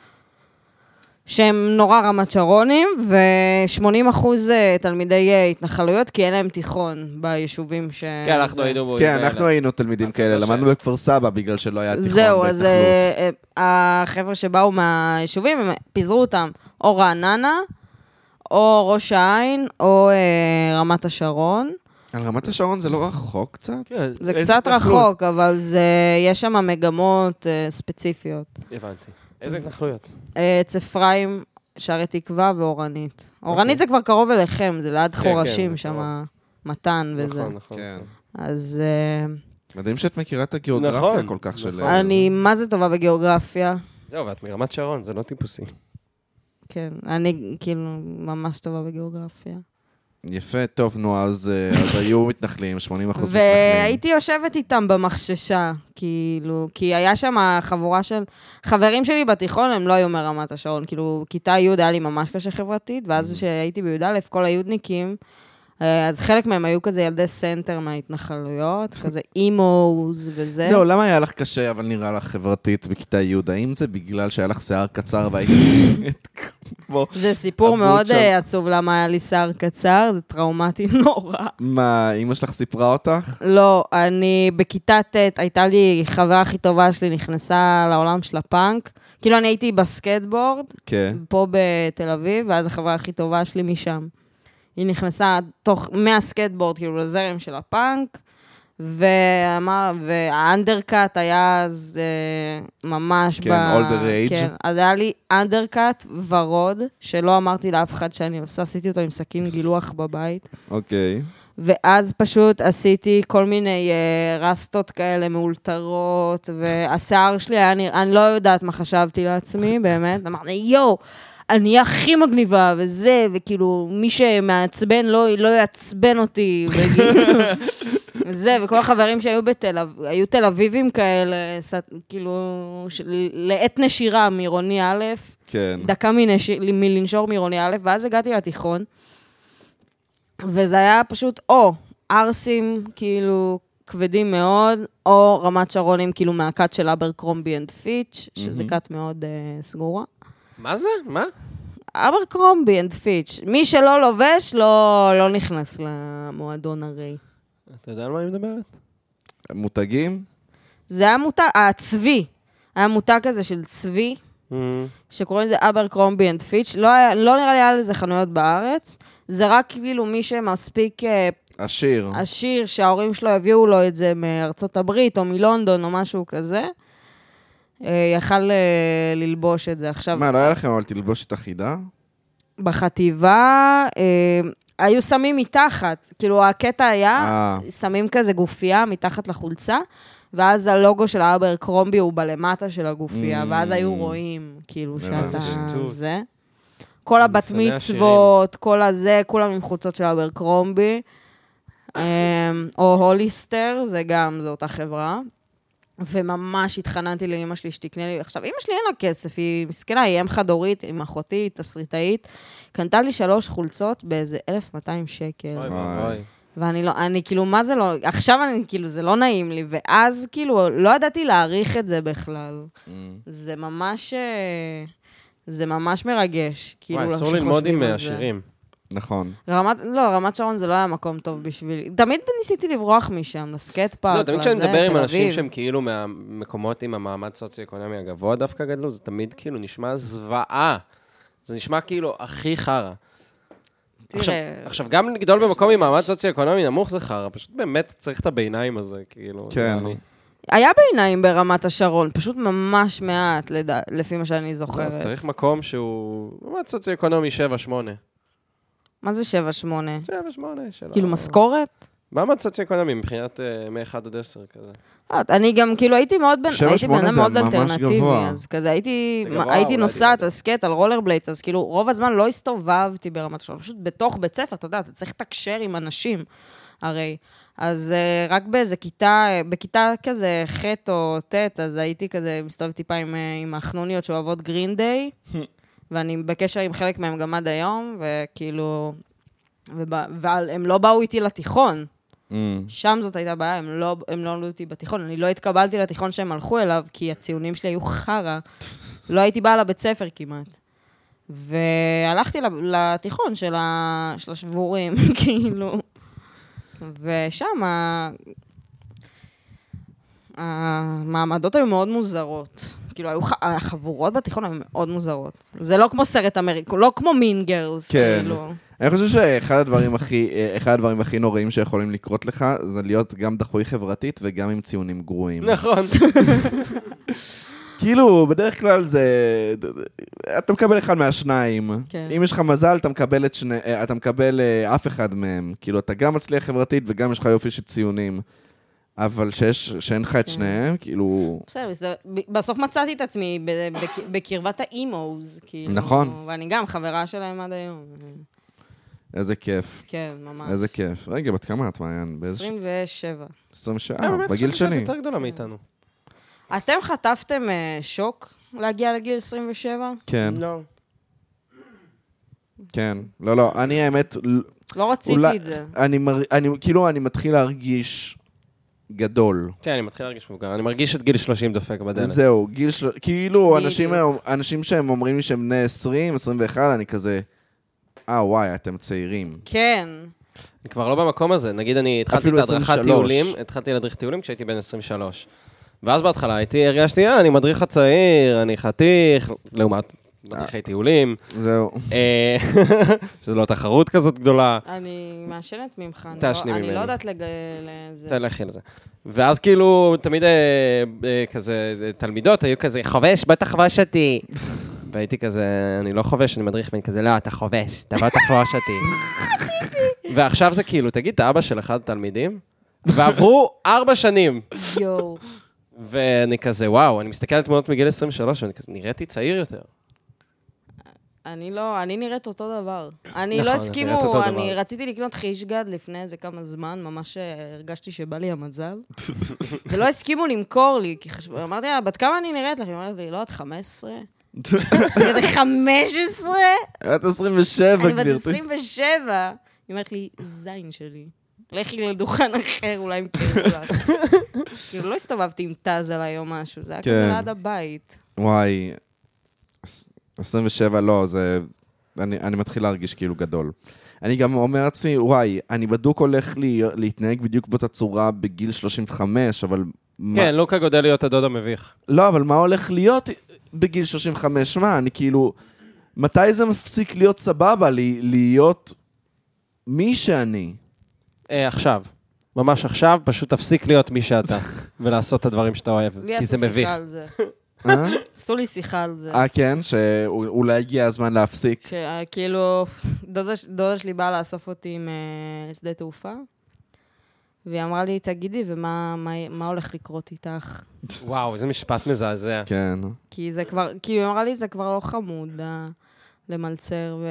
S3: שהם נורא רמת שרונים, ו-80 אחוז תלמידי אה, התנחלויות, כי אין להם תיכון ביישובים ש...
S5: כן, אנחנו
S3: זה-
S5: היינו בו.
S2: כן, אנחנו היינו תלמידים כאלה,
S5: לא
S2: למדנו בכפר סבא בגלל שלא היה תיכון
S3: זהו, אז
S2: בהתנחלות.
S3: אה, אה, החבר'ה שבאו מהיישובים, הם פיזרו אותם או רעננה, או ראש העין, או אה, רמת השרון.
S2: על
S5: כן.
S2: רמת השרון זה לא רחוק קצת?
S3: זה קצת רחוק, אבל זה, יש שם מגמות אה, ספציפיות.
S5: הבנתי. איזה התנחלויות?
S3: עץ אפרים, שערי תקווה ואורנית. אורנית זה כבר קרוב אליכם, זה ליד
S5: אוקיי. כן,
S3: חורשים
S5: זה
S3: שם, מתן וזה.
S5: נכון, נכון.
S2: כן.
S3: אז אה,
S2: מדהים שאת מכירה את
S5: נכון,
S2: הגיאוגרפיה כל כך של...
S5: נכון.
S3: אני, מה זה טובה בגיאוגרפיה?
S5: זהו, ואת מרמת שרון, זה לא טיפוסי.
S3: כן, אני כאילו ממש טובה בגיאוגרפיה.
S2: אה, יפה, טוב, נו, אז אה, אז היו מתנחלים, 80% מתנחלים.
S3: והייתי יושבת איתם במחששה, כאילו, כי היה שם חבורה של... חברים שלי בתיכון, הם לא היו מרמת השרון, כאילו, כיתה י' היה לי ממש קשה חברתית,
S2: Mm.
S3: ואז כשהייתי בי"א, כל היודניקים, אה, אז חלק מהם היו כזה ילדי סנטר מההתנחלויות, כזה אימו's וזה.
S2: זהו, למה היה לך קשה, אבל נראה לך חברתית בכיתה י'? האם זה בגלל שהיה לך שיער קצר והיית... כמו-
S3: זה סיפור
S2: הבוט
S3: מאוד
S2: שם.
S3: אה, עצוב למה היה לי שיער קצר, זה טראומטי נורא.
S2: מה, אימא שלך סיפרה אותך?
S3: לא, אני בכיתה ט', הייתה לי חברה הכי טובה שלי, נכנסה לעולם של הפאנק. כאילו, אני הייתי בסקטבורד,
S2: כן.
S3: פה בתל אביב, ואז החברה הכי טובה שלי משם. היא נכנסה תוך, מהסקטבורד, כאילו, לזרם של הפאנק, ואמר, והאנדרקאט היה אז אה, ממש
S2: כן,
S3: ב...
S2: older age.
S3: כן, אז היה לי אנדרקאט ורוד, שלא אמרתי לאף אחד שאני עושה, עשיתי אותו עם סכין גילוח בבית.
S2: אוקיי.
S3: ואז פשוט עשיתי כל מיני אה, רסטות כאלה מאולתרות, והשיער שלי היה נראה, אני לא יודעת מה חשבתי לעצמי, באמת. אמרתי, יואו, אני הכי מגניבה, וזה, וכאילו, מי שמעצבן לא, לא יעצבן אותי, וכאילו, זה, וכל החברים שהיו בתל אביב, היו תל אביבים כאלה, ס, כאילו, של, לעת נשירה מרוני א',
S2: כן.
S3: דקה מנש... מלנשור מעירוני א', ואז הגעתי לתיכון, וזה היה פשוט או ערסים, כאילו, כבדים מאוד, או רמת שרונים, כאילו, מהכת של אברקרומבי אנד פיץ', שזה כת מאוד אה, סגורה.
S5: מה זה? מה?
S3: אברקרומבי אנד פיץ', מי שלא לובש, לא, לא נכנס למועדון הרי.
S5: אתה יודע על מה היא מדברת?
S2: מותגים?
S3: זה היה מותג, הצבי, היה מותג כזה של צבי, שקוראים לזה אבר קרומבי אנד פיץ', לא היה- לא נראה לי היה לזה חנויות בארץ, זה רק כאילו מי שמספיק אה,
S2: עשיר.
S3: עשיר, שההורים שלו הביאו לו את זה מארצות הברית או מלונדון או משהו כזה, אה, יכל אה, ללבוש את זה. עכשיו,
S2: מה, לא היה לכם אבל תלבושת אחידה?
S3: בחטיבה אה, היו שמים מתחת, כאילו הקטע היה,
S2: אה,
S3: שמים כזה גופייה מתחת לחולצה, ואז הלוגו של אבר קרומבי הוא בלמטה של הגופייה,
S2: Mm.
S3: ואז היו רואים, כאילו,
S2: הבנתי.
S3: שאתה
S5: שטות.
S3: זה. כל הבת
S5: שונא
S3: מצוות, כל הזה, כולם עם חולצות של אבר קרומבי, אמ, או הוליסטר, זה גם, זו אותה חברה. וממש התחננתי לאימא שלי שתקנה לי. עכשיו, אימא שלי אין לה כסף, היא מסכנה, היא אם חד-הורית, עם אחותי, היא תסריטאית. קנתה לי שלוש חולצות באיזה 1,200 שקל.
S5: אוי
S2: ואבוי.
S5: ואבוי.
S3: ואני לא, אני כאילו, מה זה לא, עכשיו אני, כאילו, זה לא נעים לי, ואז כאילו, לא ידעתי להעריך את זה בכלל.
S5: Mm.
S3: זה ממש, אה, זה ממש מרגש, כאילו,
S5: וואי, אסור
S3: שחושבים
S5: ללמוד עם אה,
S3: על זה.
S5: עשירים.
S2: נכון.
S3: רמת, לא, רמת שרון זה לא היה מקום טוב בשבילי. תמיד ניסיתי לברוח משם, לסקייט פארק,
S5: זהו,
S3: לזה, תל
S5: תמיד
S3: אביב.
S5: כשאני מדבר עם אנשים שהם כאילו מהמקומות עם המעמד סוציו-אקונומי הגבוה דווקא גדלו, זה תמיד כאילו נשמע זוועה. זה נשמע כאילו הכי חרא. עכשיו,
S3: תראה,
S5: עכשיו, גם לגדול במקום עם מעמד סוציו-אקונומי נמוך זה חרא, פשוט באמת צריך את הביניים הזה, כאילו.
S2: כן.
S5: נראה לי.
S3: היה בעיניים ברמת השרון, פשוט ממש מעט, לדע, לפי מה שאני זוכרת.
S5: לא, אז צריך מקום שהוא מעמד סוציו-אקונומי 7-8.
S3: מה זה 7-8?
S5: 7-8 שלו.
S3: כאילו, משכורת?
S5: מעמד סוציו-אקונומי מבחינת אה, מ-1 עד 10 כזה.
S3: לא יודעת, אני גם, כאילו, הייתי מאוד בן,
S2: שבע,
S3: הייתי בן
S2: שמונה
S3: אדם
S2: זה
S3: מאוד
S2: ממש
S3: אלטרנטיבי,
S2: גבוה.
S3: אז כזה הייתי,
S5: זה גבוה,
S3: הייתי
S5: אולי
S3: נוסעת,
S5: בגלל
S3: אז קט על רולרבליידס, אז כאילו, רוב הזמן לא הסתובבתי ברמת השרון, פשוט בתוך בית ספר, אתה יודע, אתה צריך לתקשר עם אנשים, הרי. אז אה, רק באיזה כיתה, אה, בכיתה כזה ח' או ט', אז הייתי כזה מסתובבת טיפה עם, אה, עם החנוניות שאוהבות גרינדיי, ואני בקשר עם חלק מהם גם עד היום, וכאילו... והם לא באו איתי לתיכון,
S2: אמ,
S3: שם זאת הייתה בעיה, הם לא, הם לא עלו איתי בתיכון. אני לא התקבלתי לתיכון שהם הלכו אליו, כי הציונים שלי היו חרא. לא הייתי באה לבית ספר כמעט. והלכתי לב- לתיכון של, ה... של השבורים, כאילו. ושם ה- המעמדות היו מאוד מוזרות. כאילו, היו ח... החבורות בתיכון היו מאוד מוזרות. זה לא כמו סרט אמריקאי, לא כמו מין גרלס,
S2: כן.
S3: כאילו.
S2: אני חושב שאחד הדברים הכי, אה, אחד הדברים הכי נוראים שיכולים לקרות לך, זה להיות גם דחוי חברתית וגם עם אה, ציונים גרועים.
S5: נכון.
S2: כאילו, בדרך כלל זה... אתה מקבל אחד מהשניים.
S3: כן.
S2: אם יש לך מזל, אתה מקבל, את שני... אה, אתה מקבל אה, אף אחד מהם. כאילו, אתה גם מצליח חברתית וגם יש לך יופי של ציונים. אבל שיש, שאין
S3: כן.
S2: לך את שניהם, כאילו...
S3: בסדר, בסדר. ב- בסוף מצאתי את עצמי ב- בק- בקרבת האימוז, כאילו.
S2: נכון.
S3: ואני גם חברה שלהם עד היום.
S2: איזה כיף.
S3: כן, ממש.
S2: איזה כיף. רגע, בת כמה את, מעיין? באיזה...
S3: 27.
S2: 20
S3: אה,
S2: שעה, בגיל
S5: חלק
S2: שני.
S5: יותר גדולה מאיתנו.
S3: אתם חטפתם אה, שוק להגיע לגיל 27?
S2: כן,
S5: לא.
S2: כן. לא, לא, אני האמת... ל-
S3: לא רציתי
S2: אולי-
S3: את זה.
S2: אני, מר... אני כאילו, אני מתחיל להרגיש גדול.
S5: כן, אני מתחיל להרגיש מבוגר. אני מרגיש את גיל 30 דופק בדלת.
S2: זהו, גיל של... כאילו, אנשים,
S3: בדיוק.
S2: היום, אנשים שהם אומרים לי שהם בני 20, 21, אני כזה, אה, וואי, אתם צעירים.
S3: כן.
S5: אני כבר לא במקום הזה. נגיד אני התחלתי את
S2: אפילו
S5: הדרכת
S2: 23.
S5: טיולים, התחלתי להדריך טיולים כשהייתי בן 23. ואז בהתחלה הייתי, הרגשתי, אה, אני מדריך הצעיר, אני חתיך, לעומת מדריכי טיולים.
S2: זהו.
S5: אה, שזו לא תחרות כזאת גדולה.
S3: אני מעשנת ממך. אני
S5: תעשני
S3: לא- אני
S5: ממני.
S3: לא יודעת לג... לזה.
S5: תלכי לזה. ואז כאילו, תמיד אה, אה, כזה, אה, תלמידות היו כזה, חובש, בוא תחבוש אותי. והייתי כזה, אני לא חובש, אני מדריך, ואני כזה, לא, אתה חובש, אתה בוא תחבוש אותי. ועכשיו זה כאילו, תגיד, אתה אבא של אחד התלמידים? ועברו ארבע שנים.
S3: יואו.
S5: ואני כזה, וואו, אני מסתכל על תמונות מגיל 23, ואני כזה, נראיתי צעיר יותר.
S3: אני לא, אני נראית אותו דבר. אני
S5: נכון,
S3: לא
S5: את נראית
S3: הסכימו,
S5: אותו
S3: אני
S5: דבר.
S3: רציתי לקנות חישגד לפני איזה כמה זמן, ממש אה, הרגשתי שבא לי המזל. ולא הסכימו למכור לי, כי חשבו, אמרתי לה, בת כמה אני נראית לך? היא אומרת לי, לא, את 15? כזה 15?
S2: את 27,
S3: אני בת
S2: גברתי.
S3: 27. היא אומרת לי, זין שלי. לכי לדוכן אחר, אולי ימכרו לך. כאילו, לא הסתובבתי עם טז עליי או משהו, זה היה כזה
S2: כן.
S3: ליד הבית.
S2: וואי, עש- 27, לא, זה... אני, אני מתחיל להרגיש כאילו גדול. אני גם אומר לעצמי, וואי, אני בדוק הולך לי, להתנהג בדיוק באותה צורה בגיל 35, אבל... מה-
S5: כן, לוקה גודל להיות הדוד המביך.
S2: לא, אבל מה הולך להיות בגיל 35? מה, אני כאילו... מתי זה מפסיק להיות סבבה, לי, להיות מי שאני?
S5: אה, עכשיו. ממש עכשיו, פשוט תפסיק להיות מי שאתה, ולעשות את הדברים שאתה אוהב,
S3: לי
S5: כי
S3: עשו
S5: זה מביך.
S3: שיחה על זה.
S2: אה?
S3: עשו לי שיחה על זה.
S2: אה, כן? שאולי הגיע הזמן להפסיק.
S3: שכאילו, כאילו, דודה, ש- דודה שלי באה לאסוף אותי משדה תעופה, והיא אמרה לי, תגידי, ומה מה, מה הולך לקרות איתך?
S5: וואו, איזה משפט מזעזע.
S2: כן.
S3: כי זה כבר, כאילו, היא אמרה לי, זה כבר לא חמוד, ה- למלצר ו...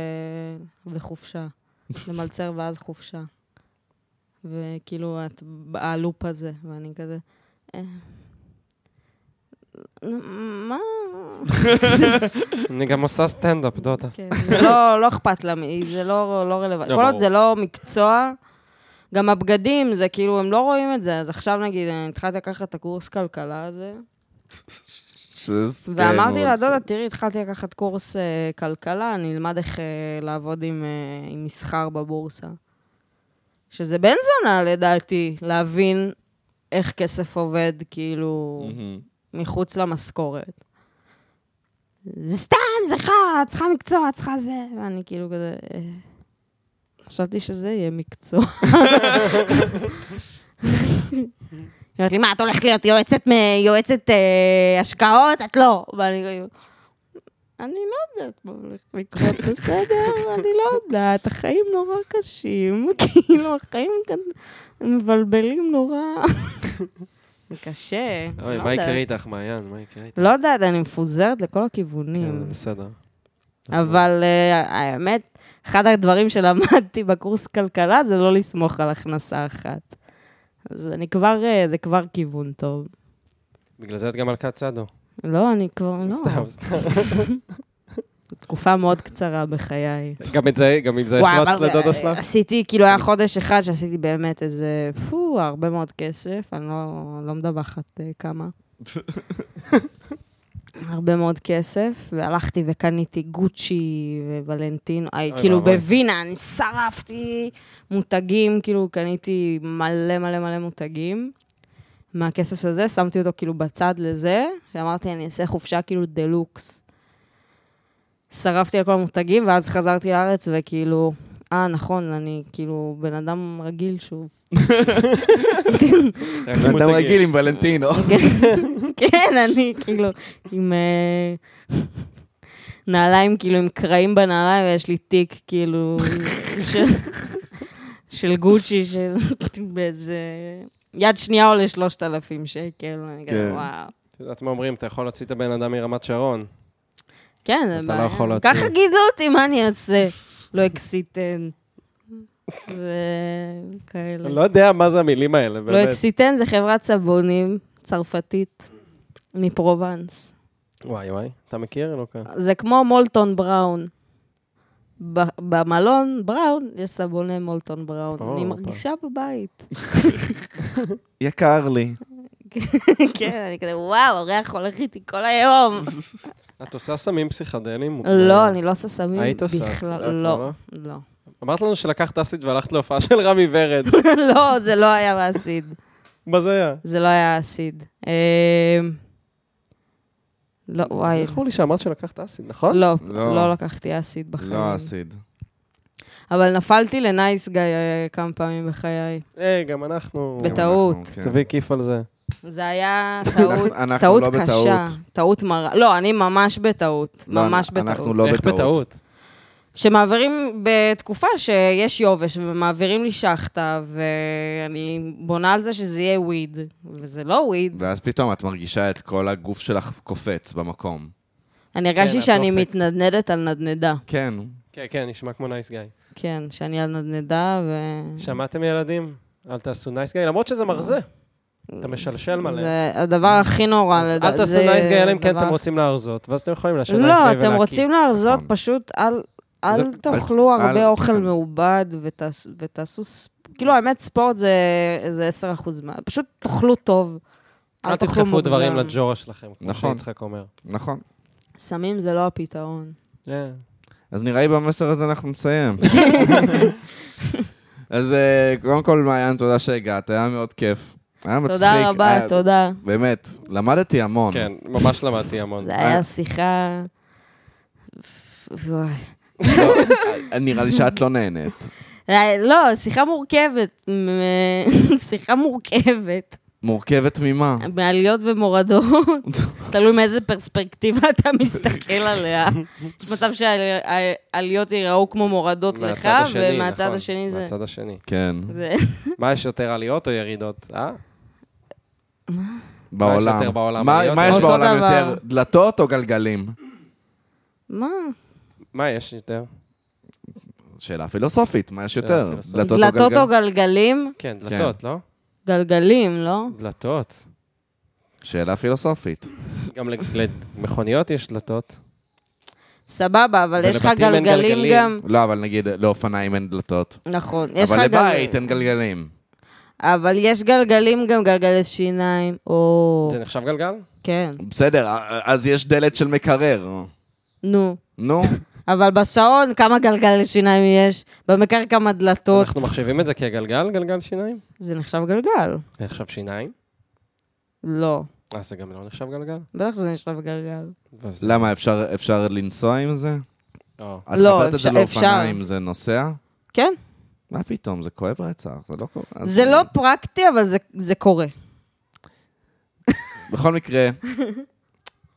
S3: וחופשה. למלצר ואז חופשה. וכאילו, את בלופ הזה, ואני כזה... "אה, מה?
S5: אני גם עושה סטנדאפ, דודה.
S3: כן, זה לא, לא אכפת לה, מ- זה לא, לא רלוונטי.
S5: לא,
S3: כל עוד
S5: ברור.
S3: זה לא מקצוע, גם הבגדים, זה כאילו, הם לא רואים את זה. אז עכשיו, נגיד, אני התחלתי לקחת את הקורס כלכלה הזה,
S2: שזה-
S3: ואמרתי
S2: כן,
S3: לה,
S2: אבל
S3: דודה, תראי, התחלתי לקחת קורס אה, כלכלה, אני אלמד איך אה, לעבוד עם אה, עם מסחר בבורסה. שזה בן זונה, לדעתי, להבין איך כסף עובד, כאילו...
S5: Mm-hmm.
S2: בסדר.
S3: מחוץ למשכורת. זה סתם, זה חרא, את צריכה מקצוע, את צריכה זה. ואני כאילו כזה... אה, חשבתי שזה יהיה מקצוע. היא אומרת לי, מה, את הולכת להיות יועצת, מ- יועצת אה, השקעות? את לא. ואני כאילו... אני לא יודעת מה הולך לקרות, בסדר? אני לא יודעת, החיים נורא קשים, כאילו, החיים כאן מבלבלים נורא. זה קשה, לא
S5: אוי,
S3: יודעת.
S5: מה יקרה איתך, מעיין? מה יקרה איתך?
S3: לא יודעת, אני מפוזרת לכל
S5: כן, זה
S3: הכיוונים.
S5: בסדר.
S3: אבל אה, האמת, אחד הדברים שלמדתי בקורס כלכלה זה לא לסמוך על הכנסה אחת. אז אני כבר, אה, זה כבר כיוון טוב.
S5: בגלל זה את גם מלכת סעדו.
S3: לא, אני כבר, לא.
S5: סתם, סתם.
S3: תקופה מאוד קצרה בחיי.
S5: גם את זה, גם אם זה
S3: וואי,
S5: ישלץ
S3: אבל,
S5: לדודה
S3: אה,
S5: שלך.
S3: עשיתי, כאילו היה חודש אחד שעשיתי באמת איזה, פו, הרבה מאוד כסף, אני לא, לא מדווחת אה, כמה. הרבה מאוד כסף, והלכתי וקניתי גוצ'י וולנטינו, אוי,
S1: אוי
S3: כאילו
S1: ואבוי.
S3: בווינה, אני שרפתי מותגים, כאילו קניתי מלא מלא מלא מותגים. מהכסף הזה, שמתי אותו כאילו בצד לזה, שאמרתי, אני אעשה חופשה כאילו דה לוקס. שרפתי על כל המותגים, ואז חזרתי לארץ, וכאילו, אה, נכון, אני כאילו בן אדם רגיל שהוא...
S2: אתה רגיל עם ולנטינו.
S3: כן, אני כאילו עם אה, נעליים, כאילו עם קרעים בנעליים, ויש לי תיק כאילו של, של גוצ'י, של באיזה... יד שנייה עולה 3,000 שקל, אני כזה,
S2: כן.
S3: וואו.
S5: את יודעת מה אומרים, אתה יכול להוציא את הבן אדם מרמת שרון.
S3: כן, זה
S5: אתה
S3: בעיה.
S5: לא יכול להוציא.
S3: ככה גידלו אותי, מה אני אעשה? לא אקסיטן. וכאלה.
S5: לא יודע מה זה המילים האלה,
S3: לא
S5: באמת.
S3: אקסיטן זה חברת סבונים צרפתית מפרובנס.
S5: וואי וואי, אתה מכיר אלוקה?
S3: זה כמו מולטון בראון. ב- במלון בראון יש סבוני מולטון בראון.
S5: או,
S3: אני
S5: הופה.
S3: מרגישה בבית.
S2: יקר לי.
S3: כן, אני כזה, וואו, אורח הולך איתי כל היום.
S5: את עושה סמים פסיכדליים?
S3: לא, אני לא עושה סמים בכלל.
S5: כן. היית עושה, את יודעת,
S3: לא,
S5: לא?
S3: לא.
S5: אמרת לנו שלקחת אסיד והלכת להופעה של רמי ורד.
S3: לא, זה לא היה באסיד.
S5: מה זה היה?
S3: זה לא היה אסיד. אמ, לא, וואי.
S5: זכור לי שאמרת שלקחת אסיד, נכון?
S3: לא,
S2: לא.
S3: לא לקחתי אסיד בחיים.
S2: לא אסיד.
S3: אבל נפלתי לנייס גיא אה, כמה פעמים בחיי.
S5: היי, אה, גם אנחנו...
S3: בטח. בטעות.
S2: אנחנו, כן.
S5: תביא כיף על זה.
S3: זה היה טעות,
S2: אנחנו- אנחנו
S3: טעות
S2: לא
S3: קשה.
S2: בטעות.
S3: טעות מרה. לא, אני ממש בטעות.
S2: לא,
S3: ממש
S2: אנחנו
S3: בטעות.
S2: לא
S5: איך
S2: בטעות.
S5: בטעות?
S3: שמעבירים בתקופה שיש יובש, ומעבירים לי שחטה, ואני בונה על זה שזה יהיה וויד, וזה לא וויד.
S2: ואז פתאום את מרגישה את כל הגוף שלך קופץ במקום.
S3: אני הרגשתי
S5: את
S3: שאני
S5: דופק.
S3: מתנדנדת על נדנדה.
S2: כן.
S5: כן, כן, נשמע כמו נייס גיא.
S3: כן, שאני על נדנדה, ו...
S5: שמעתם ילדים? אל תעשו נייס גיא, למרות שזה מרזה. אתה משלשל מלא.
S3: זה הדבר הכי נורא.
S5: אז
S3: לדע-
S5: אל תעשו
S3: זה
S5: נייס גיא, אלא אם כן
S3: דבר-
S5: אתם רוצים להרזות, ואז אתם יכולים לאשר נייס גיא
S3: לא,
S5: ולהקיא.
S3: אתם רוצים להרזות,
S2: נכון.
S3: פשוט אל... אל
S2: זה-
S3: תאכלו
S2: אל-
S3: הרבה
S2: אל-
S3: אוכל
S2: כן.
S3: מעובד ותעש- ותעשו... ס- כאילו, האמת, ספורט זה זה 10% מה... פשוט תאכלו טוב.
S5: אל
S3: תאכלו
S5: תדחפו דברים
S3: מוגזם.
S5: לג'ורה שלכם, כמו
S2: נכון.
S5: שיצחק אומר.
S2: נכון.
S3: סמים זה לא הפתרון.
S5: כן.
S2: אז נראה לי במסר הזה אנחנו נסיים. אז אה, קודם כל, מעיין, תודה שהגעת, היה מאוד כיף. היה מצחיק. אה,
S3: תודה רבה,
S2: היה-
S3: תודה.
S2: באמת, למדתי המון.
S5: כן, ממש למדתי המון.
S3: זה
S2: אה.
S3: היה שיחה... וואי.
S2: לא, אה, נראה לי שאת לא נהנית.
S3: אה, לא, שיחה מורכבת. מ- שיחה מורכבת.
S2: מורכבת ממה?
S3: מעליות ומורדות. תלוי מאיזה פרספקטיבה אתה מסתכל עליה. יש מצב שהעליות ייראו כמו מורדות לך,
S5: מהצד השני,
S3: ומהצד
S5: נכון,
S3: השני זה...
S5: מהצד השני.
S2: כן,
S3: זה-
S5: מה יש יותר עליות או ירידות? אה?
S2: בעולם.
S5: יותר בעולם?
S2: מה-
S5: עליות
S2: מה
S5: או-
S2: יש
S3: אותו
S2: בעולם
S3: דבר.
S2: יותר, דלתות או גלגלים?
S3: מה?
S5: מה יש יותר?
S2: שאלה פילוסופית, מה יש יותר?
S5: פילוסופית.
S2: דלתות או
S3: דלתות או
S2: גלגלים?
S3: גלגלים?
S5: כן, דלתות, לא?
S3: גלגלים, לא?
S5: דלתות.
S2: שאלה פילוסופית.
S5: גם לג- למכוניות יש דלתות.
S3: סבבה, אבל יש לך
S5: ולבתים אין
S3: גלגלים
S5: גלגלים.
S3: גם...
S2: לא, אבל נגיד לאופניים אין דלתות.
S3: נכון, יש לך
S2: אבל
S3: גלגלים.
S2: לבית אין גלגלים.
S3: אבל יש גלגלים גם גלגלי שיניים. או...
S5: זה נחשב גלגל?
S3: כן.
S2: בסדר, אז יש דלת של מקרר.
S3: נו.
S2: נו,
S3: אבל בשעון, כמה גלגלי שיניים יש? במקרר כמה דלתות?
S5: אנחנו מחשיבים את זה כגלגל, גלגל שיניים?
S3: זה נחשב גלגל.
S5: זה נחשב שיניים?
S3: לא.
S5: אה, זה גם לא נחשב גלגל?
S3: בטח שזה נחשב גלגל.
S5: ואז-
S2: למה, אפשר- אפשר לנסוע עם זה?
S5: או.
S2: את
S3: לא,
S2: חוברת את זה
S3: אפשר-
S2: לאופניים, זה נוסע?
S3: כן.
S2: מה פתאום, זה כואב רצח, זה לא קורה. אז-
S3: זה לא פרקטי, אבל זה- זה קורה.
S2: אה, בכל מקרה,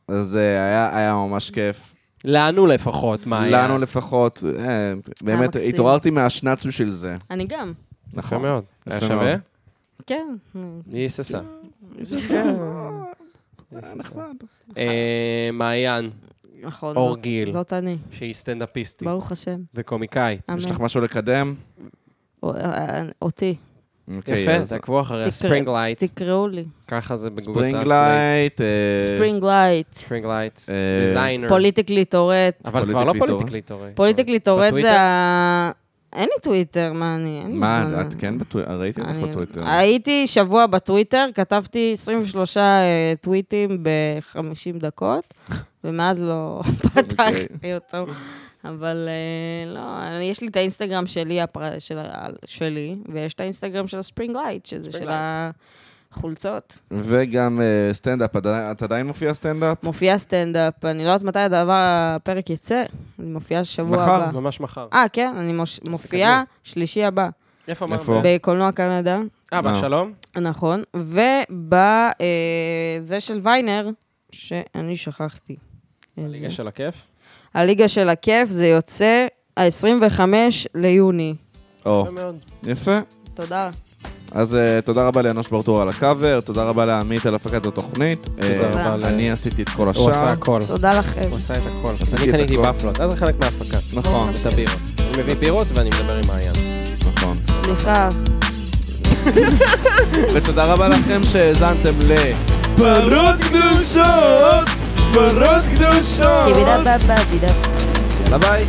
S2: אז אה, היה היה ממש כיף.
S5: לנו לפחות, מה היה?
S2: לנו לפחות, אה, באמת,
S3: מקסים.
S2: התעוררתי מהשנץ בשביל זה.
S3: אני גם.
S5: יפה
S2: נכון.
S5: מאוד. היה
S2: יפה
S5: שווה?
S2: מאוד. כן.
S3: כן.
S5: היא היססה. היא היססה. אה, מעיין,
S3: נכון.
S5: אור
S3: זאת-
S5: גיל.
S3: זאת אני.
S5: שהיא סטנדאפיסטית
S3: ברוך השם.
S5: וקומיקאית.
S2: יש
S3: אמן.
S2: לך משהו לקדם?
S3: או- אה, אותי.
S2: אוקיי, אז
S5: יפה, תעקבו אחריה.
S3: תקרא-
S5: ספרינג לייט,
S3: תקראו לי.
S5: ככה זה בגוגל
S2: ספרינג
S5: טרנסלייט.
S2: לייט. אה,
S3: ספרינג לייט.
S5: ספרינג לייט,
S2: אה,
S5: דיזיינר.
S3: פוליטיקלי טורט.
S5: אבל כבר לא
S2: פוליטיקלי
S5: פוליטיקלי טורט.
S3: פוליטיקלי טורט
S5: בטוויטר?
S3: זה ה- אין לי טוויטר, מה אני... אין לי זמן.
S2: מה, את כן בטוויטר? ראיתי אותך
S3: אה. אני- אה,
S2: בטוויטר.
S3: הייתי שבוע בטוויטר, כתבתי 23 אה, טוויטים ב-50 דקות, ומאז לא
S2: אוקיי.
S3: פתחתי אותו. אבל אה, לא, אני- יש לי את האינסטגרם שלי, הפר- של ה- שלי, ויש את האינסטגרם של הספרינג לייט, שזה של החולצות.
S2: וגם אה, סטנדאפ, את עדיין- את עדיין מופיע סטנדאפ?
S3: מופיע סטנדאפ, אני לא יודעת מתי הדבר, הפרק יצא, אני מופיעה שבוע
S2: מחר.
S3: הבא.
S1: ממש מחר.
S3: אה, כן, אני מוש- מופיעה שלישי הבא,
S1: איפה
S2: איפה? לא.
S1: אמרת?
S3: בקולנוע קנדה.
S1: אה,
S2: מה?
S1: בשלום?
S3: נכון, ובזה של ויינר, שאני שכחתי. את כן, זה.
S1: ליגה של הכיף?
S3: הליגה של הכיף, זה יוצא ה-25 ליוני.
S2: או,
S1: יפה מאוד.
S2: יפה.
S3: תודה.
S2: אז אה, תודה רבה לאנוש ברטור על הקאבר, תודה רבה לעמית על הפקת התוכנית. אה,
S3: רבה.
S2: אני עשיתי את כל
S1: הוא עשה
S2: השאר.
S1: הכל.
S3: תודה לכם.
S1: הוא עשה את הכל. אז
S2: עשיתי
S1: אני
S2: את
S1: קניתי
S2: הכל.
S1: בפלות, אז זה חלק מההפקה.
S2: נכון,
S1: את הבירות. אני מביא בירות ואני מדבר עם מעיין.
S2: נכון.
S3: סליחה.
S2: ותודה רבה לכם שהאזנתם ל... פרות קדושות! פרות קדושות!
S3: דיבידה בבא, דיבידה
S2: יאללה ביי!